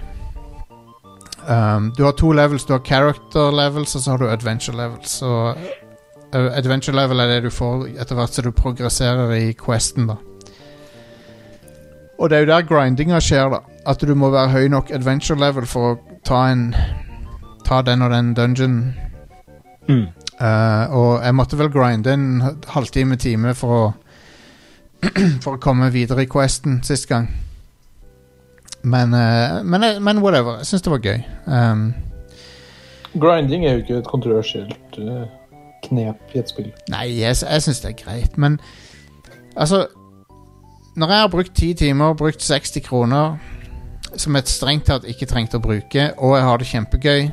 Um, du har to levels. Du har character levels, og så har du adventure levels. Så eh, adventure level er det du får etter hvert som du progresserer i questen, da. Og det er jo der grindinga skjer, da. At du må være høy nok adventure level for å ta en Ta den og den dungeon.
Mm.
Eh, og jeg måtte vel grinde en halvtime-time for å For å komme videre i questen sist gang. Men, eh, men, jeg- men whatever. Jeg syns det var gøy. Um,
Grinding er jo ikke et kontroversielt eh, knep i et spill.
Nei, jeg, jeg syns det er greit, men Altså Når jeg har brukt ti timer og brukt 60 kroner, som jeg strengt tatt ikke trengte å bruke, og jeg har det kjempegøy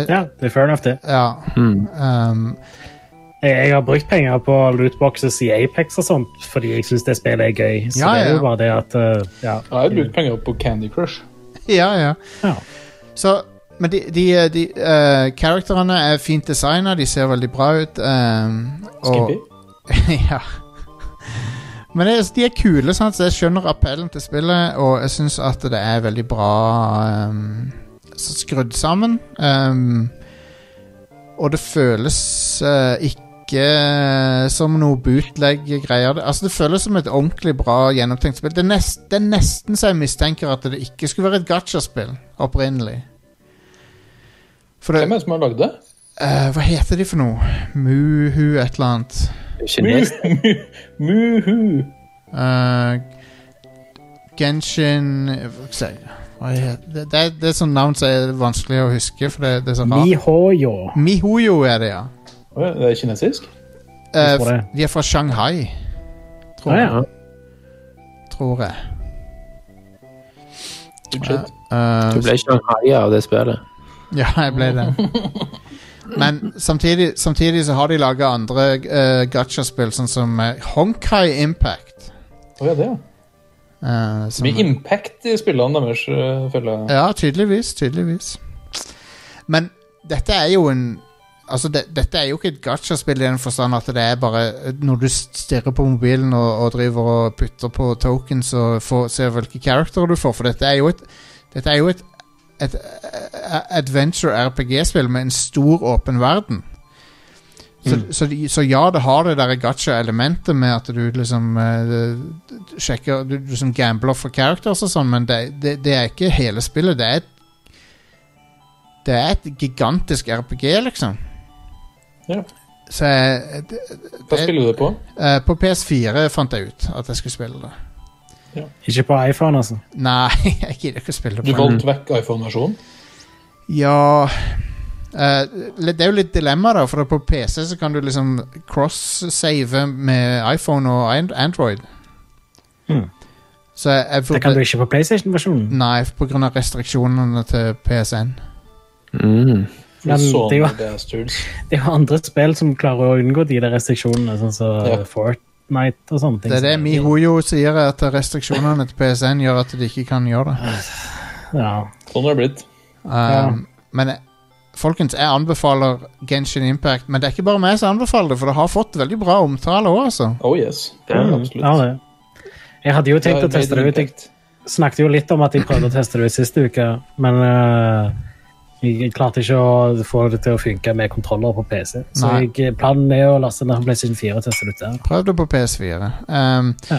ja, det er fair enough, det.
Ja.
Mm.
Um,
Jeg har brukt penger på lootboxes i Apex og sånt, fordi jeg syns det spillet er gøy. Så
Ja,
det er
ja.
jo bare det at eh, ja.
Jeg har brukt penger på Candy Crush.
Ja, ja.
Ja.
Så, men de, de, eh, de eh, karakterene er fint designa, de ser veldig bra ut. ehm, og,
Skippy.
ja. Men det, er- de er kule, sant? så jeg skjønner appellen til spillet, og jeg syns at det er veldig bra ehm, s- skrudd sammen. Ehm, og det føles eh, ikke som noe bootleg-greier. Det- Altså, det føles som et ordentlig bra gjennomtenkt spill. Det er, nest, det er nesten så jeg mistenker at det ikke skulle være et gacha-spill opprinnelig. For det,
Hvem er det som har lagd det?
eh, hva heter de for noe? Muhu et eller annet.
Kines.
Muhu.
Eh, Genshin Hva skal jeg si? Hva heter det? Det, er- det er sånn navn som er vanskelig å huske, for det, det er så rart.
Mihoyo.
Mihoyo er det, ja.
Å ja, Det er kinesisk?
Eh,
tror det.
de er fra Shanghai, tror,
Ah,
jeg-
ja.
tror jeg.
Budsjett.
Eh,
Du ble Shanghai av det spillet.
Ja, jeg ble det. Men samtidig, samtidig så har de laga andre uh, gacha-spill, sånn som eh, Honkai Impact.
Å ja, det, ja.
eh, som-
Mye impact i spillene deres, øh, føler jeg.
Ja, tydeligvis, tydeligvis. Men dette er jo en Altså, det, dette er jo ikke et gacha-spill i den forstand at det er bare når du stirrer på mobilen og, og driver og putter på tokens og får, ser hvilke characterer du får, for dette er jo et dette er jo et, et eh, adventure RPG-spill med en stor åpen verden. Så, så, de- så ja, det har det der gacha-elementet med at du liksom eh, sjekker Du, du som gambler for characters og sånn, men det, det, det er ikke hele spillet. Det er et Det er et gigantisk RPG, liksom.
Ja.
Så jeg, det,
Hva spiller du det på?
eh, På PS4 fant jeg ut at jeg skulle spille det.
Ikke på iPhone, altså.
Nei, jeg gidder ikke å spille det.
Du
på
valgte vekk iPhone-versjonen.
Ja eh, Det det er jo litt dilemma, da. For på PC så kan du liksom cross-save med iPhone og An- Android.
Mhm.
Så jeg, jeg Mm.
Det kan du
vurder-
ikke på PlayStation-versjonen.
Nei, pga. restriksjonene til PSN.
Mm.
Men det er jo-
Bastards.
Det er jo andre spill som klarer å unngå de der restriksjonene, sånn som
Ja.
Fortnite og sånne ting.
Det er det MiHoYo sier, at restriksjonene til PSN gjør at de ikke kan gjøre det.
Ja.
Sånn har det blitt.
Um,
Ja.
Men jeg- folkens, jeg anbefaler Genshin Impact. Men det er ikke bare meg som anbefaler det, for det har fått veldig bra omtale òg, altså.
Oh yes.
Ja,
absolutt.
Mm, ja, det. Jeg hadde jo tenkt å
made
teste det
an
ut. Jeg
impact.
snakket jo litt om at jeg prøvde å teste det ut siste uke, men eh, jeg klarte ikke å få det til å funke med kontroller på PC. Så
Nei.
jeg, eh, planen er å laste ned PlayStation 4 og teste det ut der.
Prøv det på PS4. Um,
Ja.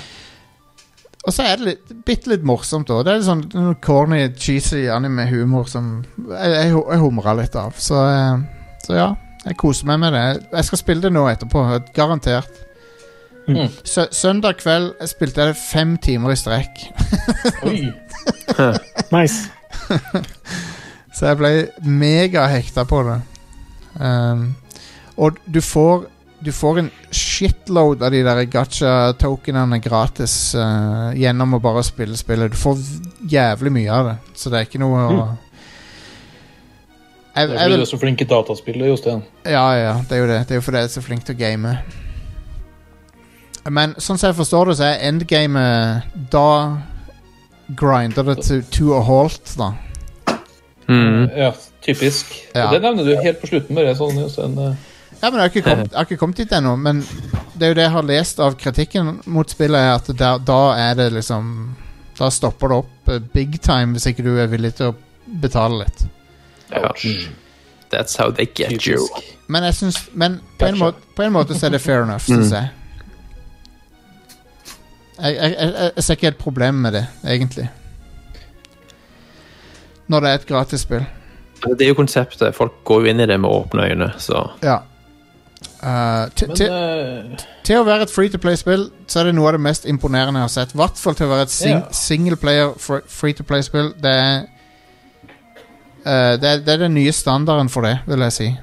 Og så er det litt, bitte litt morsomt òg. Det er litt sånn noe corny, cheesy anime-humor som jeg, jeg, jeg humrer litt av. Så, eh, så ja, jeg koser meg med det. Jeg skal spille det nå etterpå, garantert.
Mm.
Sø søndag kveld spilte jeg det fem timer i strekk.
Oi.
Nice.
Så jeg ble megahekta på det. Ehm, og du får Du får en shitload av de der gacha-tokenene gratis eh, gjennom å bare spille spillet. Du får v- jævlig mye av det, så det er ikke noe å jeg,
Det
jeg
blir
vil,
du så flink i dataspill, Jostein.
ja, ja, det er jo det. Det er jo fordi jeg er så flink til å game. Men sånn som jeg forstår det, så er endgamet Da grinder det til two og halvt, da.
Mm.
Ja, typisk.
Ja.
Det nevner du helt på slutten. Bare sånn, Jostein. eh,
Ja, men jeg har ikke kommet, jeg har ikke kommet dit ennå, men det er jo det jeg har lest av kritikken mot spillet, er at da, da er det liksom Da stopper det opp eh, big time hvis ikke du er villig til å betale litt.
Ja. That's how they get you.
Typisk.
Men jeg syns Men på en,
Gotcha.
måte, på en måte så er det fair enough, syns jeg. Jeg, jeg, jeg. jeg ser ikke et problem med det, egentlig. Når det er et gratis spill.
Altså, Det er jo konseptet. Folk går jo inn i det med åpne øyne, så
Ja. Eh, til-
Men
til-
eh,
Til å være et free to play-spill Så er det noe av det mest imponerende jeg har sett. I hvert fall til å være et sing
Ja.
single player fr- free to play-spill. Det er eh, det, er- det er den nye standarden for det, vil jeg si.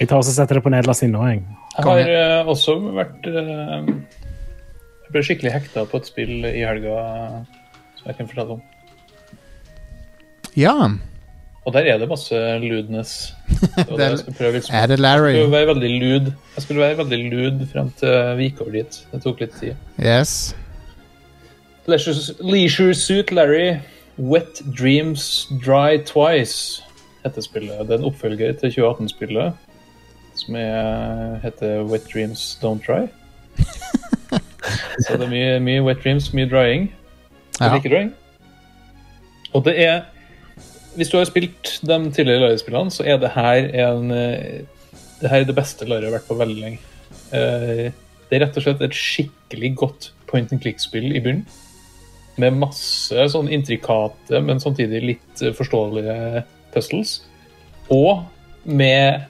Jeg tar også og setter det på nederlast nå, jeg.
Jeg
Kom
har eh, også vært eh, Jeg ble skikkelig hekta på et spill i helga eh, som jeg kan fortelle om.
Ja.
Og der er det masse lewdness. Det var det jeg skulle prøve litt
Er det
Jeg
Larry?
skulle være veldig lud. Jeg skulle være veldig lud frem til vi gikk over dit. Det tok litt tid.
Yes.
Leisure, leisure Suit Larry, Wet Dreams Dry Twice heter spillet. Det er en oppfølger til 2018-spillet som er, heter Wet Dreams Don't Dry. Så det er mye, mye wet dreams, mye drying.
Ja.
Like drying. Og det er Hvis du har spilt de tidligere Larry-spillene, så er det her en eh, Det her er det beste Larry har vært på veldig lenge. Eh, Det er rett og slett et skikkelig godt point and click-spill i bunnen. Med masse sånn intrikate, men samtidig litt eh, forståelige puzzles. Og med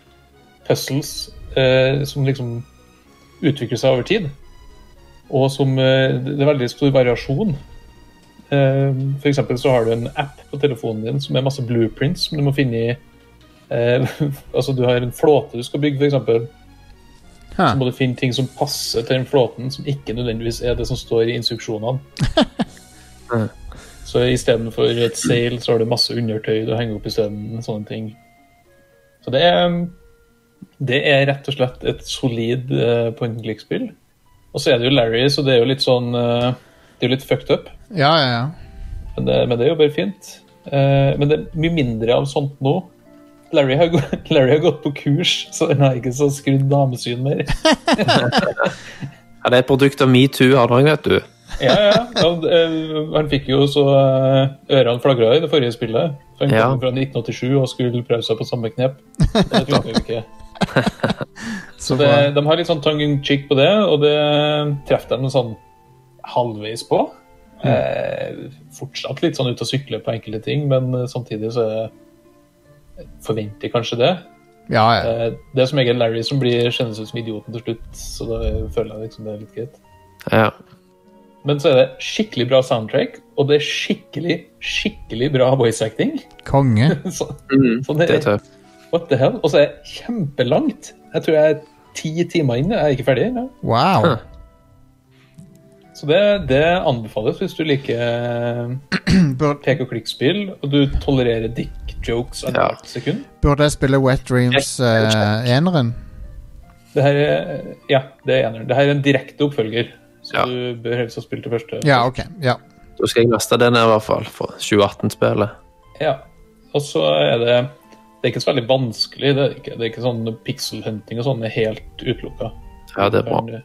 puzzles eh, som liksom utvikler seg over tid. Og som eh, Det er veldig stor variasjon. Eh, for eksempel så har du en app på telefonen din som er masse blueprints som du må finne i eh, Altså, du har en flåte du skal bygge, for eksempel.
Huh.
Så må du finne ting som passer til den flåten, som ikke nødvendigvis er det som står i instruksjonene. så istedenfor et seil, så har du masse undertøy du henger opp isteden. Sånne ting. Så det er Det er rett og slett et solid eh, point and click-spill. Og så er det jo Larry, så det er jo litt sånn eh, Det er jo litt fucked up,
Ja, ja, ja.
men det, men det er jo bare fint. Eh, men det er mye mindre av sånt nå. Larry har, gå- Larry har gått på kurs, så han har ikke så skrudd damesyn mer.
Ja, det er et produkt av metoo, har du òg, vet du.
Ja, ja. Han, eh, han fikk jo så eh, ørene flagra i det forrige spillet. For han
Ja.
kom fra 1987 og skulle prøve seg på samme knep. Men Det funka jo ikke.
Så
Det,
bra.
de har litt sånn tongue in cheek på det, og det treffer de sånn halvveis på.
Mm.
Eh, fortsatt litt sånn ut og sykle på enkelte ting, men eh, samtidig så er det- forventer kanskje det.
Ja, ja.
Eh, det er som regel Larry som blir kjennes ut som idioten til slutt, så da føler jeg liksom det er litt greit.
Ja.
Men så er det skikkelig bra soundtrack, og det er skikkelig, skikkelig bra voice acting.
Konge.
Så,
Mm,
så det
Det er
er
tøft.
what the hell. Og så er det kjempelangt. Jeg tror jeg er ti timer inne. Jeg er ikke ferdig. Ja.
Wow.
Huh.
Så det, det anbefales hvis du liker
Bør-
pek-og-klikk-spill, og du tolererer dick-jokes av
Ja.
hvert sekund.
Burde jeg spille Wet Dreams eh, eneren?
Det her er, ja, det er eneren. Det her er en direkte oppfølger, så
Ja.
du bør helst ha spilt det første.
Ja, OK. Ja.
Da skal jeg laste den ned, i hvert fall, for 2018-spillet.
Ja. Og så er det Det er ikke så veldig vanskelig. Det er ikke, det er ikke sånn pixel-hunting og sånn er helt utelukka.
Ja, det er
Mm.
bra.
eh,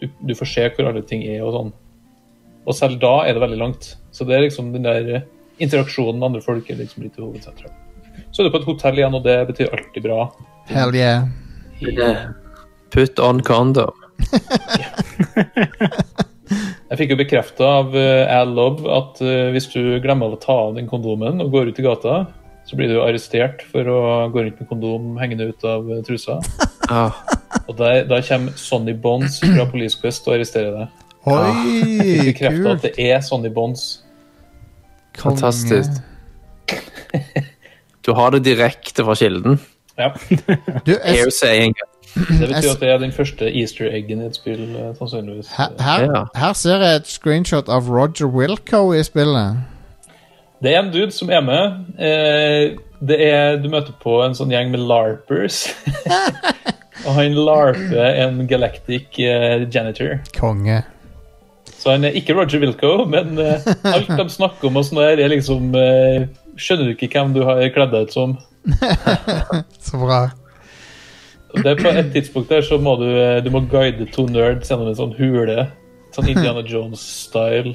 Du, du får se hvor alle ting er og sånn. Og selv da er det veldig langt. Så det er liksom den der eh, interaksjonen med andre folk er liksom litt i hovedsentrum. Så er du på et hotell igjen, og det betyr alltid bra.
Hell yeah.
I,
Put on condom.
Jeg fikk jo bekrefta av eh, Al Love at eh, hvis du glemmer å ta av den kondomen og går ut i gata, så blir du arrestert for å gå rundt med kondom hengende ut av eh, trusa.
Ja.
Og der, da kommer Sonny Bonds fra Police Quest og arresterer deg. Jeg
Oi,
fikk bekrefta at
kult.
det er Sonny Bonds.
Konge.
Fantastisk. Du har det direkte fra kilden.
Ja,
Du, jeg,
Airsaying.
Det betyr at det er den første easter eggen i et spill, eh, sannsynligvis.
her, her, her ser jeg et screenshot av Roger Wilco i spillet.
Det er en dude som er med. Eh, det er, du møter på en sånn gjeng med larpers. og han larper en galactic eh, janitor.
Konge.
Så han er ikke Roger Wilco, men eh, alt de snakker om og sånn der, er liksom eh, Skjønner du ikke hvem du har kledd deg ut som?
Så bra.
Og Det er På et tidspunkt der så må du, eh, du må guide to nerds gjennom en sånn hule. Sånn Indiana Jones-style.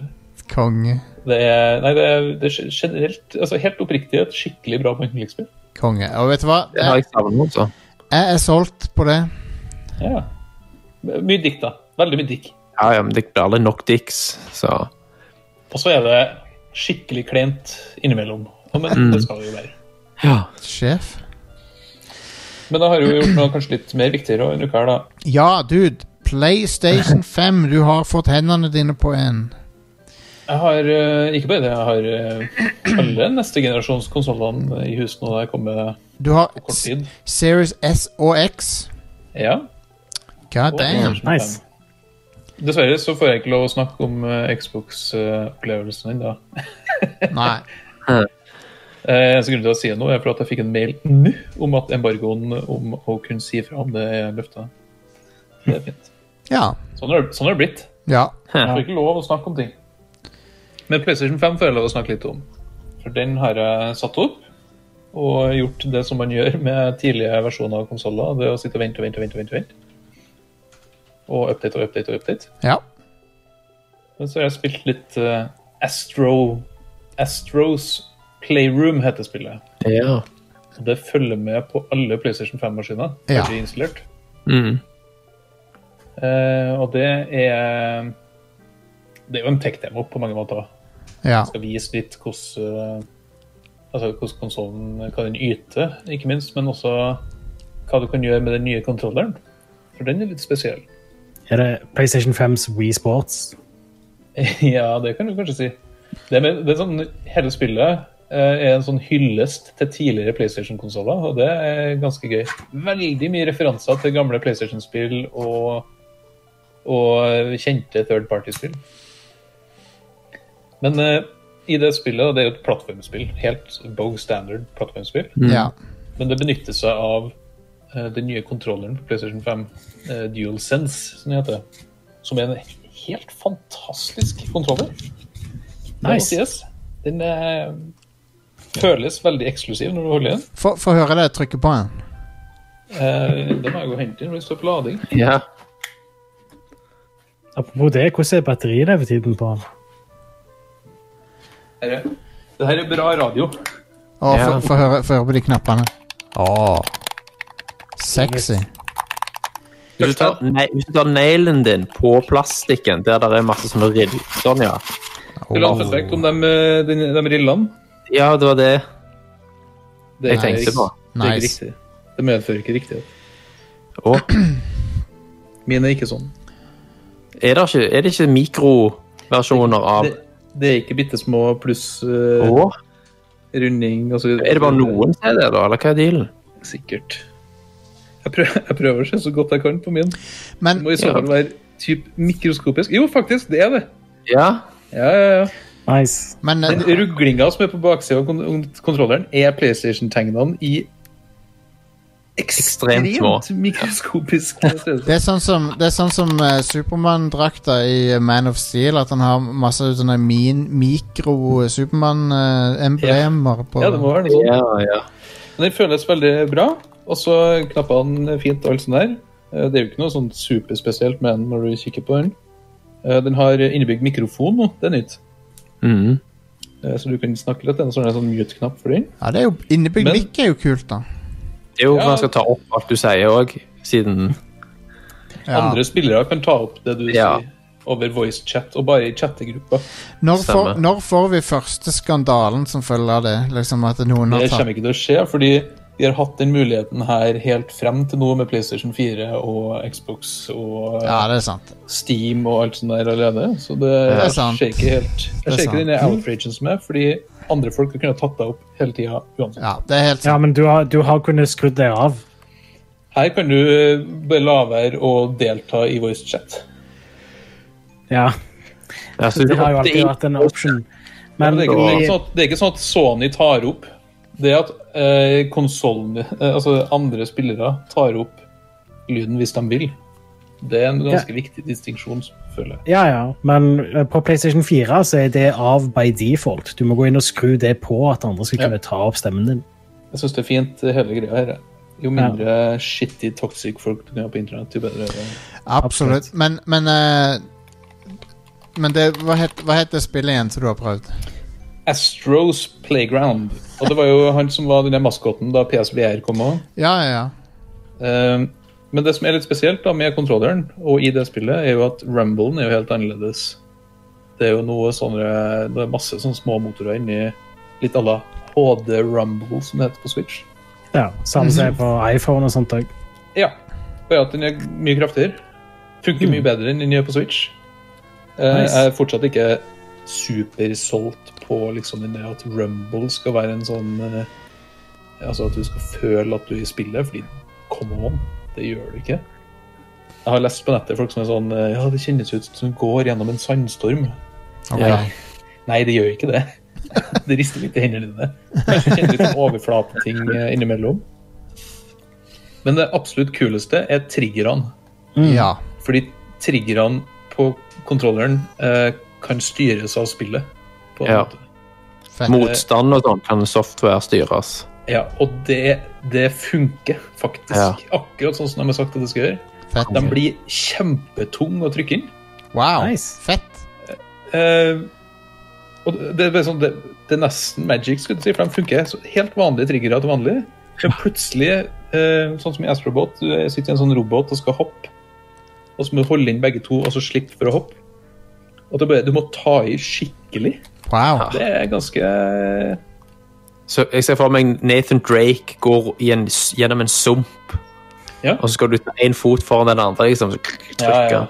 Konge.
Det er, nei, det er, det er generelt, altså helt oppriktig et skikkelig bra point and click-spill.
Konge. Og vet du hva?
Det har
Jeg,
jeg savnet også.
jeg er solgt på det.
Ja. Mye dikt, da. Veldig mye dikt.
Ja, ja, men det blir aldri nok dicks, så
Og så er det skikkelig kleint innimellom. Og Men det skal det jo være.
Ja.
Sjef.
Men da har jeg jo gjort noe kanskje litt mer viktigere denne uka her, da.
Ja, dude. PlayStation 5. Du har fått hendene dine på en.
Jeg har eh, ikke bare det, jeg har eh, alle neste generasjons konsollene i hus nå da jeg kommer
Du har
på kort tid.
S- Series S og X.
Ja.
God
og
damn.
PlayStation 5.
Nice.
Dessverre så får jeg ikke lov å eh, snakke om Xbox-opplevelsen ennå.
Nei.
Eh, eneste grunn til å si det nå, er for at jeg fikk en mail nå om at embargoen om å kunne si fra om det er løfta. Det er fint.
Ja.
Sånn er, sånn er det blitt.
Ja.
Jeg får ikke lov å snakke om ting. Men PlayStation 5 får jeg lov å snakke litt om. For den har jeg satt opp og gjort det som man gjør med tidlige versjoner av konsoller. Det er å sitte og vente og vente og vente. Og vente, og vente. Og update og update og update.
ja.
Men så har jeg spilt litt eh, Astro Astros Playroom heter spillet.
Ja.
Og det følger med på alle PlayStation 5-maskiner.
Ja.
Ja. installert.
Mm.
Eh, og det er Det er jo en tech-demo på mange måter.
ja.
skal vise litt hvordan eh, altså hvordan konsollen kan den yte, ikke minst, men også hva du kan gjøre med den nye kontrolleren. For den er litt spesiell.
Er det PlayStation 5s Wii Sports?
ja, det kan du kanskje si. Det er, mer- det er sånn, hele spillet eh, er en sånn hyllest til tidligere PlayStation-konsoller, og det er ganske gøy. Veldig mye referanser til gamle PlayStation-spill og, og eh, kjente third party-spill. Men eh, i det spillet, og det er jo et plattformspill, helt bog standard plattformspill,
ja.
men det benytter seg av eh, den nye kontrolleren på PlayStation 5, eh, DualSense, som den heter. Som er en helt fantastisk kontroller. Det må
Nice.
sies. Den eh, føles veldig eksklusiv når du holder i den.
Få få høre deg trykke på den.
Eh, det må jeg gå og hente inn når det står på lading.
ja.
Apropos det, hvordan er batterilevetiden på den?
Her er- Det her er bra radio.
Og
Ja.
få- få høre, få høre på de knappene.
Ah.
Åh. Sexy.
Hvis du tar, nei, hvis du tar nailen din på plastikken, der det er masse sånne rill Sånn, ja.
Vil du ha en fun fact om dem, eh, den- dem rillene?
Ja, det var det
Det
jeg
er
tenkte
ikke-
på.
Det er ikke
Nice.
riktig. Det medfører ikke riktighet.
Å,
Mine er ikke sånn.
er, det ikke, er det ikke mikroversjoner av
Det, det er ikke bitte små pluss eh,
Å,
runding og så videre.
Er det bare noen steder, da? Eller hva er dealen?
Sikkert. Jeg prøver, jeg prøver å se så godt jeg kan på min. Det
Men
må i så fall være typ mikroskopisk. Jo, faktisk, det er det.
Ja.
Ja, ja, ja.
Nice.
Men
Den
eh,
ruglinga som er på baksida av kon kontrolleren, er PlayStation-tegnene i ekstremt,
Ekstremt små.
mikroskopisk størrelse.
det er sånn som, det er sånn som eh, Supermann-drakta i eh, Man of Steel, at han har masse sånne min, mikro-Supermann-emblemer på
Ja, det må være noe sånt.
ja, ja.
Men den føles veldig bra. Og så knappene fint og alt sånt der. Eh, Det er jo ikke noe sånn superspesielt med den når du kikker på den. Eh, Den har innebygd mikrofon nå, det er nytt.
Mm.
Eh, Så du kan snakke litt. Det er en sånn- en sånn mute-knapp for den.
Ja, det er jo Innebygd
Men-
mic er jo kult, da.
Det er jo
Ja.
for man skal ta opp alt du sier òg, siden
Ja.
Andre spillere kan ta opp det du
Ja.
sier over voice chat, og bare i chattegruppa.
Når, får,
Stemmer.
når får vi første skandalen som følger av det? Liksom at noen har
Det
tatt
kommer ikke til å skje, fordi vi har hatt den muligheten her helt frem til nå med PlayStation 4 og Xbox og
Ja, det er sant.
Steam og alt sånt der allerede. Så det,
er
jeg
sant.
ser ikke helt
Det
Jeg
er
ser ikke
sant.
den outragen som er, fordi andre folk har kunnet tatt deg opp hele tida uansett.
Ja, det er helt sant.
Ja, men du har, du har kunnet skrudd deg av.
Her kan du eh, bare la være å delta i voice chat.
Ja,
ja, så
det har jo
hoppte
alltid
inn-
vært en option.
Men
Men
det, er ikke, det, er ikke
i,
sånn at, det er ikke sånn at Sony tar opp det at eh, konsollen eh, Altså andre spillere tar opp lyden hvis de vil. Det er en ganske viktig distinksjon, føler jeg.
ja, ja, men eh, på PlayStation 4 så er det av by default. Du må gå inn og skru det på at andre skal
Ja.
kunne ta opp stemmen din.
Jeg syns det er fint, hele greia her. Jo mindre shitty, toxic folk du kan ha på internett, jo bedre. er det.
Absolutt. Men, men, eh, men det, hva, het, hva het det spillet igjen som du har prøvd?
Astros Playground. Og det var jo han som var den der maskotten da PSVR kom òg.
Ja, ja, ja.
Ehm, Men det som er litt spesielt da med kontrolleren, og i det spillet, er jo at rumblen er jo helt annerledes. Det er jo noe sånne, det er masse sånne små motorer inni litt à la HD Rumble, som det heter på Switch.
Ja, Samme som
Mhm.
er på iPhone og sånt òg.
Ja. Bare at den er mye kraftigere. Funker mye bedre enn den gjør på Switch. Eh,
Nice.
Jeg er fortsatt ikke supersolgt på liksom den der at Rumble skal være en sånn eh, Altså at du skal føle at du er i spillet, fordi come on, det gjør du ikke. Jeg har lest på nettet folk som er sånn eh, Ja, det kjennes ut som du går gjennom en sandstorm.
Ok.
Ja.
Nei, det gjør ikke det. Det rister litt i hendene dine. Kanskje kjenner litt sånn overflateting eh, innimellom. Men det absolutt kuleste er triggerne.
Ja.
Mm. Fordi triggerne på kontrolleren eh, kan styres av spillet. På en
Ja.
måte.
Fett.
Motstand og sånn kan software styres.
ja og det, det funker faktisk.
Ja.
Akkurat sånn som de har sagt at det skal gjøre.
Fett.
De blir kjempetung å trykke inn.
Wow.
Nice.
Fett.
Eh, og det, er bare sånn, det, det er nesten magic, skulle du si, for de funker så helt vanlige triggere til vanlig. Men plutselig, eh, sånn som i Astrobot, du sitter i en sånn robot og skal hoppe, og så må du holde inn begge to og så slippe for å hoppe. Og det er bare, du må ta i skikkelig.
Wow.
Det er ganske eh,
Så jeg ser for meg Nathan Drake går i en, gjennom en sump.
Ja.
Og så skal du ta én fot foran den andre, liksom. Så trykke.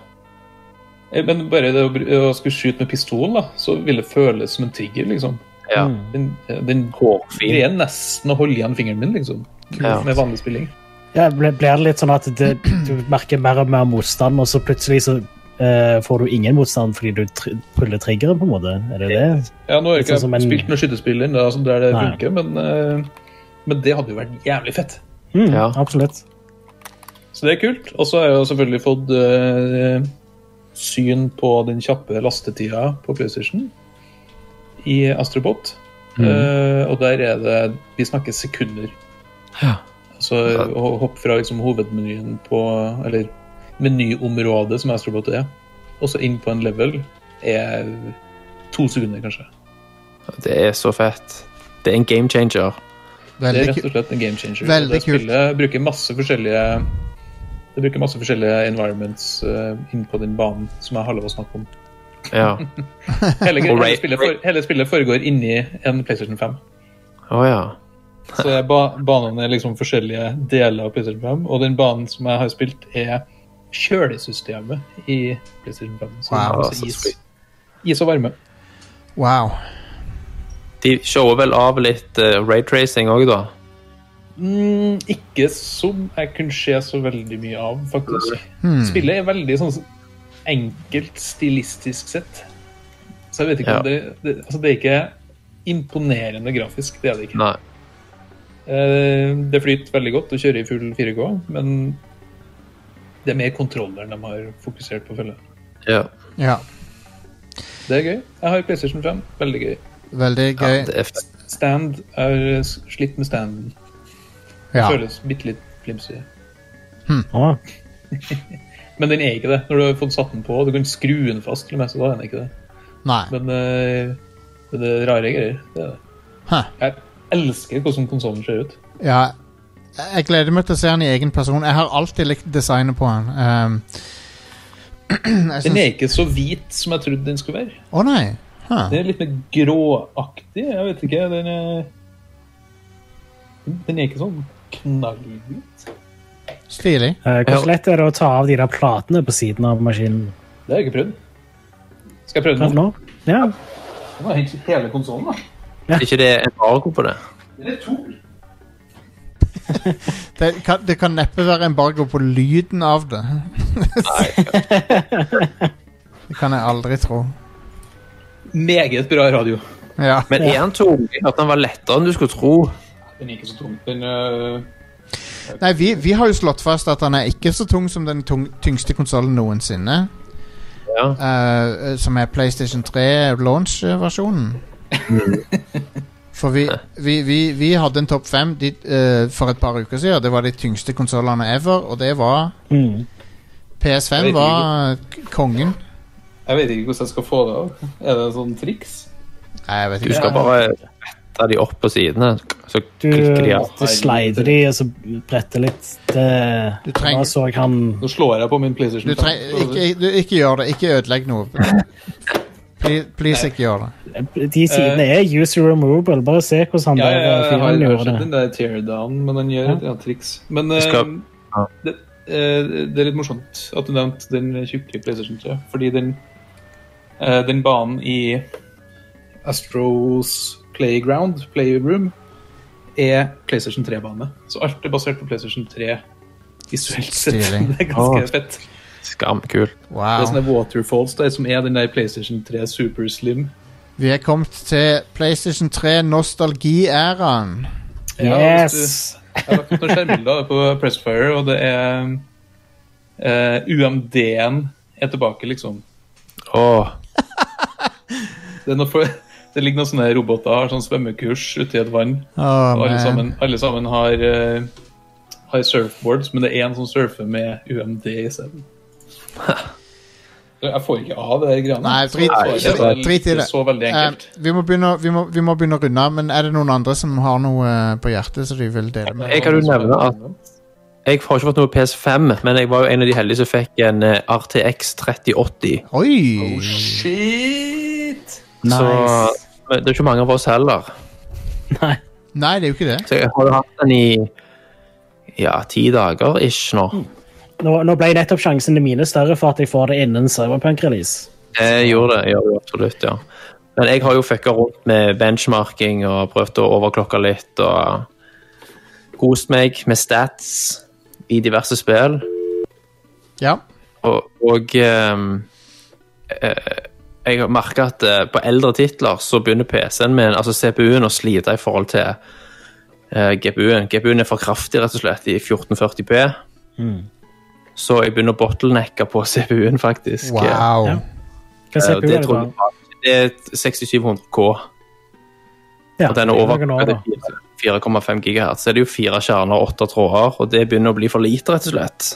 Eh, Men bare det å, br- å skulle skyte med pistol, da, så vil det føles som en trigger, liksom.
Ja.
Den, den
Mm. Hårfin.
greier nesten å holde igjen fingeren min, liksom.
Ja.
Med vanlig spilling.
Ja, ble- blir det litt sånn at det, du merker mer og mer motstand, og så plutselig så eh, får du ingen motstand fordi du tr puller triggeren, på en måte? Er det det?
Ja, nå har jeg
Litt sånn
ikke
som en-
spilt med skytterspill ennå, altså der det
Nei.
funker, men, eh, men det hadde jo vært jævlig fett.
Mm,
Ja.
Absolutt.
Så det er kult. Og så har jeg jo selvfølgelig fått eh, syn på den kjappe lastetida på PlayStation i Astrobot.
Mm.
Eh, og der er det Vi snakker sekunder.
Ja.
Så å hoppe fra liksom, hovedmenyen på Eller menyområdet som Astrobot er, og så inn på en level, er to sekunder, kanskje.
Det er så fett. Det er en game changer.
Det er
Veldig
rett
kult.
og slett en game changer.
Veldig
det
kult.
spillet bruker masse forskjellige Det bruker masse forskjellige environments eh, inn på den banen som jeg holder på å snakke om.
Ja.
Hele,
Og Ray-
hele, spillet, for, hele spillet foregår inni en PlayStation 5.
Å ja.
Så det er ba banene er liksom forskjellige deler av PlayStation 5, og den banen som jeg har spilt, er kjølesystemet i PlayStation 5. Så
Wow,
altså
så
is,
sweet.
is og varme.
Wow.
De shower vel av litt uh, raytracing òg, da.
Mm, ikke som jeg kunne se så veldig mye av, faktisk. Spillet er veldig sånn enkelt stilistisk sett. Så jeg vet ikke
Ja.
om det, det Altså, det er ikke imponerende grafisk, det er det ikke.
Nei.
Eh, det flyter veldig godt å kjøre i full 4K, men det er mer kontrolleren de har fokusert på, føler jeg.
Ja.
Ja.
Det er gøy. Jeg har PlayStation 5. Veldig gøy.
Veldig
ja
gøy.
det er fett.
Stand er eh, slitt med standen.
Ja.
Føles bitte litt flimsy.
Å,
Men den er ikke det. Når du har fått satt den på, du kan skru den fast, til og med, så da er den ikke det.
Nei.
Men eh, men det er rare greier. Det er det.
Hæ.
Jeg elsker hvordan konsollen ser ut.
Ja. Jeg gleder meg til å se han i egen person. Jeg har alltid likt designet på han. Um, jeg
Den
syns
er ikke så hvit som jeg trodde den skulle være.
Å nei. Huh.
Den er litt mer gråaktig. Jeg vet ikke. Den er, den er ikke sånn knallhvit.
Stilig.
eh, Hvor lett er det å ta av de der platene på siden av maskinen?
Det har jeg ikke prøvd. Skal jeg prøve
Prøv
den nå?
nå. Ja.
Jeg må hente hele konsollen, da.
Ikke det er embargo på det?
Den er to.
Det kan, det kan neppe være embargo på lyden av det. det kan jeg aldri tro.
Meget bra radio.
Ja.
Men er han tung? Jeg hørte han var lettere enn du skulle tro.
Den er ikke så tung. Den øh,
Nei, vi, vi har jo slått fast at han er ikke så tung som den tung, tyngste konsollen noensinne.
Ja.
Eh, som er PlayStation 3 launch-versjonen.
Mm.
For vi, vi, vi, vi hadde en topp fem de, eh, for et par uker siden. Det var de tyngste konsollene ever, og det var
Mm.
PS5
Jeg vet
var eh, kongen.
Jeg vet ikke hvordan jeg skal få det av. Er det en sånn triks?
Nei, jeg vet
Du
ikke.
skal bare rette de opp på sidene, så
Du, eh,
klikker de av.
du slider de, og så bretter litt. Det,
Du trenger-
Nå så jeg han
Nå slår jeg på min PlayStation.
Du
fem.
treng, ikke, du, ikke gjør det. Ikke ødelegg noe. Please, please ikke gjør det.
De sidene er user removable. Bare se hvordan han
Ja, ja, ja,
der
jeg har,
fyren
jeg har
gjorde
sett
det.
den der teardown, men han gjør
Ja.
et ja, triks. Men
Du skal-
eh,
ja.
det, eh, det er litt morsomt at du nevnte den tjukke PlayStation 3, fordi den, eh, den banen i Astros Playground, Playroom, er PlayStation 3-bane. Så alt er basert på PlayStation 3 visuelt sett.
Stilig.
Det er ganske
Ah.
fett. Det
Skamkul.
er sånn
Wow.
sånne waterfalls der, som er den der PlayStation 3 Super Slim
Vi er kommet til PlayStation 3 nostalgi-æraen.
Ja, hvis du-
Yes!
Jeg har lagt ut noen skjermbilder av det på Pressfire, og det er eh, UMD-en er tilbake, liksom.
Åh,
Det, er noe for, det ligger noen sånne roboter har sånn svømmekurs uti et vann.
Åh,
Og alle
man.
sammen, alle sammen har, eh, har surfboards, men det er én som surfer med UMD isteden. Jeg får ikke av det greiene.
Nei, drit-
Så-
drit-
det er-
drit i det.
er så veldig enkelt.
Eh, vi, må begynne, å- vi, må, vi må begynne å runde av, men er det noen andre som har noe eh, på hjertet som de vil dele med?
jeg kan jo nevne at jeg har ikke fått noe PS5, men jeg var jo en av de heldige som fikk en eh, RTX 3080.
Oi!
Shit!
Så
Nice.
men det er ikke mange av oss heller.
Nei.
Nei, det er jo ikke det.
Så jeg har jo hatt den i ja, ti dager ish nå.
Nå, nå ble nettopp sjansene mine større for at jeg får det innen Cyberpunk-release.
Jeg gjorde det, jeg gjorde det absolutt, ja. Men jeg har jo fucka rundt med benchmarking og prøvd å overklokke litt og kost meg med stats i diverse spill.
Ja.
Og, og ehm, eh, jeg har merka at eh, på eldre titler så begynner PC-en min, altså CPU-en, å slite i forhold til eh, GPU-en. GPU-en er for kraftig, rett og slett, i 1440P. Mm. Så jeg begynner å bottlenecke på CPU-en, faktisk.
Wow.
Ja.
Eh,
Hva ser
og
du
det,
det
tror
på?
jeg, det er 6700K,
Ja,
og den er
det
over
noen år, da.
4,5 GHz. Så er det jo fire kjerner og åtte tråder, og det begynner å bli for lite, rett og slett.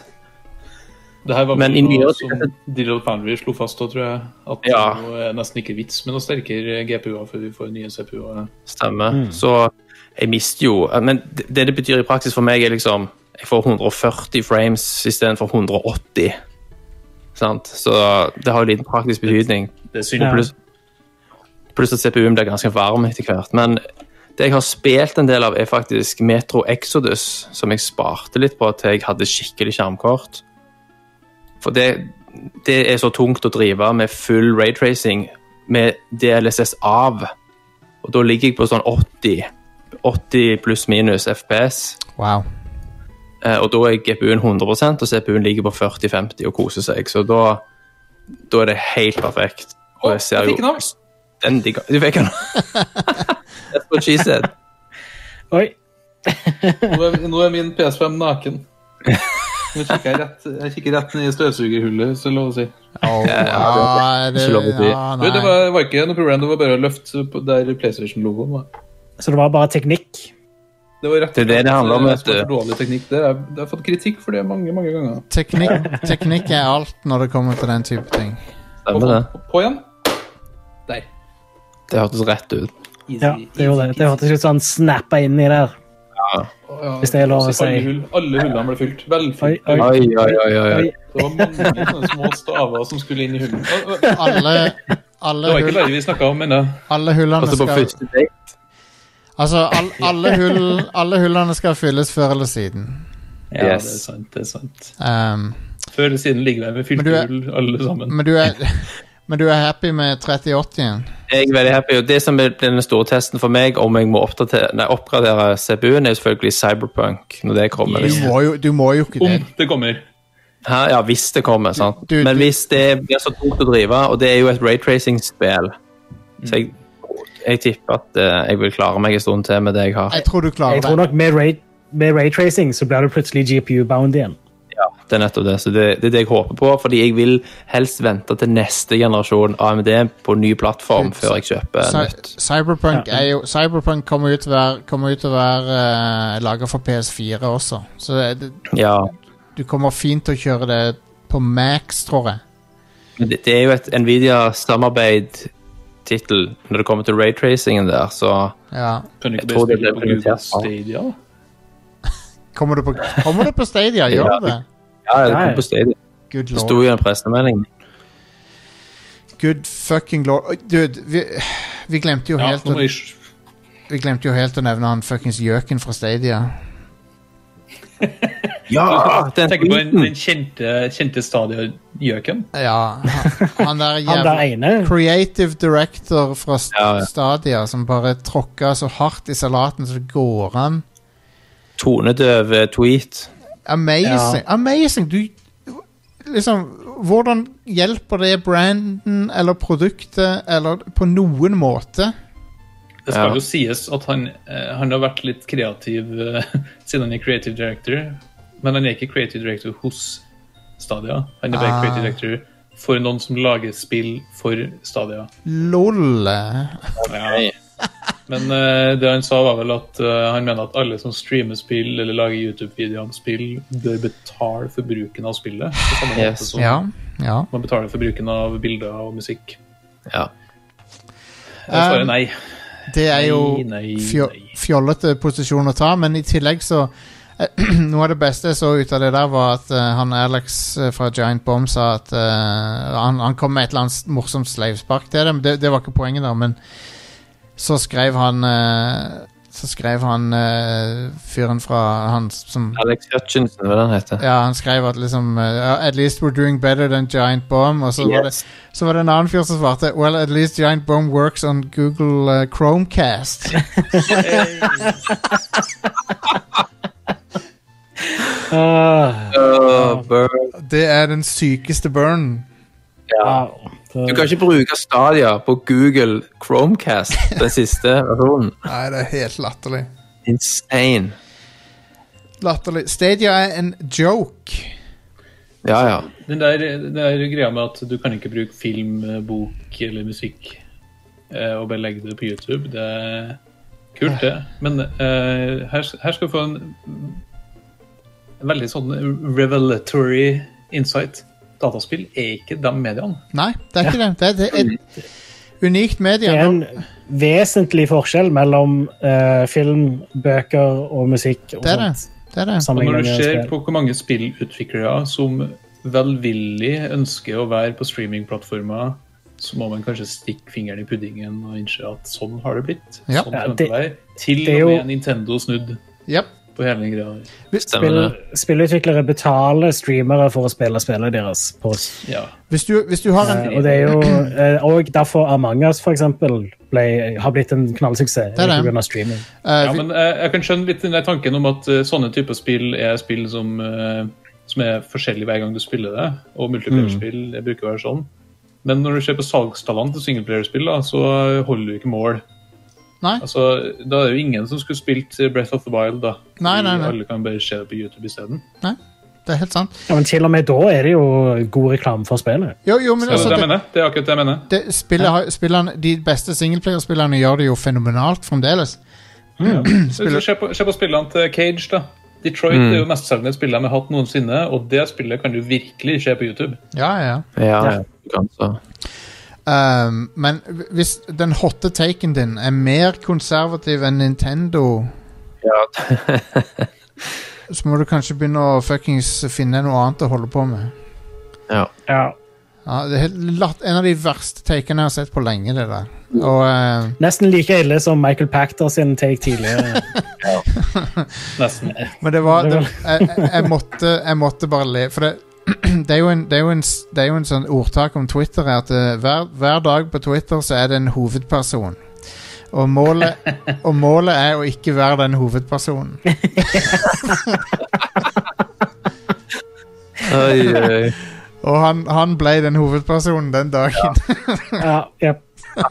Det her var
Men
vel
i nyere
noe
tid-
som Digital Foundry slo fast, da, tror jeg. At
Ja.
det nå er nesten ikke vits med noe sterkere GPU-er før vi får nye CPU-er.
Stemmer. Så jeg mister jo Men det det betyr i praksis for meg, er liksom Jeg får 140 frames istedenfor 180. Sant? Så det har jo liten praktisk betydning.
Det er synd.
Ja.
Pluss pluss at CPU-en blir ganske varm etter hvert. Men det jeg har spilt en del av, er faktisk Metro Exodus, som jeg sparte litt på til jeg hadde skikkelig skjermkort. For det, det er så tungt å drive med full raytracing med DLSS av. Og da ligger jeg på sånn 80, 80 pluss minus FPS.
wow.
Eh, Og da er GPU-en 100 og CPU-en ligger på 40-50 og koser seg. Så da, da er det helt perfekt. Og jeg ser jo stendig Du fikk den! That's what she said.
Oi,
Nå er, nå er min PS5 naken. Nå kikker jeg rett, jeg kikker rett ned i støvsugerhullet, hvis det er lov å si.
Oh, ja, det,
Ikke lov å si.
Ah,
ja,
Du, det
nei.
var, var ikke noe problem, det var bare å løfte på der PlayStation-logoen var.
så det var bare teknikk?
Det var rett
Det er det det handler om,
vet
vet du.
Dårlig teknikk. Det er, det har fått kritikk for det mange, mange ganger.
Teknikk, teknikk er alt når det kommer til den type ting.
Stemmer det.
På, på igjen. Der.
Det hørtes rett ut.
Easy,
Ja, det gjorde det. Det hørtes ut som han snappa inni der.
Å, ja,
hvis det er lov å si.
Alle, hull, alle hullene ble fylt.
Oi,
Velfylt.
oi,
Oi, oi, oi. oi, oi.
oi.
Det var mange sånne små staver som skulle inn i hullene. Å, å,
Alle, alle,
Det var ikke
hull,
Larry vi snakka om ennå.
alle hullene
Altså på
skal
første date
Altså, all, alle, hull, alle hullene skal fylles før eller siden.
Ja,
Yes.
det er sant. det er sant.
Um,
Før eller siden ligger der med fylte
Men du er-
hull, alle sammen.
men, du er, men du er happy med 3080-en?
Jeg er veldig happy, og Det som er den store testen for meg, om jeg må oppdatere, nei, oppgradere CPU-en, er selvfølgelig Cyberpunk. når det kommer.
Du,
Liksom.
må jo- du må jo ikke
Om
det.
det kommer.
Hæ? Ja, hvis det kommer, sant.
Du-
Men
du-
hvis det blir så tungt å drive, og det er jo et raytracing-spill, så jeg, jeg tipper at eh, jeg vil klare meg en stund til med det jeg har.
Jeg tror du klarer
Jeg tror
det.
nok med, ray, med raytracing så blir du plutselig GPU-bound igjen.
Ja, det er nettopp det. Så det, det er det jeg håper på, fordi jeg vil helst vente til neste generasjon AMD på ny plattform før jeg kjøper
Cy-
nytt.
Cyberpunk,
Ja.
er jo, Cyberpunk kommer ut til å være- kommer ut til å være uh, laga for PS4 også, så det, det-
Ja,
du kommer fint til å kjøre det på max, tror jeg.
men det, det er jo et Nvidia-samarbeid-tittel når det kommer til raytracingen der, så
Ja.
Kan du ikke
Jeg
bare
tror det
spille på
ble
Google
prioritert, ja.
Stadia?
Kommer du på, kommer du på Stadia?
Ja.
Gjør du det?
ja, det
Nei.
kom på Stadia.
Good
Det sto
lord.
jo i en pressemelding.
Good fucking lord. Oi, Dude, vi, vi glemte jo
Ja,
helt
nå
å
må jeg
Vi glemte jo helt å nevne han fuckings gjøken fra Stadia.
Ja! Ah, Den
tenke på den,
tweeten.
den kjente, kjente Stadia-gjøken.
Ja, han, han der
Han der
jævla
ene
Creative director fra st
Ja, ja.
Stadia som bare tråkka så hardt i salaten så det går an.
Tonedøv tweet.
Amazing! Amazing! Du liksom, hvordan hjelper det branden eller produktet eller på noen måte?
Det skal
Ja.
jo sies at han, eh, han har vært litt kreativ eh, siden han er creative director, men han er ikke creative director hos Stadia. Han er bare
Ah.
creative director for noen som lager spill for Stadia.
LOL.
Nei.
Men eh, det han sa, var vel at eh, han mener at alle som streamer spill eller lager YouTube-videoer om spill, bør betale for bruken av spillet. På samme måte
Yes.
som
Ja. ja.
man betaler for bruken av bilder og musikk.
Ja.
Jeg svarer
Um,
nei.
Det er jo
Nei, nei,
fjo
nei.
fjollete posisjon å ta, men i tillegg så eh, Noe av det beste jeg så ut av det der, var at eh, han Alex eh, fra Giant Bomb sa at eh, han, han kom med et eller annet s- morsomt sleivspark til dem. Det, det var ikke poenget, da, men så skrev han eh, Så skrev han eh, fyren fra Han som
Alex Hutchinson, hva er det han heter?
Ja, han skrev at liksom eh, At least we're doing better than Giant Bomb. Og så, var, det,
Yes.
så var det en annen fyr som svarte Well, at least Giant Bomb works on Google eh, Chromecast.
Ah,
Åh, Burn.
Det er den sykeste burnen.
ja.
wow. Så-
Du kan ikke bruke Stadia på Google Chromecast, den siste versjonen.
Nei, det er helt latterlig.
Insane.
Latterlig. Stadia er en joke.
Ja, ja.
Den der, den der greia med at du kan ikke bruke film, eh, bok eller musikk eh, og bare legge det på YouTube, det er kult, det. Men eh, her, her skal du få en en veldig sånn revelatory insight. Dataspill er ikke de mediene.
Nei, det er ikke det. Det er, det er et unikt
Det
medie.
er en vesentlig forskjell mellom eh, film, bøker og musikk. Og
Det er det.
sånt.
det, er det.
Og når
Sammenlignet
du
med
ser
spill.
på hvor mange spillutviklere som velvillig ønsker å være på streamingplattformer, så må man kanskje stikke fingeren i puddingen og innse at sånn har det blitt.
Ja.
Sånn
Ja,
kommer det
det-
til å være. Til
det er
og
jo-
med Nintendo snudd
Yep.
på hele den greia. der.
Stemmer det.
Spill, spillutviklere betaler streamere for å spille spillet deres. På, s-
Ja.
Hvis, du, hvis du har en
Eh, og det er jo eh, og derfor Amangas for eksempel, ble, har blitt en knallsuksess
Det er det.
pga. streaming.
eh,
ja,
vi-
men jeg, jeg kan skjønne litt den der tanken om at eh, sånne typer spill er spill som, eh, som er forskjellige hver gang du spiller det, og multiplayerspill
Mm.
det bruker å være sånn. Men når du ser på salgstallene til singleplayerspill, da, så holder du ikke mål.
Nei.
Altså, da er det jo ingen som skulle spilt Breath of the Wild, da.
Nei, nei, nei.
Alle kan bare se det på YouTube isteden.
Nei, det er helt sant.
Ja, men til og med da er det jo god reklame for spillet.
Jo, jo, men
Det er
altså,
det jeg
det,
mener. Det er akkurat det jeg mener.
det, spillet, har- spillene, de beste singelplayerspillerne gjør det jo fenomenalt fremdeles.
Så Se, på, se på spillene til Cage, da. Detroit er jo mestselgende spillet de har hatt noensinne, og det spillet kan du virkelig se på YouTube.
Ja, ja, ja.
Ja, ja. Du kan så.
Um, men hvis den hotte taken din er mer konservativ enn Nintendo
Ja.
så må du kanskje begynne å fuckings finne noe annet å holde på med.
ja.
Ja.
Ja, det er helt latt, en av de verste takene jeg har sett på lenge, det der. Og eh,
Nesten like ille som Michael Pactor sin take tidligere.
Nesten.
Men det var det, jeg, jeg- jeg, måtte, jeg måtte bare le. For det, det, er jo en, det, er jo en, s- det er jo en sånn ordtak om Twitter er at eh, hver, hver dag på Twitter så er det en hovedperson. Og målet, og målet er å ikke være den hovedpersonen.
Oi, oi.
Og han, han ble den hovedpersonen den dagen.
ja, jep.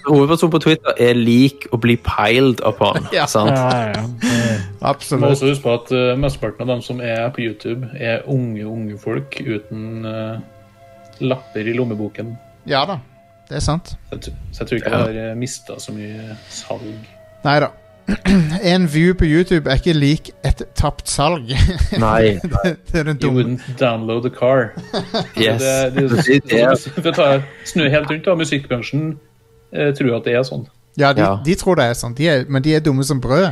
Hovedpersonen på Twitter er lik å bli piled upon.
Ja.
Sant?
ja, ja.
Du må
Absolutt.
også huske på at eh, mesteparten av dem som er på YouTube, er unge, unge folk uten eh, lapper i lommeboken.
Ja da, det er sant.
Så jeg, t- så jeg tror ikke jeg har mista så mye salg.
Nei da. En view på YouTube er ikke lik et tapt salg.
Nei.
det er den
You
dumme.
wouldn't download a car.
Yes.
Det, det,
Det er det.
for å ta, snu helt rundt, da. Musikkbransjen eh, tror at det er sånn.
Ja, de,
Ja.
de tror det er sånn, de er, men de er dumme som brød.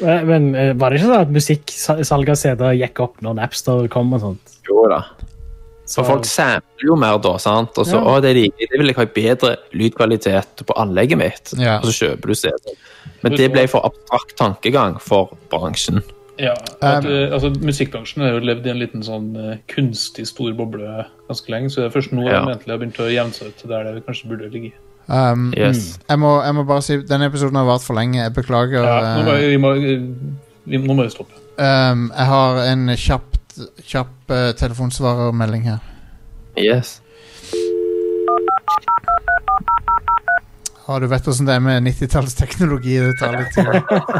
Men men, eh, var det ikke sånn at musikksalget av CD-er gikk opp når Napster kom og sånt?
Jo da.
Så
For folk sampler jo mer da, sant? Og så,
Ja.
å, det liker jeg, det vil jeg ha bedre lydkvalitet på anlegget mitt.
Ja.
Og så kjøper du CD. Men det ble for abstrakt tankegang for bransjen.
Ja, at,
Um.
eh, altså Musikkbransjen har jo levd i en liten sånn eh, kunstig stor boble ganske lenge, så det er først nå de
Ja.
egentlig har begynt å jevne seg ut til der det kanskje burde ligge.
Um,
Yes.
jeg, må, jeg må bare si denne episoden har vart for lenge. Jeg beklager.
Ja, nå, må,
eh,
vi, må, vi, nå må vi stoppe.
um, jeg har en kjapt, kjapp eh, telefonsvarermelding her.
Yes.
Å, du vet hvordan det er med 90-tallsteknologi. Det tar litt tid.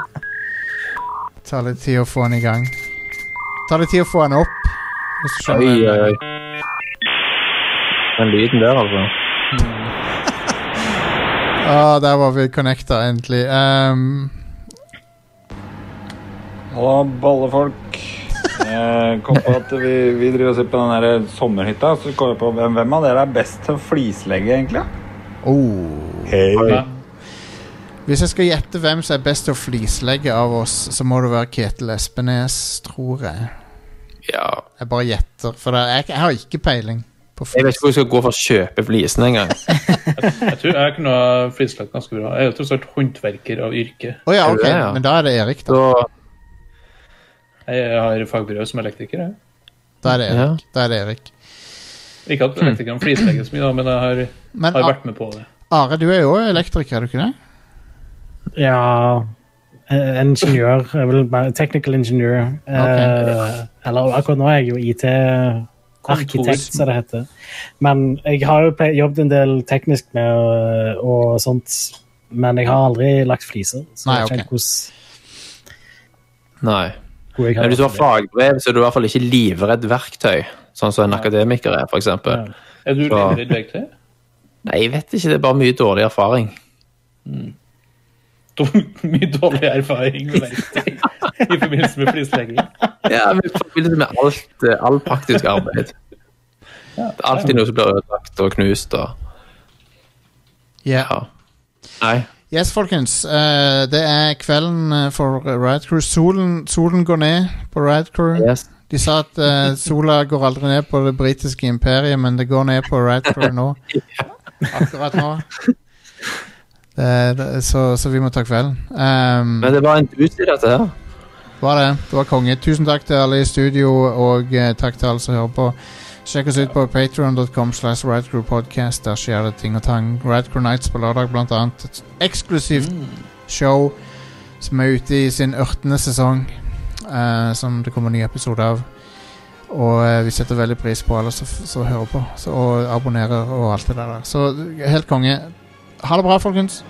Det tar litt tid å få den i gang. Det tar litt tid å få den opp. Hvis du
Oi,
skjønner.
oi, oi. Den lyden der, altså.
Å, Ah, der var vi connecta, endelig. Ehm,
Hallo, ballefolk. Jeg kom på at vi, vi driver og ser på den der sommerhytta. Så kom jeg på hvem, hvem av dere er best til å flislegge, egentlig?
oh.
Hei.
Hvis jeg skal gjette hvem som er best til å flislegge av oss, så må det være Ketil Espenes, tror jeg.
Ja.
Jeg bare gjetter, for det er, jeg, jeg har ikke peiling. På
Jeg vet ikke hvor jeg skal gå for å kjøpe flisene engang.
Jeg tror jeg kunne ha flislagt ganske bra. Jeg er jo tross alt håndverker av yrke.
Å ja,
Er du
ok,
det, ja?
men da er det Erik, da.
Så
Jeg har fagbrev som elektriker. Jeg.
Da er det
Ja.
Erik. Da er det Erik.
Ikke at elektrikeren flislegger så mye, da, men jeg har,
Men
har
A-
vært med på det.
Are, du er jo også elektriker, er du ikke det?
Ja eh, Ingeniør. Jeg vil bare Technical engineer. Eh, Eller akkurat nå er jeg jo IT-arkitekt, som det heter. Men jeg har jo ple- jobbet en del teknisk med og, og sånt. Men jeg har aldri lagt fliser, så
Nei,
jeg
ok.
vet ikke hvordan
nei.
god jeg
Men
har
hvis du har
vært med det.
fagbrev, så er du i hvert fall ikke livredd verktøy. Sånn som en akademiker er, f.eks.
Ja.
Er du
Ja.
livredd verktøy?
Nei, jeg vet ikke. Det er bare mye dårlig erfaring.
Dum- Mye dårlig erfaring med verktøy i forbindelse med flislegging.
Ja, men i forbindelse med alt, eh, all praktisk arbeid. Det er alltid noe som blir ødelagt og knust og
Ja.
Ja. Nei.
Yes, folkens. eh, det er kvelden eh, for Riot Crew. Solen, solen går ned på Riot Crew.
Yes.
De sa at eh, sola går aldri ned på det britiske imperiet, men det går ned på Riot Crew nå. Akkurat nå. Det, det, så, så vi må ta kvelden. Um,
Men det var en dus i dette her.
var det. Det var konge. Tusen takk til alle i studio, og eh, takk til alle som hører på. Sjekk oss ut på patreon.com slash rightcrewpodcast. Der skjer det ting og tang. Right Crew Nights på lørdag, blant annet. Et eksklusivt show som er ute i sin ørtende sesong, eh, som det kommer nye episoder av. Og eh, vi setter veldig pris på alle som, som hører på, så, og abonnerer og alt det der. Så helt konge. Ha det bra, folkens.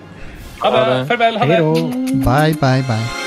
Ha det. Farvel. Ha det.
Bye, bye, bye.